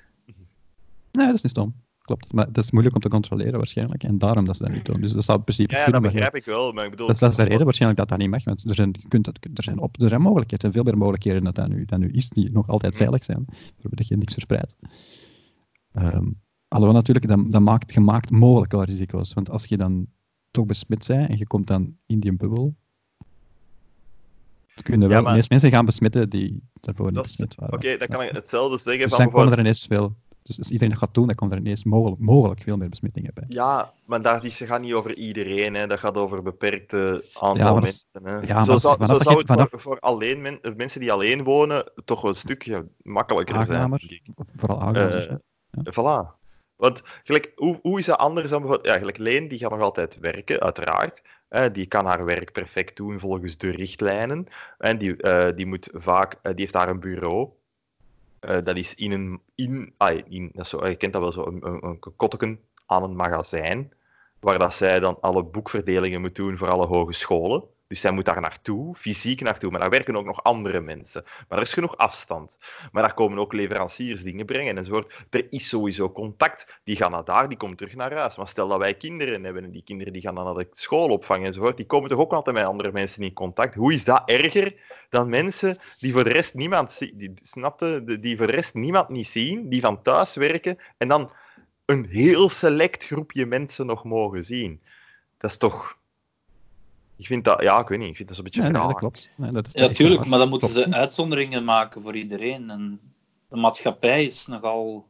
Nee, dat is niet stom. Klopt. Maar dat is moeilijk om te controleren waarschijnlijk. En daarom dat ze dat niet doen. Dus dat zou in principe Ja, ja, dat kunnen, maar- begrijp ik wel, maar ik bedoel... Dat is, dat is de reden waarschijnlijk dat dat niet mag, want er zijn, je kunt het, er zijn, op, er zijn mogelijkheden, er zijn veel meer mogelijkheden dan dat nu, dan nu is, die nog altijd Hm. veilig zijn, zodat je niks verspreidt. Ehm alhoewel natuurlijk, dat, dat maakt gemaakt mogelijk wel risico's, want als je dan toch besmet bent en je komt dan in die bubbel, dan kunnen Ja, wel maar- ineens mensen gaan besmetten die daarvoor niet Dat is- besmet waren. Oké, dan kan ik hetzelfde zeggen Dus van dan komen er bijvoorbeeld- ineens veel, dus als iedereen dat gaat doen, dan komen er ineens mogelijk, mogelijk veel meer besmettingen bij. Ja, maar dat is, gaat niet over iedereen, hè. dat gaat over een beperkte aantal Ja, maar dat is- mensen. Hè. ja, zo maar zou, vanaf zo dat zou je- het vanaf- voor, voor alleen men- mensen die alleen wonen toch een stukje makkelijker zijn. Aangenamer, denk ik. vooral aangenamers, Eh, hè. Voilà. Want gelijk, hoe, hoe is dat anders dan bijvoorbeeld... Ja, gelijk Leen, die gaat nog altijd werken, uiteraard. Eh, die kan haar werk perfect doen volgens de richtlijnen. En die, eh, die moet vaak... eh, die heeft daar een bureau. Eh, dat is in een... In, ah, in, dat is zo, je kent dat wel zo, een, een, een kotteken aan een magazijn. Waar dat zij dan alle boekverdelingen moet doen voor alle hogescholen. Dus zij moet daar naartoe, fysiek naartoe. Maar daar werken ook nog andere mensen. Maar er is genoeg afstand. Maar daar komen ook leveranciers dingen brengen enzovoort. Er is sowieso contact. Die gaan naar daar, die komen terug naar huis. Maar stel dat wij kinderen hebben en die kinderen die gaan dan naar de schoolopvang enzovoort, die komen toch ook altijd met andere mensen in contact. Hoe is dat erger dan mensen die voor de rest niemand zien, die, snapte, die- die voor de rest niemand niet zien, die van thuis werken en dan een heel select groepje mensen nog mogen zien? Dat is toch... Ik vind dat... Ja, ik weet niet. Ik vind dat zo'n beetje Nee, nee, raar. dat klopt. Nee, dat is Ja, echt tuurlijk, waar. maar dan moeten Klopt. ze uitzonderingen maken voor iedereen. En de maatschappij is nogal Maar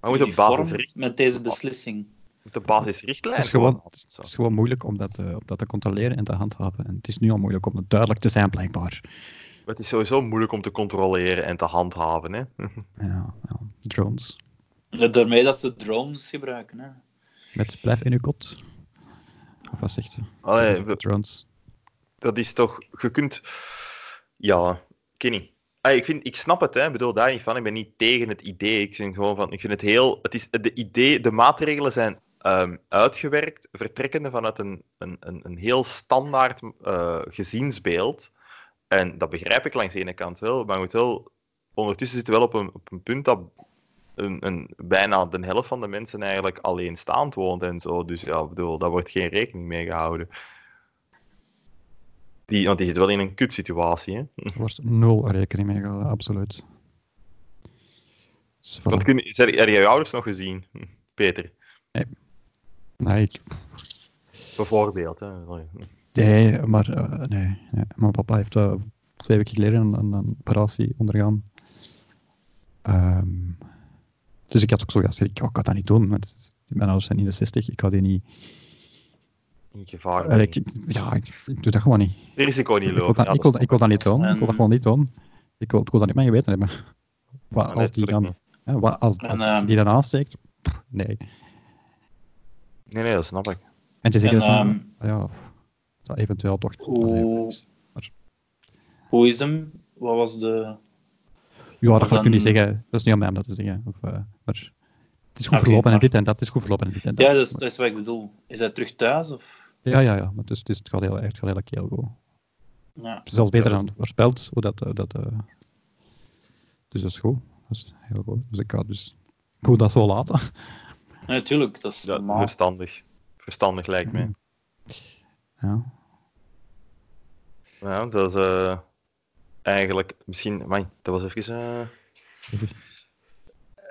we moeten uniform basisricht- met deze beslissing. we moeten basisrichtlijn... Het is gewoon- gewoon Het is gewoon moeilijk om dat, eh, om dat te controleren en te handhaven. En het is nu al moeilijk om het duidelijk te zijn, blijkbaar. Maar Het is sowieso moeilijk om te controleren en te handhaven. Hè? Ja, ja. Drones. Ja, Daarmee dat ze drones gebruiken. Hè. Met blijf in uw kot. Of wat zegt ze? Allee, Ze- we- drones. dat is toch... Je kunt... Ja, ik weet niet. Ah, ik, vind, ik snap het, hè. Ik bedoel, daar niet van. Ik ben niet tegen het idee. Ik vind gewoon van... Ik vind het heel... Het is, de, idee, de maatregelen zijn ehm, uitgewerkt, vertrekkende vanuit een, een, een, een heel standaard eh, gezinsbeeld. En dat begrijp ik langs de ene kant wel, maar je moet wel... Ondertussen zitten we wel op een, op een punt dat een, een, bijna de helft van de mensen eigenlijk alleenstaand woont en zo. Dus ja, ik bedoel, daar wordt geen rekening mee gehouden. Die, want die zit wel in een kutsituatie. Hè? Er wordt nul rekening mee gehouden, absoluut. Dus voilà. Want kun, zijn, heb jij je ouders nog gezien, Peter? Nee, ik- Bijvoorbeeld. Hè? nee, maar eh, nee, nee. Mijn papa heeft eh, twee weken geleden een, een, een operatie ondergaan. Ehm, dus ik had ook zo gezegd, ik, ik ga dat niet doen. Want het is- mijn ouders zijn in de 60, ik ga die niet... In gevaar. Eh, ik, ik- ja, ik, ik doe dat gewoon niet. Risico niet Ik wil, lopen. dat, ja, ik, dat wil, ik wil dat niet doen. Ik wil dat En- gewoon niet doen. Ik wil, ik wil dat niet mijn geweten hebben. Wat Ja, als die dan... natuurlijk Hè, wat als, als En, ehm, die dan aansteekt? Pff, Nee. snap ik. Nee, nee, dat snap ik. En te zeggen En, dat dan... ehm, ja, pff, dat eventueel toch... Hoe- Hoe is hem? Wat was de... Ja, dat was ga ik nu niet dan- zeggen. Dat is niet aan mij om dat te zeggen. Of, eh, maar het is goed Ah, Oké, verlopen en maar- dit en dat. Het is goed verlopen en dit en dat. Ja, dat is, dat is wat ik bedoel. Is hij terug thuis? Of... ja, ja. ja, maar het, is, het, is, het gaat heel, echt heel, heel keel goed. Ja. Zelfs beter dan voorspeld. Hoe dat, eh, dat, eh, dus dat is goed. Dat is heel goed. Dus ik ga dus... Ik wil dat zo laten. Natuurlijk, dat is Ja, normaal. verstandig. Verstandig lijkt Mm. mij. Ja. Ja, dat is eh, eigenlijk misschien, man, dat was even. eh,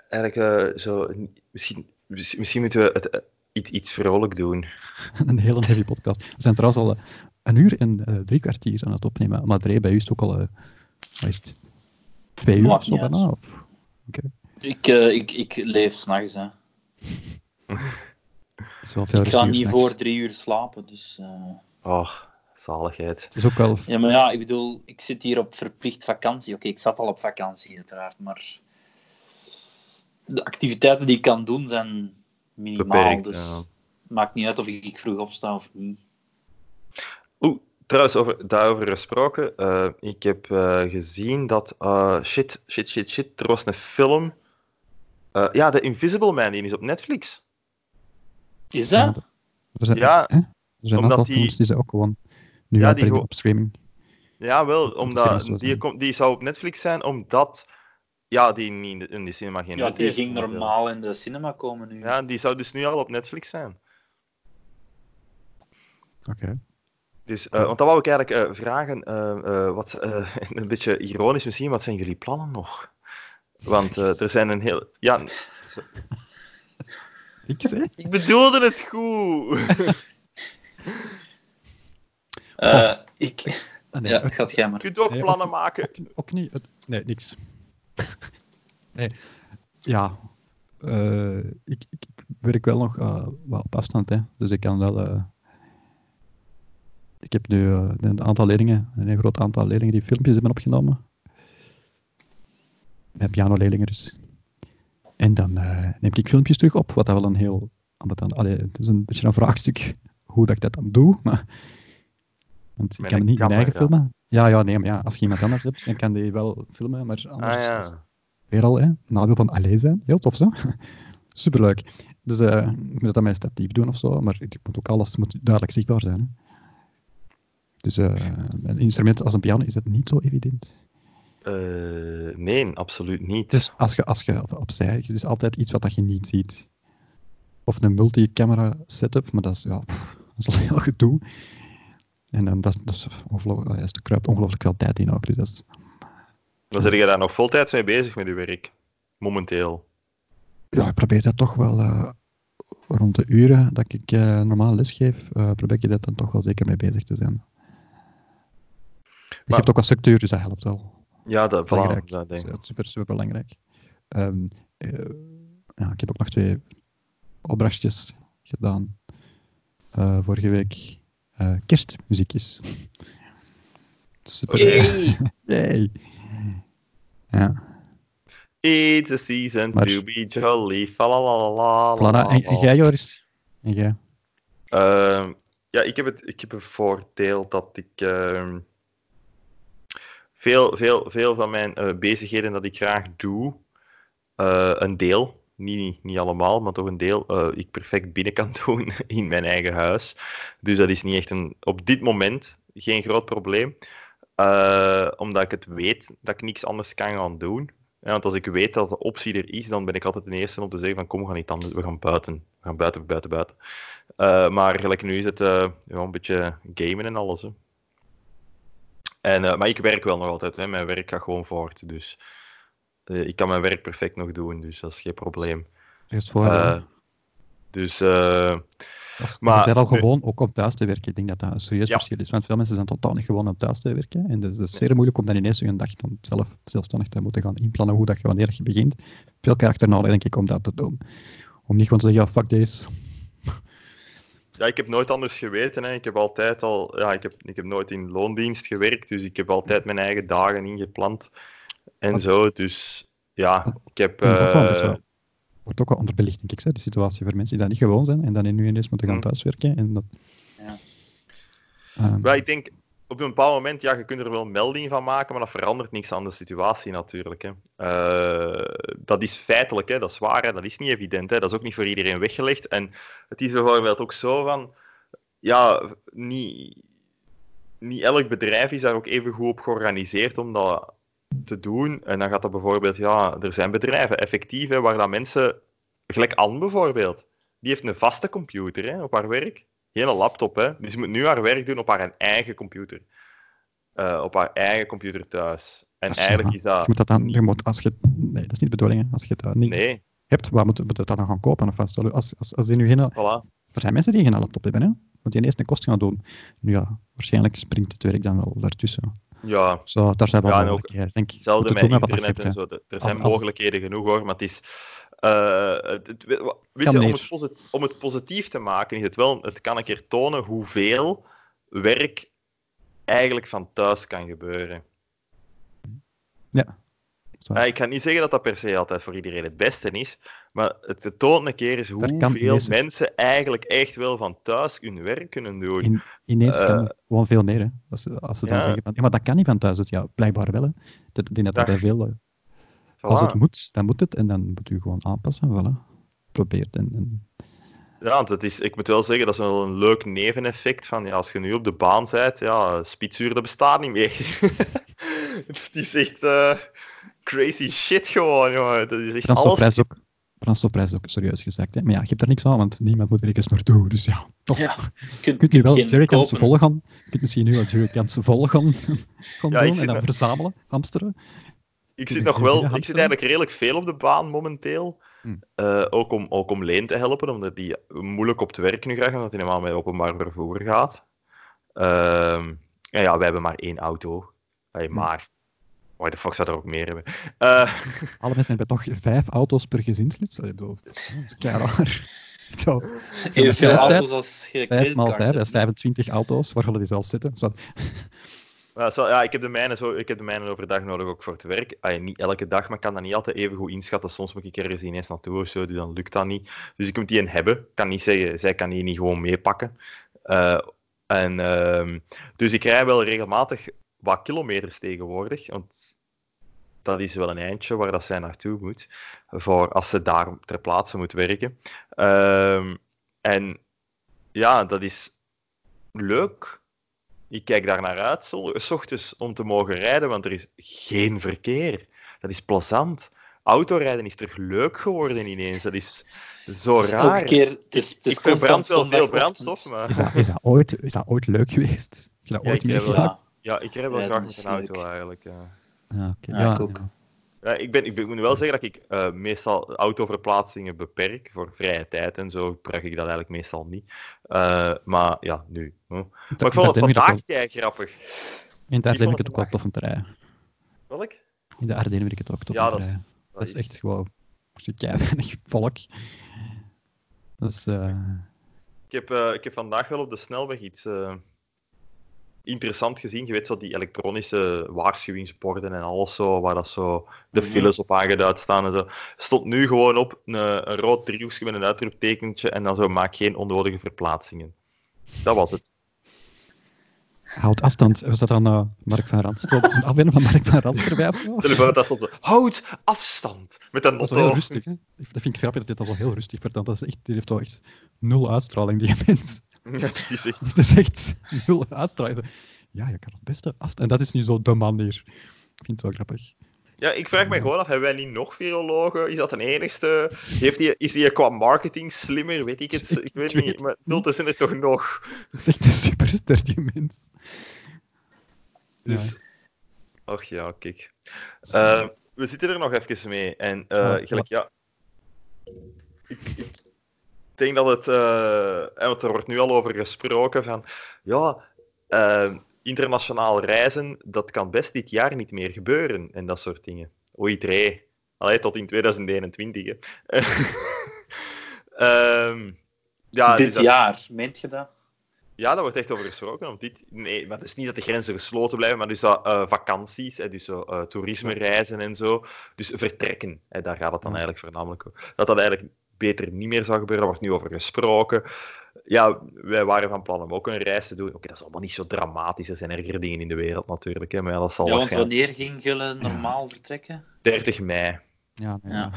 eigenlijk eh, zo, misschien, misschien misschien moeten we het, eh, iets, iets vrolijk doen. Een hele heavy podcast. We zijn trouwens al eh, een uur en eh, drie kwartier aan het opnemen. Maar Dre, bij u is het ook al eh, wat is het, twee uur of Maakt zo niet bijna. uit. of- Ik, eh, ik, ik leef s'nachts, hè. Het is wel veel Ik ga rustiger niet s'nachts. voor drie uur slapen, dus... eh. Oh, zaligheid. Het is ook wel... Ja, maar ja, ik bedoel, ik zit hier op verplicht vakantie. Oké, ik zat al op vakantie, uiteraard, maar... De activiteiten die ik kan doen zijn minimaal, Beperkt, dus... ja. Maakt niet uit of ik ik vroeg opsta of niet. Oeh, trouwens, over, daarover gesproken. eh, ik heb eh, gezien dat. eh, shit, shit, shit, shit. Er was een film. Eh, ja, The Invisible Man, die is op Netflix. Is Ja, dat? dat- Er zijn, Ja, hè? er zijn een omdat aantal die- films die ze ook gewoon nu Ja, die uitbrengen gewoon- op streaming. Ja, wel, Dat omdat serieus was, die, hè? komt, die zou op Netflix zijn, omdat ja, die niet in de, in de cinema geen Ja, nut die heeft, ging maar, ja. normaal in de cinema komen nu. Ja, die zou dus nu al op Netflix zijn. Oké. Dus, eh, want dan wou ik eigenlijk eh, vragen, eh, eh, wat, eh, een beetje ironisch misschien, wat zijn jullie plannen nog? Want eh, er zijn een heel... Ja, Niks, hè? ik bedoelde het goed! Eh, ik... Ah, nee, Ja, ook- gaat jij Je maar. kunt ook Nee, plannen maken. Ook niet. het- Nee, niks. nee. Ja. eh, ik, ik, ik werk wel nog eh, wel op afstand, hè. Dus ik kan wel... eh, ik heb nu eh, een aantal leerlingen, een heel groot aantal leerlingen die filmpjes hebben opgenomen. Mijn pianoleerlingen dus. En dan eh, neem ik filmpjes terug op, wat dat wel een heel... ambetant- Allee, het is een beetje een vraagstuk hoe dat ik dat dan doe, maar... Want ik Met kan een het niet mijn eigen camera. filmen. Ja, ja, nee, maar ja, als je iemand anders hebt, dan kan die wel filmen, maar anders Ah is het ja, weer al, hè. Nadeel van alleen zijn. Heel tof, zo. Superleuk. Dus eh, ik moet dat aan mijn statief doen of zo, maar ik moet ook alles moet duidelijk zichtbaar zijn. hè. Dus eh, een instrument als een piano is dat niet zo evident. Eh, nee, absoluut niet. Dus als je, als je op- opzij, het is altijd iets wat dat je niet ziet. Of een multicamera setup, maar dat is, ja, pff, dat is al heel gedoe. En dan, dat is, dat is ongelooflijk, ja, er kruipt ongelooflijk veel tijd in ook. Dus dat is, Dan zit je daar nog voltijds mee bezig met je werk. Momenteel. ja, ik probeer dat toch wel eh, rond de uren dat ik eh, normaal lesgeef, eh probeer je dat dan toch wel zeker mee bezig te zijn. Je Maar- hebt ook wel structuur, dus dat helpt wel. Ja, dat, voilà, Belangrijk. dat Dat denk is ik. eh, super, super belangrijk. Ehm, eh, ja, ik heb ook nog twee opdrachtjes gedaan eh, vorige week. eh kerstmuziekjes. Super. Yay! Yay. Ja. It's a season Maar- to be jolly. Falalala. Plana, en, en jij, Joris? En jij? Ehm, ja, ik heb, het, ik heb een voordeel dat ik ehm, veel, veel, veel van mijn eh, bezigheden dat ik graag doe, eh, een deel, niet, niet allemaal, maar toch een deel, eh, ik perfect binnen kan doen in mijn eigen huis. Dus dat is niet echt een, op dit moment geen groot probleem, Eh, omdat ik het weet dat ik niks anders kan gaan doen. Ja, want als ik weet dat de optie er is, dan ben ik altijd de eerste om te zeggen van kom, we gaan niet anders, we gaan buiten. We gaan buiten, buiten, buiten. Eh, maar gelijk nu is het eh, ja, een beetje gamen en alles. Hè. En, eh, maar ik werk wel nog altijd. Hè. Mijn werk gaat gewoon voort. Dus eh, ik kan mijn werk perfect nog doen. Dus dat is geen probleem. Eerst voor. Eh, dus eh, als, maar je bent al nu- gewoon ook om thuis te werken. Ik denk dat dat een serieus Ja. verschil is. Want veel mensen zijn totaal niet gewoon om thuis te werken. En dus, het is zeer moeilijk om dan ineens een dag dan zelf zelfstandig te moeten gaan inplannen hoe dat je wanneer je begint. Veel karakter nodig, denk ik, om dat te doen. Om niet gewoon te zeggen, ja, fuck deze. ja, ik heb nooit anders geweten. Hè. Ik heb altijd al, ja, ik heb, ik heb nooit in loondienst gewerkt. Dus ik heb altijd mijn eigen dagen ingepland. En Wat- zo. Dus ja, ik heb. Ja, dat wel, dat eh, wel. Wordt ook wel onderbelicht, denk ik, hè, de situatie voor mensen die dat niet gewoon zijn en dan nu ineens moeten gaan Mm. thuiswerken. En dat, Ja. Ehm, Wel, ik denk op een bepaald moment, ja, je kunt er wel melding van maken, maar dat verandert niks aan de situatie natuurlijk. Hè. Eh, dat is feitelijk, hè, dat is waar, hè, dat is niet evident. Hè, dat is ook niet voor iedereen weggelegd. En het is bijvoorbeeld ook zo van, ja, niet, niet elk bedrijf is daar ook even goed op georganiseerd om dat te doen. En dan gaat dat bijvoorbeeld, ja, er zijn bedrijven effectief hè, waar dat mensen, gelijk Anne bijvoorbeeld, die heeft een vaste computer hè, op haar werk. Hele laptop, hè. Dus ze moet nu haar werk doen op haar eigen computer. Eh, op haar eigen computer thuis. En dat is- eigenlijk ja, is dat... Je moet dat dan, je moet, als je, nee, dat is niet de bedoeling. hè. Als je het eh, niet Nee, hebt, waar moet, moet je dat dan gaan kopen? Of wat? als, als, als die nu geen, voilà. er zijn mensen die geen laptop hebben, hè? want die eerst een kost gaan doen. Nu ja, waarschijnlijk springt het werk dan wel daartussen. Ja, Zo, daar zijn we Ja, al en wel een ook keer, denk ik. Je moet hetzelfde het met doen wat je internet hebt, en hè. zo. Er er Als- zijn als- mogelijkheden genoeg, hoor. Maar het is... eh, het, het- weet Kan je, om meer. het, posit- om het positief te maken, is het wel... Het kan een keer tonen hoeveel werk eigenlijk van thuis kan gebeuren. Dat is waar. Ja, ik ga niet zeggen dat dat per se altijd voor iedereen het beste is, maar het het toont een keer is kan hoeveel meest- mensen eigenlijk echt wel van thuis hun werk kunnen doen. In- Ineens kan Eh, het gewoon veel meer. Hè. Als, ze- als ze dan ja. zeggen van, ja, maar dat kan niet van thuis. uit. Ja, blijkbaar wel. Hè. Dat, ik denk dat dat Dag. bij veel... eh, Voilà. Als het moet, dan moet het. En dan moet u gewoon aanpassen. Voilà. Probeer. het En, en... Ja, want het is, ik moet wel zeggen, dat is wel een leuk neveneffect van ja, als je nu op de baan bent, ja, spitsuur, dat bestaat niet meer. dat is echt eh, crazy shit gewoon, jongen. Dat is echt alles. Brandstofprijs ook. Brandstofprijs ook, serieus gezegd. Hè. Maar ja, je hebt er niks aan, want niemand moet ergens naartoe. Dus ja, toch. Ja. Je kunt, kunt nu wel geen jerrycans kopen. volgen. Je kunt misschien nu wel jerrycans volgen. gaan Ja, ik doen en zit dan daar- verzamelen, hamsteren. Ik Je zit kunt nog geen wel, zin in ik zit hamsteren. eigenlijk redelijk veel op de baan momenteel. Hm. Eh, ook, om, ook om Leen te helpen, omdat die moeilijk op het werk nu gaat, omdat hij normaal met openbaar vervoer gaat. Ehm en ja, wij hebben maar één auto. Allee, Hm. maar. Why the fuck zou er ook meer hebben? Eh, Alle mensen hebben toch vijf auto's per gezinslid. Zo, Ik bedoel, dat is keihard. Zo. Evenveel Ja, auto's als je 5 maal creditcards 5, dat is hebt. 25 auto's. Waar gaan die zelf zitten? Zo, maar zo- ja, ik, heb de mijne zo, ik heb de mijne overdag nodig ook voor het werk. Allee, niet elke dag, maar ik kan dat niet altijd even goed inschatten. Soms moet ik ergens ineens naartoe of zo, dus dan lukt dat niet. Dus ik moet die een hebben. Ik kan niet zeggen, zij kan die niet gewoon meepakken. Eh, en, ehm, dus ik rij wel regelmatig wat kilometers tegenwoordig. Want dat is wel een eindje waar dat zij naartoe moet. Voor als ze daar ter plaatse moet werken. Ehm, en ja, dat is leuk. Ik kijk daar naar uit, zo- s ochtends, om te mogen rijden, want er is geen verkeer. Dat is plezant. Autorijden is terug leuk geworden ineens. Dat is zo Het is raar. elke keer, het is, het is ik verbrand constant wel veel zondagochtend. brandstof, maar... Is dat, is, dat ooit, is dat ooit leuk geweest? Heb je dat Ja, ooit ik heb wel- meegemaakt? Ja. Ja, ik rij wel Ja, graag dat met is een auto leuk. eigenlijk. ja. Ja, oké. Ja, ja, ik ook. ja. Ja, ik, ben, ik, ben- ik moet wel zeggen dat ik eh, meestal autoverplaatsingen beperk voor vrije tijd en zo. Gebruik ik dat eigenlijk meestal niet. Eh, maar ja, nu. hè. Maar ik vond het Daar denk vandaag ook kei grappig. wel- In daar ik vond vind ik het het ook wel tof om te rijden. Welk? In de Ardennen vind ik het ook tof Ja, om te dat is- rijden. Dat is echt gewoon... Er zit kei weinig volk. Dat is... eh, Ik, heb, eh, ik heb vandaag wel op de snelweg iets eh, interessant gezien. Je weet zo die elektronische waarschuwingsborden en alles zo, waar dat zo de Mhm. files op aangeduid staan en zo. Stond nu gewoon op een, een rood driehoekje met een uitroeptekentje en dan zo maak geen onnodige verplaatsingen. Dat was het. houd afstand. Was dat dan eh, Mark van Randstad? Een afwinning van Mark van Randstad erbij of zo? Telefoon, dat stond zo, houd afstand met een Dat is wel heel motto. rustig, hè? Dat vind ik grappig dat dit dat wel heel rustig vertelt. Dat is echt, die heeft wel echt nul uitstraling, die mens. Dus Ja, het is echt- Dat is echt nul uitstraling. Ja, je kan het beste afstand. En dat is nu zo de manier. Ik vind het wel grappig. Ja, ik vraag me gewoon af, hebben wij niet nog virologen? Is dat een enigste? Heeft die, is die qua marketing slimmer? Weet ik het? Ik, Ik weet weet niet, maar nul, er zijn er toch nog. Dat is echt een superster, die mens. Dus... Och ja, kijk. Eh, we zitten er nog even mee. En eh, Ja. gelijk, ja. Ik, ik denk dat het... eh, eh, want er wordt nu al over gesproken van... Ja, eh, internationaal reizen, dat kan best dit jaar niet meer gebeuren. En dat soort dingen. Oei, tree. Allee, tot in 2021, hè. Ehm, ja, Dit dus dat- jaar, meent je dat? ja, daar wordt echt over gesproken. Want dit, nee, maar het is niet dat de grenzen gesloten blijven, maar dus dat eh, vakanties, hè, dus zo, eh, toerisme reizen en zo. Dus vertrekken, hè, daar gaat het dan Ja. eigenlijk voornamelijk over. Dat dat eigenlijk beter niet meer zou gebeuren, daar wordt nu over gesproken. Ja, wij waren van plan om ook een reis te doen. Oké, dat is allemaal niet zo dramatisch, er zijn erger dingen in de wereld natuurlijk. Hè, maar Oh, ja, dat zal Ja, want waarschijnlijk wanneer ging Gullen normaal vertrekken? 30 mei. Ja, nee, Ja. ja.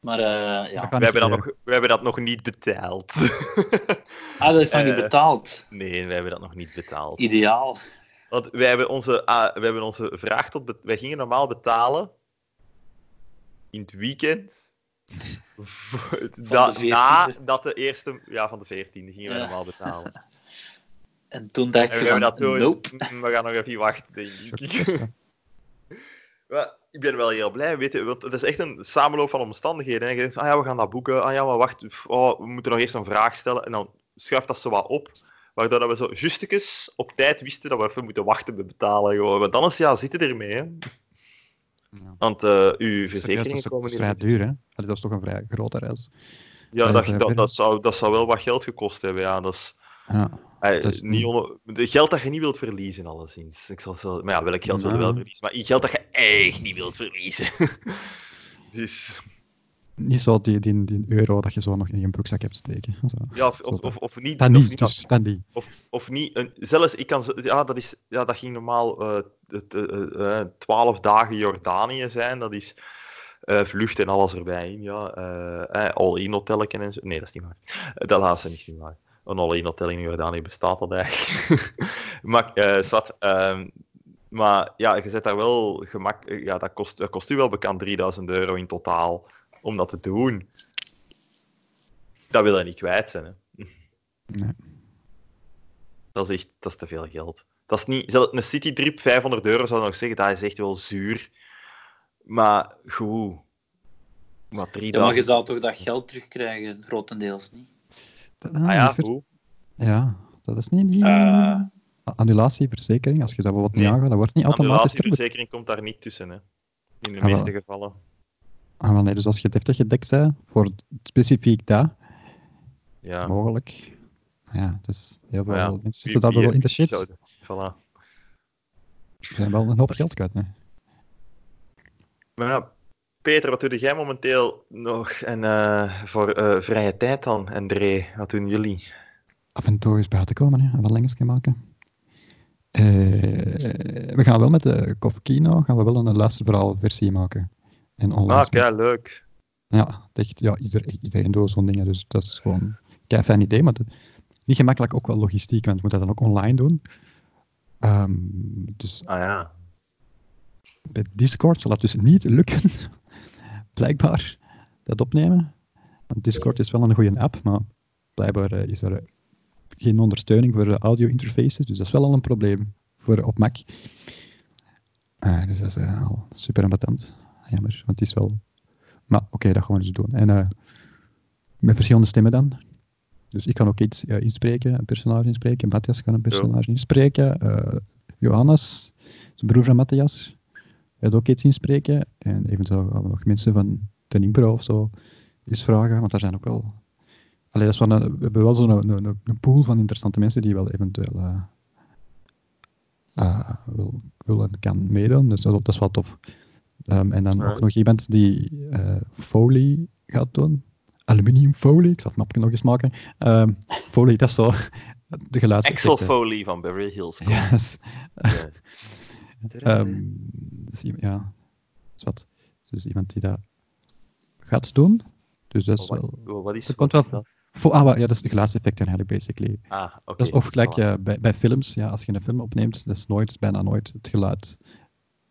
Maar eh, ja. Dat We kan niet hebben, dat gebeuren. nog, we hebben dat nog niet betaald. Ah, dat is nog niet Eh. betaald. nee, we hebben dat nog niet betaald. Ideaal. Want wij hebben onze, ah, wij hebben onze vraag tot... be- Wij gingen normaal betalen in het weekend. Voor- da- 14e. Nadat de eerste... Ja, van de 14e gingen wij Ja. normaal betalen. En En toen dacht we je hebben van, dat toen... nope. "Mm, We gaan nog even wachten, denk ik. Shocked. Maar ik ben wel heel blij, weet je, want het is echt een samenloop van omstandigheden. En je denkt, ah ja, we gaan dat boeken. Ah ja, maar wacht, pff, oh, we moeten nog eerst een vraag stellen. En dan schuift dat zo wat op. Waardoor dat we zo justekes op tijd wisten dat we even moeten wachten met betalen. Gewoon. Want anders, ja, zitten ermee, hè. Ja. Want eh uw Dat is toch- dat verzekeringen is toch- dat komen is niet vrij goed. duur, hè? Allee, Dat is toch een vrij grote reis. Ja, dat, vrij dat, duur. dat, zou, dat zou wel wat geld gekost hebben, ja. Dat is, Ja. eh, Dat is niet onder- de geld dat je niet wilt verliezen, alleszins. Ik zal zo, maar ja, welk geld wil je Nou. wel verliezen? Maar geld dat je echt niet wilt verliezen. dus... Niet zo die, die, die euro dat je zo nog in je broekzak hebt steken. Zo. Ja, of, Zo of, dan. of, of niet. Dat of niet, dus, dat niet. Of, of niet. Een, zelfs, ik kan... z- Ja, dat, is, ja, dat ging normaal eh, het, eh, eh, eh, 12 dagen Jordanië zijn. Dat is eh, vlucht en alles erbij in, ja. eh, eh, all-in hotelletje en zo. Nee, dat is niet waar. Eh, Dat laatste is niet waar. Een all-in hotel in Jordanië bestaat dat eigenlijk. maar, eh zat, ehm, maar ja, je zet daar wel gemak... eh, Ja, dat kost, dat kost u wel bekend 3000 euro in totaal om dat te doen. Dat wil je niet kwijt zijn, hè. Nee. Dat is echt dat is te veel geld. Dat is niet, zelfs een citytrip, 500 euro zou ik nog zeggen, dat is echt wel zuur. Maar goed. Maar 3000... Ja, maar je zou toch dat geld terugkrijgen, grotendeels niet? Dat, Ah dat ja, is vers- goed. ja, dat is niet die... Eh. Annulatieverzekering, als je dat wat niet Nee. aangaat, dat wordt niet automatisch terug. Ambulatieverzekering komt daar niet tussen, hè. In de Ah, wel. meeste gevallen. Ah, wel, nee, dus als je het heftig gedekt bent, voor specifiek dat, Ja. mogelijk. Ja, dus heel veel Maar ja, mensen Wie- zitten daar wie- wel in de wie shit. zou- Voilà. Ze zijn wel een hoop geld kwijt, nee. Maar ja, Peter, wat doe jij momenteel nog en, eh, voor eh, vrije tijd dan? En Dre, wat doen jullie? Af en toe eens buiten komen, hè, en wat lengtes gaan maken. Eh, we gaan wel met de Kofkino gaan we wel een luisterverhaalversie maken. En online. Ah, spelen. kijk, leuk. Ja, echt, ja iedereen, iedereen doet zo'n dingen, dus dat is gewoon een fijn idee. Maar dat- niet gemakkelijk, ook wel logistiek, want we moeten dat dan ook online doen. Ehm, dus Ah ja. bij Discord zal dat dus niet lukken, blijkbaar, dat opnemen. Want Discord is wel een goede app, maar blijkbaar eh, is er eh, geen ondersteuning voor eh, audio-interfaces, dus dat is wel al een probleem voor, op Mac. Ah, dus dat is eh, al super ambetant. Jammer, want het is wel... Maar oké, dat gaan we dus doen. En eh, met verschillende stemmen dan. Dus ik kan ook iets eh, inspreken, een personage inspreken. Matthias kan een personage inspreken. eh, Johannes, zijn broer van Matthias, gaat ook iets inspreken. En eventueel gaan we nog mensen van ten impro of zo eens vragen, want daar zijn ook wel... Allee, dat is wel een, we hebben wel zo'n een, een, een pool van interessante mensen die wel eventueel eh eh, wil, wil en kan meedoen, dus dat, dat is wel tof. Ehm, en dan ook Alright. nog iemand die eh, folie gaat doen. Aluminiumfolie, ik zal het mapje nog eens maken. Ehm, folie, dat is zo de geluids. Axel Foley van Beverly Hills. Cop. Yes. Ja. eh, Ehm, dus ie- ja, is wat. Dus iemand die dat gaat doen. Dus dat is Oh, wat, wel. wat is dat komt wat is wel- Vo- ah, wa- ja, dat is de geluidseffecten eigenlijk, basically. Ah, oké. Dat is of gelijk voilà. eh, bij, bij films, ja, als je een film opneemt, dat is nooit, bijna nooit het geluid.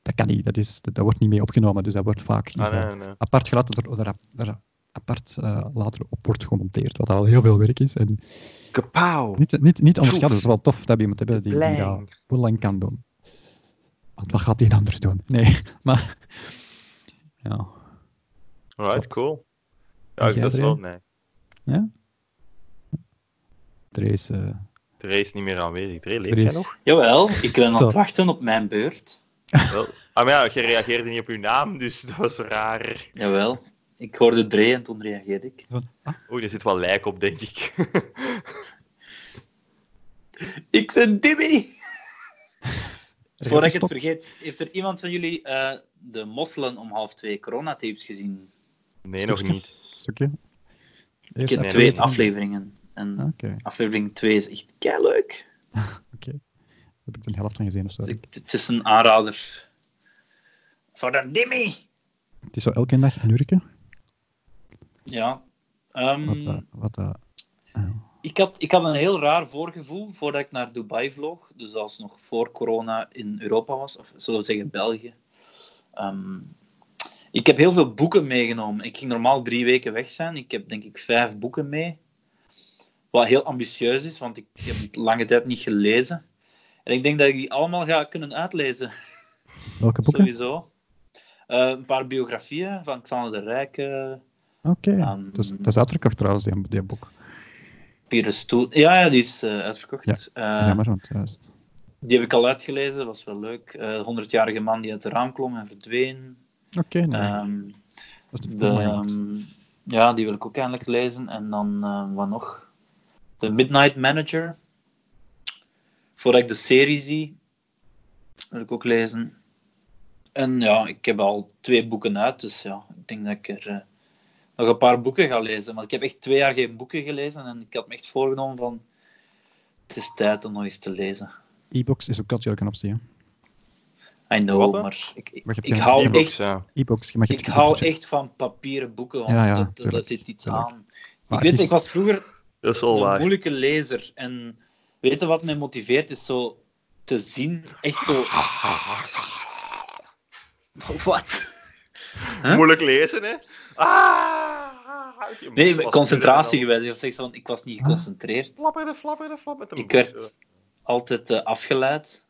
Dat kan niet, dat, is, dat, dat wordt niet mee opgenomen, dus dat wordt vaak is Ah, dat nee, nee. apart geluid dat er, dat er- er apart eh, later op wordt gemonteerd, wat al heel veel werk is. En Kapauw. Oh. niet, niet, niet onderschatten, het is wel tof dat we iemand hebben die, die dat Blang. heel lang kan doen. Want wat gaat die anders doen? Nee, maar... Ja. Klopt. Alright, cool. Ja, jij dat is erin? wel, nee. Therese... eh, Dre is niet meer aanwezig. Dre, leeft Dre jij is- nog? Jawel, ik ben aan Stop. het wachten op mijn beurt. Wel. Ah, maar ja, je reageerde niet op uw naam, dus dat was raar. Jawel. Ik hoorde Dre en toen reageerde ik. Oeh, er zit wel lijk op, denk ik. Ik ben Dibby! Voordat ik het stop. vergeet, heeft er iemand van jullie eh, de mosselen om half twee coronatapes gezien? Nee, nog niet. Stukje. Ik Eerste heb nee, twee nee. afleveringen. En Ah, Oké, aflevering 2 is echt leuk. heb ik de helft van gezien of zo. Dus ik- het is een aanrader. Voor de Dimmy! Het is zo elke dag een uurke. Ja. Ehm, Wat, eh, wat eh, ik, had, ik had een heel raar voorgevoel voordat ik naar Dubai vloog. Dus als nog voor corona in Europa was, of zullen we zeggen België. Ehm, ik heb heel veel boeken meegenomen. Ik ging normaal drie weken weg zijn. Ik heb denk ik vijf boeken mee. Wat heel ambitieus is, want ik heb het lange tijd niet gelezen. En ik denk dat ik die allemaal ga kunnen uitlezen. welke boeken? Sowieso. Eh, een paar biografieën van Xander de Rijke, Ah, Oké, Ehm, dat, is, dat is uitverkocht trouwens, die, die boek. Pieter Stoel. Ja, ja, die is eh, uitverkocht. Eh, Jammer, want juist. die heb ik al uitgelezen, dat was wel leuk. Eh, De 100-jarige man die uit het raam klom en verdween. Oké, nee, Ehm, dat is de, voor mij niet. ehm, ja, die wil ik ook eindelijk lezen. En dan, eh, wat nog? The Midnight Manager. Voordat ik de serie zie, wil ik ook lezen. En ja, ik heb al twee boeken uit, dus ja, ik denk dat ik er eh, nog een paar boeken ga lezen. Want ik heb echt twee jaar geen boeken gelezen en ik had me echt voorgenomen van, het is tijd om nog eens te lezen. E-books is ook natuurlijk een optie. hè. I know, Wat dan? maar ik, ik, Maar je hebt ik geen hou e-books, echt ja. E-books, je mag het Ik e-bookje- hou echt van papieren boeken, want Ja, ja, dat, dat, tuurlijk, dat zit iets tuurlijk. aan. Maar ik weet, het is- ik was vroeger Dat is wel een waar. moeilijke lezer. En weet je wat mij motiveert? Is zo te zien, echt zo... Wat? Huh? Moeilijk lezen, hè? Ah! Je moet Nee, vast concentratie kunnen geweest. Ik, zeg zo, ik was niet Ah. geconcentreerd. en dan Flapperde, flapperde, flapperde. Ik werd altijd eh, afgeleid.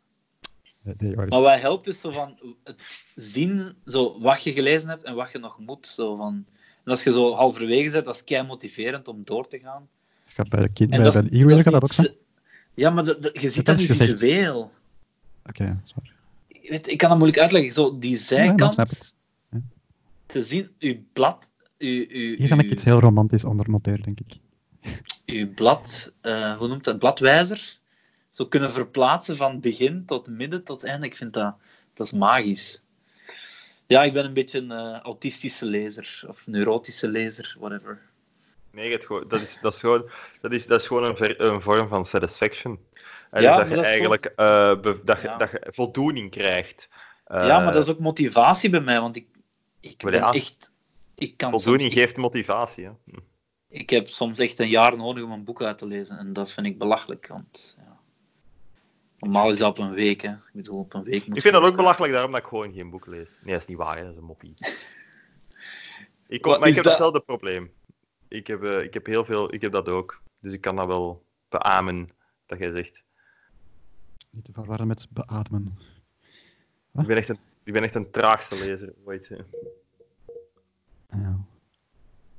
Nee, nee, eh, waar is- Maar wat helpt is zo van het zien zo, wat je gelezen hebt en wat je nog moet. Zo van. En als je zo halverwege zit, dat is kei motiverend om door te gaan. gaat bij de kind, En bij, bij is- de e-reader is gaat dat niet ook zijn. ze- Ja, maar dat, dat- je ziet dat dat is niet gezegd. visueel. Oké, dat is eh, waar. Ik Weet, ik kan dat moeilijk uitleggen. Zo, die Nee, maar zijkant snap het. te zien, uw blad, uw, uw, Hier ga ik uw- iets heel romantisch onder noteren, denk ik. uw blad, eh, hoe noemt dat, bladwijzer, zo kunnen verplaatsen van begin tot midden tot einde. Ik vind dat, dat is magisch. Ja, ik ben een beetje een eh, autistische lezer of neurotische lezer, whatever. Nee, het gewoon- dat, is, dat, is gewoon, dat, is, dat is gewoon een, ver- een vorm van satisfaction. En Ja, dus maar dat je dat is eigenlijk eh, be- dat, je- Ja. dat je voldoening krijgt. ja, maar dat is ook motivatie bij mij, want ik, ik Eh, Maar ben ja, echt... Ik kan soms, Voldoening ik, geeft motivatie. Hè. ik heb soms echt een jaar nodig om een boek uit te lezen. En dat vind ik belachelijk, want... Ja. Normaal is dat op een week, hè. Ik bedoel, op een week moet Ik vind je- dat ook belachelijk, daarom dat ik gewoon geen boek lees. Nee, dat is niet waar, hè, dat is een moppie. Ik, kom, Wat maar ik is heb dat? hetzelfde probleem. Ik heb, eh, ik heb heel veel, ik heb dat ook. Dus ik kan dat wel beamen, dat jij zegt. Niet te verwarren met beademen. Ik ben echt een, ik ben echt een traagste lezer ooit. hè. Ja.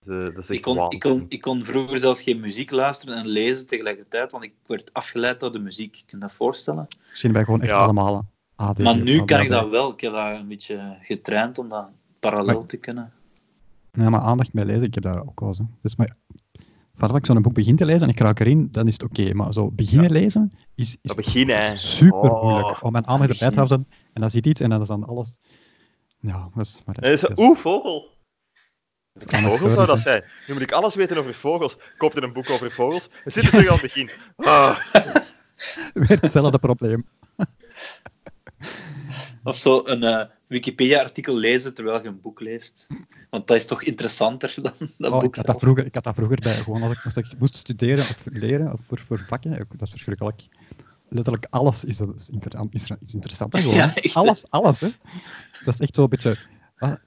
Dus, eh, dat is echt Ik kon, waanzin. ik, kon, ik kon vroeger zelfs geen muziek luisteren en lezen tegelijkertijd, want ik werd afgeleid door de muziek. Ik kan je dat voorstellen. Misschien wij gewoon echt Ja. allemaal AD. Maar nu ADHD. kan ik dat wel. Ik heb dat een beetje getraind om dat parallel Maar- te kunnen. Ja, maar aandacht bij lezen, ik heb dat ook al zo. Dus maar, vanaf ik zo'n boek begin te lezen en ik raak erin, dan is het oké. Maar zo beginnen lezen is, is Dat beginnen, hè. super Oh. moeilijk. Om mijn aandacht erbij te beginnen. houden en dan zit iets en dan is dan alles... Ja, dat is... Maar dat, En dan is dat dat- is- Oeh, vogel! dat is Een aandachtstoornis, vogel zou dat hè. zijn. Nu moet ik alles weten over vogels. Ik koop er een boek over vogels. Dan zit er terug aan het begin. Ah. Weer hetzelfde probleem. Of zo een eh, Wikipedia-artikel lezen terwijl je een boek leest. Want dat is toch interessanter dan dat Oh, boek ik, had dat zelf. vroeger, ik had dat vroeger bij, gewoon als ik, als ik moest studeren of leren of voor, voor vakken, ik- dat is verschrikkelijk. Letterlijk alles is, dat is, inter, is, ra- is interessant. hè, Gewoon, Ja, hè. echt, hè. alles, alles. Hè. Dat is echt zo'n beetje... wat,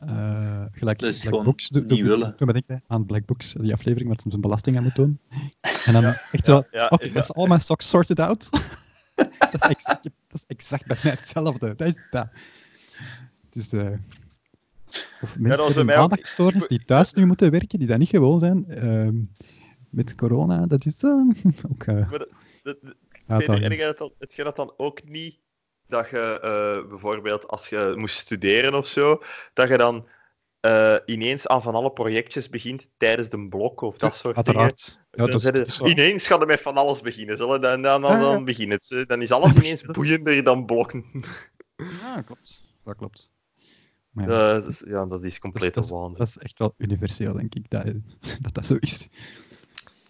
eh, gelijk Dat is Black gewoon Books. niet willen. Toen ben ik aan Black Books, die aflevering waar ze zijn belasting aan moet doen. En dan echt zo, ja, oké, ja. that's all my socks sorted out. dat, is exact, dat is exact bijna hetzelfde. Dat is dat. Dus, eh of dat mensen met was een bij mij ook- maandagstoornis die thuis nu moeten werken, die dat niet gewoon zijn, ehm, met corona, dat is eh, ook eh Maar dat, dat, Peter, en uitdaging. heb jij dat dan- heb jij dat dan ook niet dat je eh, bijvoorbeeld als je moest studeren of zo, dat je dan eh, ineens aan van alle projectjes begint tijdens de blok of dat soort dingen. Uiteraard. Ja, Dan dat is, zeiden dat is ze, wel- ineens gaan we met van alles beginnen. Zullen dan, dan, dan, Ja, dan ja. begint het. hè. Dan is alles ineens boeiender dan blokken. Ja, klopt. Dat klopt. Maar ja, Eh, dat is- ja, dat is dat, is, complete dat, is, waanzin. dat is echt wel universeel, denk ik, dat dat, dat zo is.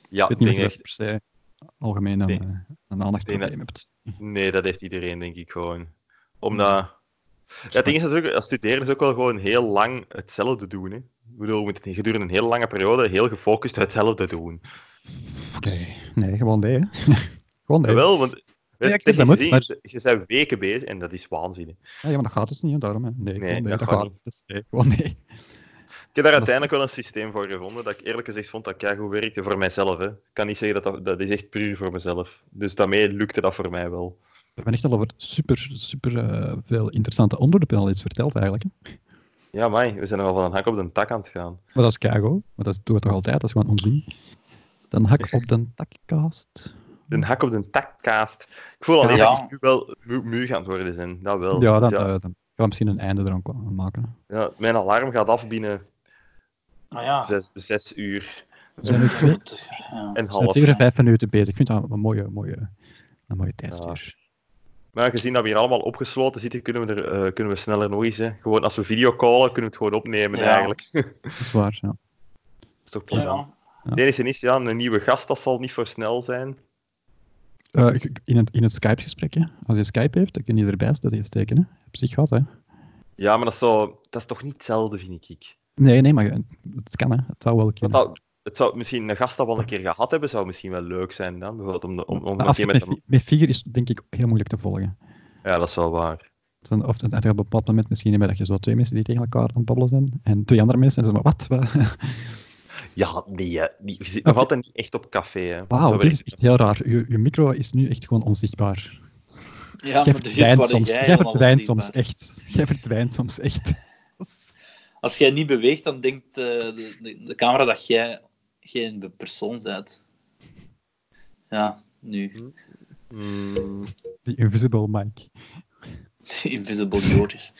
Ja, ik weet ik denk niet of je echt, per se algemeen een, Nee. eh, een aandachtsprobleem hebt. nee, dat heeft iedereen, denk ik gewoon. Omdat. Ja, het ding is natuurlijk, als studeren is ook wel gewoon heel lang hetzelfde doen. Hè. Ik bedoel, je moet het gedurende een hele lange periode heel gefocust hetzelfde doen. Nee, nee gewoon nee. hè. gewoon nee. Jawel, want Ja, eh, ik denk dat technisch moet, gezien, je bent weken bezig en dat is waanzinnig. Ja, ja, maar dat gaat dus niet, hè, daarom. Hè. Nee, gewoon nee, dat, dat gaat gaat niet. Dus nee, gewoon nee. Ik Dat heb daar is- uiteindelijk wel een systeem voor gevonden dat ik eerlijk gezegd vond dat keigoed werkte voor mijzelf. Hè. Ik kan niet zeggen dat, dat dat is echt puur voor mezelf. Dus daarmee lukte dat voor mij wel. We hebben echt al over super, super eh, veel interessante onderwerpen al iets verteld eigenlijk. Hè. Ja, maar we zijn er al van een hak op de tak aan het gaan. Maar dat is keigo. Maar dat doen we toch altijd, dat is gewoon onzin. Dan hak op de takkast. Een hak op de takkaast. Ik voel al Ja. dat iets nu wel mu, mu gaan worden zijn. Dat wel. Ja, dan, Oh, ja, eh, dan gaan we misschien een einde er ook aan maken. ja, mijn alarm gaat af binnen Maar ja, zes, zes uur We zijn nu twee, we ja. en zijn half. zeker vijf minuten bezig. Ik vind dat een mooie, mooie, een mooie tijdstuur. Maar gezien dat we hier allemaal opgesloten zitten, kunnen we, er, eh, kunnen we sneller nog eens. Hè. Gewoon als we video callen, kunnen we het gewoon opnemen Ja. eigenlijk. Dat Dat is waar, ja. is toch plezant. Ja. Het enige is, ja, een nieuwe gast, dat zal niet voor snel zijn. Eh, ik- in het, in het Skype-gesprek, hè. als je Skype heeft, dan kun je erbij steken. steken hè. Op zich gaat, hè. Ja, maar dat is, zo, dat is toch niet hetzelfde, vind ik. Nee, nee, maar je- het kan, hè. Het zou wel Want kunnen. dat, het zou misschien een gast dat we al een keer gehad hebben, zou misschien wel leuk zijn dan. Bijvoorbeeld om, de- om, om Maar een als je keer het met met, een... vi- met vier is, denk ik, heel moeilijk te volgen. Ja, dat is wel waar. Dan, of dan heb je op een bepaald moment misschien hebben dat je zo twee mensen die tegen elkaar aan het babbelen zijn, en twee andere mensen, en ze maar wat? Wa- Ja, nee, hè. Die- je zit nog Oké. altijd eh, niet echt op café, hè. Wauw, Zo dit werkt is echt heel raar. Je, je micro is nu echt gewoon onzichtbaar. Ja, jij maar dus verdwijnt waar soms, jij jij helemaal verdwijnt ziet, soms maar echt. Jij verdwijnt soms echt. Als jij niet beweegt, dan denkt eh, de, de, de camera dat jij geen persoon bent. Ja, nu. Mm. Die invisible mic. Invisible Joris.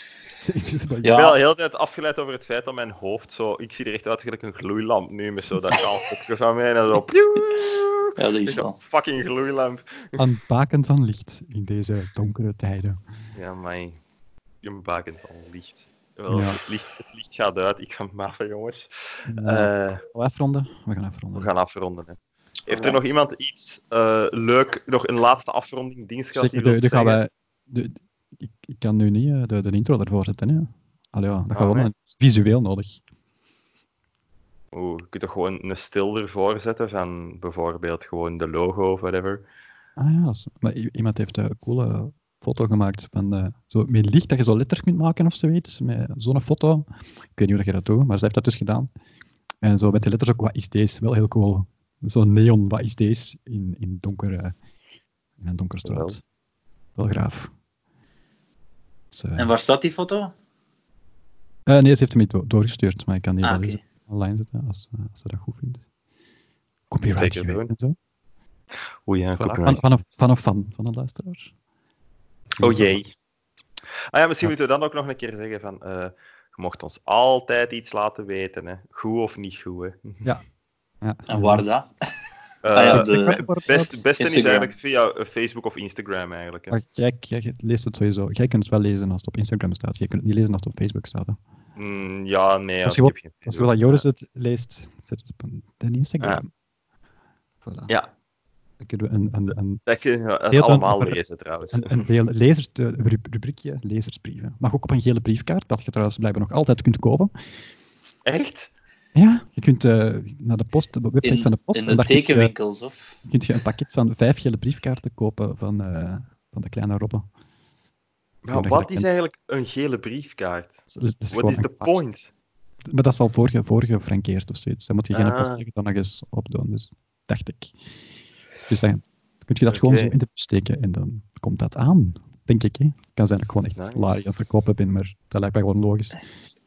De invisible Ja. Ik ben al heel de tijd afgeleid over het feit dat mijn hoofd zo... Ik zie er echt uit gelijk een gloeilamp nu, met zo dat kaal kopje van mij en dan zo... pieuw. Ja, dat is Echt een wel. fucking gloeilamp. Een baken van licht in deze donkere tijden. Ja, mij. Je bakent al licht. Wel, Ja. het, licht, het licht gaat uit. Ik ga maffen, jongens. Nou, Eh, gaan we afronden? We gaan we afronden. gaan afronden. Hè. Heeft er Alright. nog iemand iets eh, leuk, nog een laatste afronding, dienstgast die Zeker, de, wil de gaan zeggen? wij, de, de- ik, ik kan nu niet eh, de, de intro ervoor zetten. Hè. Allee, ja, dat Ah, gaan we wel nee. doen. Het is visueel nodig. Oeh, je kunt toch gewoon een stil ervoor zetten van bijvoorbeeld gewoon de logo of whatever. Ah ja, dat is- maar i- iemand heeft eh, een coole foto gemaakt van eh, zo, met licht dat je zo letters kunt maken of zoiets. Met zo'n foto. Ik weet niet hoe dat je dat doet, maar ze heeft dat dus gedaan. En zo met de letters ook, wat is deze? Wel heel cool. Zo'n neon, wat is deze? In, in, donker, eh, in een donkere straat. Wel graaf. Dus, eh, En waar staat die foto? eh, nee, ze heeft hem niet do- doorgestuurd, maar ik kan die Ah, wel oké. eens online zetten als, eh, als ze dat goed vindt. Copyright Zeker geweten doen. en zo. Oeh ja, Voilà, copyright. van, van, een, van een fan, van een luisteraar. Oh jee. Ah ja, misschien Ja. moeten we dan ook nog een keer zeggen van, eh, je mocht ons altijd iets laten weten, hè. Goed of niet goed, hè. Ja. En waar dat? Eh, Ah ja, de- het be- best, het beste is Instagram. eigenlijk via eh, Facebook of Instagram eigenlijk. Hè. Maar jij, jij leest het sowieso. Jij kunt het wel lezen als het op Instagram staat. Jij kunt het niet lezen als het op Facebook staat. hè. Mm, ja, nee, ja, Als ik je heb wil- geen Als je Facebook. wil dat Joris het leest, zet het op een, de Instagram. Voilà. Ja, Dan kunnen we een, een, een, dat kun je het Heel dan allemaal over- lezen trouwens. een, een deel lezers, de rub- rubriekje lezersbrieven. Mag ook op een gele briefkaart, dat je trouwens blijkbaar nog altijd kunt kopen. Echt? Ja, je kunt eh, naar de post, de website In, van de post. eh, in de en daar kun je- tekenwinkels, of? kun je een pakket van vijf gele briefkaarten kopen van, eh, van de kleine Robbe. Maar Nou, wat is eigenlijk een gele briefkaart? Dat is- dat is Wat gewoon is een de kaart. point? Maar dat is al voorge, voorgefrankeerd of zoiets. Dan moet je geen Ah. apostelen dan nog eens opdoen, dus dacht ik. Dus dan Kun je dat gewoon Oké. zo in de bus steken en dan komt dat aan, denk ik. Hè? Kan zijn dat ik gewoon echt Nice. laai of verkopen ben, maar dat lijkt mij gewoon logisch.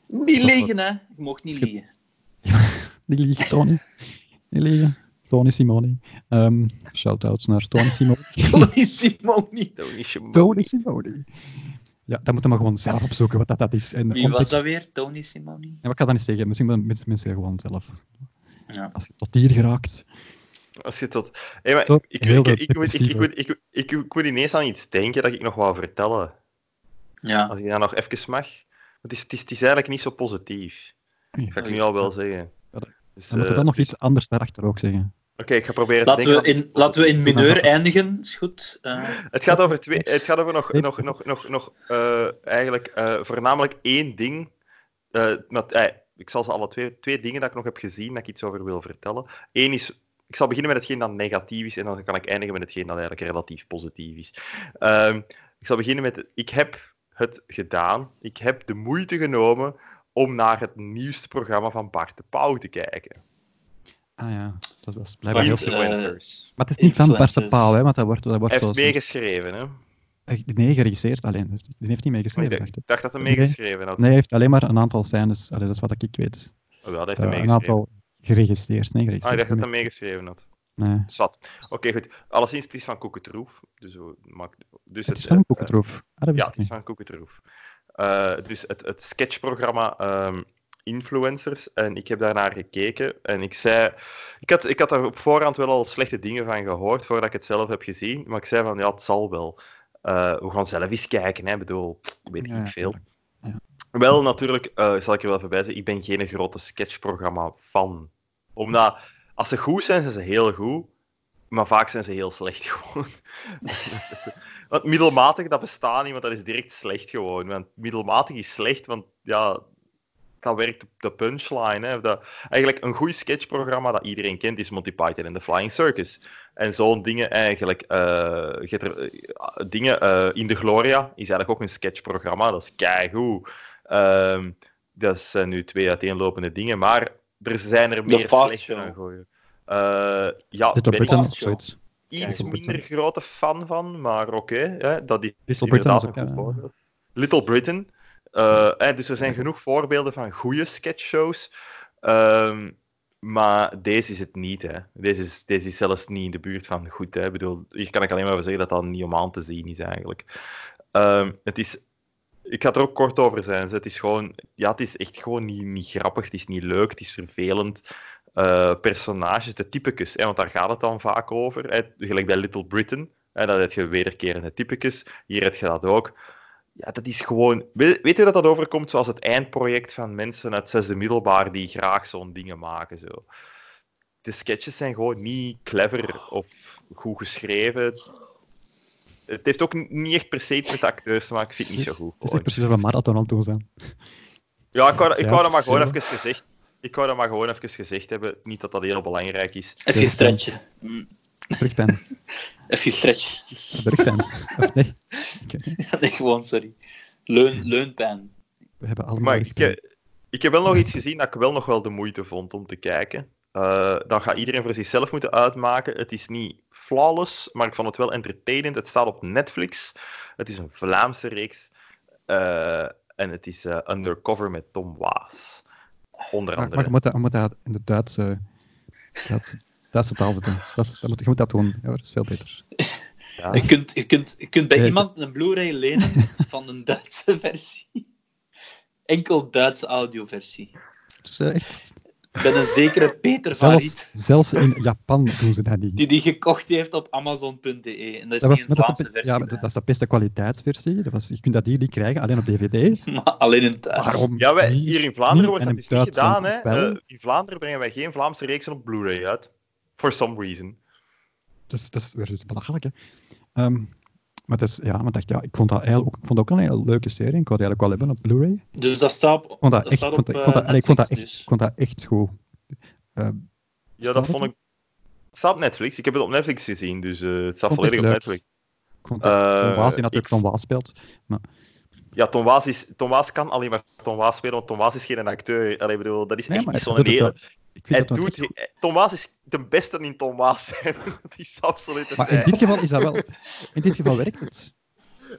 Niet Dat is liegen, hè. Je mocht niet Schip- liegen. Die liegen, Tony. Die liegen. Tony Simoni. Ehm Shout-out naar Tony Simoni. Tony Simoni. Tony Simoni. Ja, dat moet je maar gewoon zelf opzoeken wat dat, dat is. En, Wie was ontdek- dat weer? Tony Simoni? En wat kan dat niet zeggen? Misschien moeten mensen- mensen gewoon zelf. Ja. Als je tot hier geraakt. Als je tot... Hey, maar Toch? ik- ik, Heel ik, de ik, moet- ik, ik, depressieve. moet- ik, ik, ik moet ineens aan iets denken dat ik nog wou vertellen. Ja. Als ik dat nog even mag. Want het, is, het, is, het is eigenlijk niet zo positief. Ja. Ga ik nu al wel zeggen. Ja, Dus, dan Dan moet eh, er dan nog dus- iets anders daarachter ook zeggen. Oké, ik ga proberen te Laten we, denken aan in, iets laten we in positiefs. mineur eindigen, is goed. Eh, Het gaat over, twee, het gaat over nog, Nee. nog, nog, nog, nog eh, eigenlijk eh, voornamelijk één ding. Eh, dat- eh, ik zal ze alle twee, twee dingen dat ik nog heb gezien, dat ik iets over wil vertellen. Eén is, ik zal beginnen met hetgeen dat negatief is, en dan kan ik eindigen met hetgeen dat eigenlijk relatief positief is. Ehm, ik zal beginnen met, ik heb het gedaan. Ik heb de moeite genomen om naar het nieuwste programma van Bart de Pauw te kijken. Ah ja, dat was blijkbaar heel want, veel. eh, Influencers. Maar het is niet van Bart de influencers. Pauw, hè, want dat wordt, dat wordt Hij zo... heeft meegeschreven, hè? Nee, geregisseerd alleen. Dus Die heeft niet meegeschreven, Ik dacht ik. dacht dat hij Nee. meegeschreven had. Nee, hij heeft alleen maar een aantal scènes. Allee, dat is wat ik weet. Oh, wel, dat heeft Eh, hij een meegeschreven. aantal geregistreerd. Nee, Ah, geregistreerd. ik dacht dat Dus hij meegeschreven had. nee. Zat. Oké, goed. Alleszins, het is van Koeketroef. Dus, we maken- dus Het is van Koekentroef. Ah, dat wist ja, ik het is niet. van Koeketroef. Eh, dus het, het sketchprogramma ehm, Influencers. En ik heb daarnaar gekeken. En ik zei... Ik had, ik had daar op voorhand wel al slechte dingen van gehoord, voordat ik het zelf heb gezien. Maar ik zei van, ja, het zal wel. Eh, we gaan zelf eens kijken, hè. Ik bedoel, weet ik Ja, niet veel. ja. Wel, natuurlijk, eh, zal ik er wel even bij zeggen, ik ben geen grote sketchprogramma-fan. Omdat, als ze goed zijn, zijn ze heel goed. Maar vaak zijn ze heel slecht gewoon. want middelmatig, dat bestaat niet, want dat is direct slecht gewoon. Want middelmatig is slecht, want ja, dat werkt op de punchline. Hè. Of Dat, eigenlijk een goed sketchprogramma dat iedereen kent is Monty Python en The Flying Circus. En zo'n dingen eigenlijk. eh, je hebt er, eh, dingen eh, in de Gloria is eigenlijk ook een sketchprogramma. Dat is keigoed. Ehm, dat zijn nu twee uiteenlopende dingen, maar er zijn er meer Fast slechte Show. dan goeie. Eh, ja, Dit ben op ik Britain of Show. zoiets. iets Little minder Britain. grote fan van, maar oké, hè, dat is Little Britain inderdaad is ook, een goed eh, voorbeeld. Little Britain. Eh, hè, dus er zijn genoeg voorbeelden van goede sketchshows. Ehm, maar deze is het niet. Hè. Deze, is, deze is zelfs niet in de buurt van goed. Hè. Ik bedoel, hier kan ik alleen maar van zeggen dat dat niet om aan te zien is eigenlijk. Ehm, het is, ik ga er ook kort over zijn. dus Het is gewoon, ja, het is echt gewoon niet, niet grappig. Het is niet leuk. Het is vervelend. Eh, personages, de typicus, hè, want daar gaat het dan vaak over. Hè. Gelijk bij Little Britain, hè, dat heb je wederkerende typicus. Hier heb je dat ook. Ja, dat is gewoon... Weet, weet je dat dat overkomt zoals het eindproject van mensen uit zesde middelbaar die graag zo'n dingen maken? Zo. De sketches zijn gewoon niet clever of goed geschreven. Het- Het heeft ook n- niet echt per se iets met de acteurs te maken. Ik vind het niet zo goed. Het is gewoon. echt precies waar we marathon aan toe zijn. Ja, ik wou, ik Ja, wou dat maar gewoon ja. even gezegd... Ik wou dat maar gewoon even gezegd hebben. Niet dat dat heel belangrijk is. Even stretchen. Brugpijn. Even stretchen. Brugpijn. Of nee. Oké. Ja, nee, gewoon, sorry. Leun, leunpijn. We hebben allemaal Maar ik, brugpijn. eh, ik heb wel nog iets gezien dat ik wel nog wel de moeite vond om te kijken. Eh, dat gaat iedereen voor zichzelf moeten uitmaken. Het is niet flawless, maar ik vond het wel entertainend. Het staat op Netflix. Het is een Vlaamse reeks. Eh, en het is eh, Undercover met Tom Waas. Maar, Onder maar andere. je, moet dat, je moet dat in de Duitse, Duitse, Duitse taal zetten. Dat is, dat moet, je moet dat doen. Ja, dat is veel beter. Ja. Je kunt, je kunt, je kunt bij Ja, ik- iemand een Blu-ray lenen van een Duitse versie. Enkel Duitse audioversie. Dus, eh, echt, Bij een zekere Peter van Riet, zelfs, zelfs in Japan doen ze dat niet. die die gekocht heeft op Amazon.de. E. En dat is niet Dat was, een maar dat, Vlaamse dat- versie, ja, maar dat is de beste kwaliteitsversie. Dat was, je kunt dat hier niet krijgen, alleen op DVD. maar alleen in thuis. Waarom? Ja, wij, hier in Vlaanderen wordt en dat in dus niet Duitsland gedaan. Hè. ook wel. Eh, in Vlaanderen brengen wij geen Vlaamse reeksen op Blu-ray uit. For some reason. Dat is, dat is weer zoiets belachelijk, hè. Ehm, maar, dat is, ja, maar dat, ja, ik vond dat eigenlijk ook, ik vond dat ook een heel leuke serie. Ik wou die eigenlijk wel hebben op Blu-ray. Ik Dus dat staat op. vond dat, echt, staat ik vond op, dat- ik vond dat- eh, allee, ik vond dat echt, Netflix ik vond dat echt goed. Ehm, Ja, Staat dat het vond niet? ik... Het staat op Netflix. Ik heb het op Netflix gezien, dus eh, het staat Vond het volledig op leuk. Netflix. ik vond dat Tom Eh, Waas, die natuurlijk ik- Tom Waas speelt. Ja, Tom Waas, is, Tom Waas kan alleen maar Tom Waas spelen, want Tom Waas is geen acteur. Allee, ik bedoel, dat is Nee, echt maar niet hij zo'n doet het hele... Ik Hij vind dat we het doet, echt- hij- Thomas is de beste in Thomas zijn. dat is absoluut het. Maar in dit geval is dat wel... In dit geval werkt het.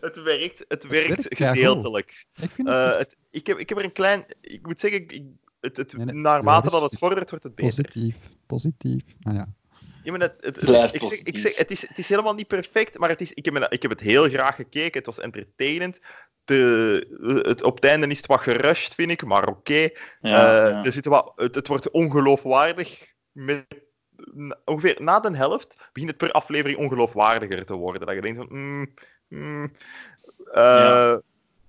Het werkt, het werkt, werkt keigoed. gedeeltelijk. Ik vind Eh, het het, ik, heb, ik heb er een klein... Ik moet zeggen, ik- ik- het, het, Nee, nee, naarmate dat dat is- het vordert, wordt het beter. positief. Positief. Ah ja. Ja, maar het, het, het- Blijf ik zeg, ik positief. zeg, het, is, het is helemaal niet perfect, maar het is, ik, heb, me- ik heb het heel graag gekeken. Het was entertainend. De, het, op het einde is het wat gerushed, vind ik, maar oké. dus. Ja, Eh, ja. er zitten wat, het, het wordt ongeloofwaardig. Met, na- ongeveer na de helft begint het per aflevering ongeloofwaardiger te worden. Dat je denkt van... mm, mm. Eh, Ja.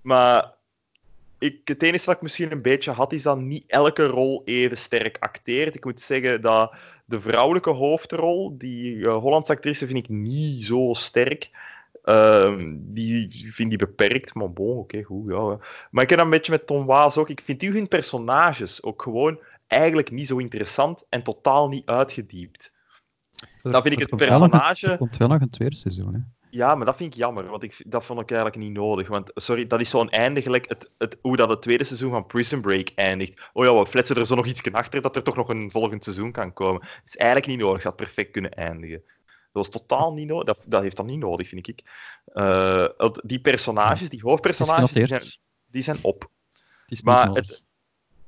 Maar ik, het enige dat ik misschien een beetje had, is dat niet elke rol even sterk acteert. Ik moet zeggen dat de vrouwelijke hoofdrol, die eh, Hollandse actrice, vind ik niet zo sterk. Ehm, die vind die beperkt, maar bon, oké, goed, ja. hè. Maar ik heb dat een beetje met Tom Waas ook. Ik vind u hun personages ook gewoon eigenlijk niet zo interessant en totaal niet uitgediept. Dan vind ik Er het komt wel nog een- personage- Er komt wel nog een tweede seizoen, hè. Ja, maar dat vind ik jammer, want ik, dat vond ik eigenlijk niet nodig. Want, sorry, dat is zo'n einde gelijk het, het, hoe dat het tweede seizoen van Prison Break eindigt. Oh ja, we fletsen er zo nog iets achter dat er toch nog een volgend seizoen kan komen. Dat is eigenlijk niet nodig, dat had perfect kunnen eindigen. Dat was totaal niet nodig, dat, dat heeft dan niet nodig, vind ik. Eh, want die personages, die Het is hoofdpersonages, die genoteerd. zijn, Het die zijn op. is niet maar nodig. het-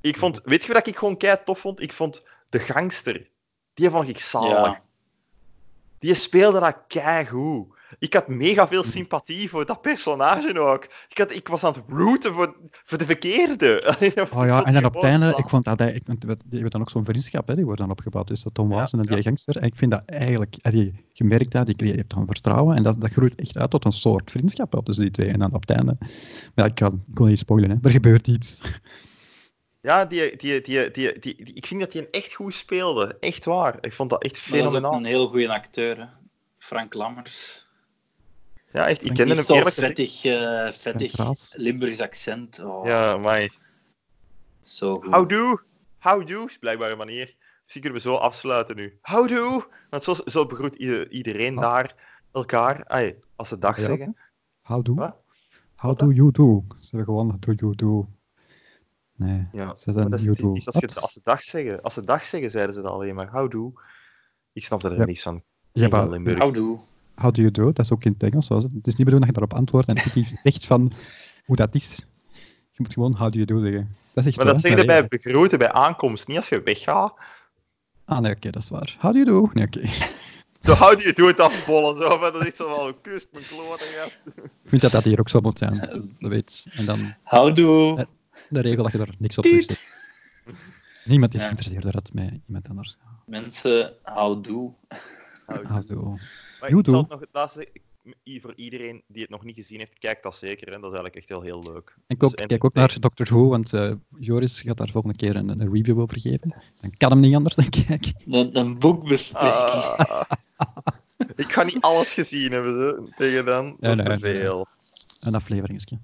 Ik vond, weet je wat ik gewoon kei tof vond? Ik vond de gangster. Die vond ik zalig. Ja. Die speelde dat keigoed. Ik had mega Hm. veel sympathie voor dat personage ook. Ik, had, ik was aan het rooten voor, voor de verkeerde. Ik vond Oh ja, en dan op het die gewoon einde, zalig. ik vond dat hij, ik, want die hebben dan ook zo'n vriendschap, hè, die wordt dan opgebouwd. Dus dat Tom Ja, Waas en die ja. gangster. En ik vind dat eigenlijk, heb je gemerkt dat, die creëert dan vertrouwen. En dat, dat groeit echt uit tot een soort vriendschap op tussen die twee. En dan op het einde, maar ja, ik kan, ik kon niet spoilen, hè. er gebeurt iets. Ja, die, die, die, die, die, die- ik vind dat hij echt goed speelde. Echt waar. Ik vond dat echt Maar dat is ook fenomenaal. een heel goede acteur, hè. Frank Lammers. Ja, echt. Ik Die Die kende is hem zo'n eerlijk. vettig, eh, vettig Frank Raas. Limburgs accent. Oh, Ja, maar Zo goed. Houdoe. Houdoe is blijkbaar een manier. Misschien kunnen we zo afsluiten nu. Houdoe. Want zo, zo begroet ieder- iedereen Ah. daar elkaar. Ai, als ze dag Ja. zeggen. How do, Wat? how do you do? Ze hebben gewoon, do you do? Nee, Ja, ze maar zijn dat is you do. typisch. Als, je, Wat? als, ze dag zeggen, als ze dag zeggen, zeiden ze dat alleen maar. Houdoe. Ik snap er Ja. niks van. Ja, Geen maar Limburg. Houdoe. how do you do? Dat is ook in het Engels. zo is het. Het is niet bedoeld dat je daarop antwoordt en dat je zegt van hoe dat is. Je moet gewoon how do you do zeggen. Dat is echt Maar dat waar, zeggen ze regel. bij begroeten, bij aankomst. Niet als je weggaat. Ah, nee, oké, dat is waar. How do you do? Nee, oké. Zo houd je het doet afbollen. Zo. Maar dat is zo wel kust, mijn klote gast. Ik vind dat dat hier ook zo moet zijn. Dat weet. En dan Houdoe. de regel dat je er niks op terugzet. Niemand is Ja. geïnteresseerd door het met iemand anders. Mensen, houdoe. Houdoe. How do. Maar You ik zal do. het nog het laatste i- voor iedereen die het nog niet gezien heeft, kijk dat zeker. Hè. Dat is eigenlijk echt heel, heel leuk. En ik Dus ook, kijk ook naar Doctor Who, want eh, Joris gaat daar volgende keer een, een review over geven. Dan kan hem niet anders dan kijken. Een, een boekbespreking. Ah. ik ga niet alles gezien hebben ze, tegen dan. Dat Ja, is nee, te veel. Een afleveringetje.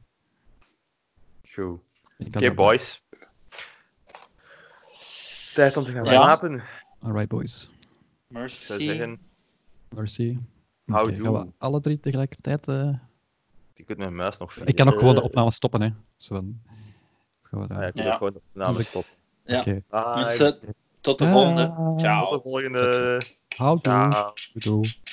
Goed. Ik kan Oké, dat- boys. Tijd om te gaan Ja. slapen. Alright, boys. Ik zou Mercy. zeggen, Mercy. How Oké, do. gaan we alle drie tegelijkertijd... eh, je kunt mijn muis nog vinden. Ik kan ook gewoon de Eh, opname stoppen, hè. Zo van... Gaan we Ja, daar. ik kan Ja. ook gewoon de opname stoppen. Ja. Oké. Bye. Mensen, tot de Bye. volgende. Tot Oh. Ciao. de volgende. How do. Ciao. Doei, doei.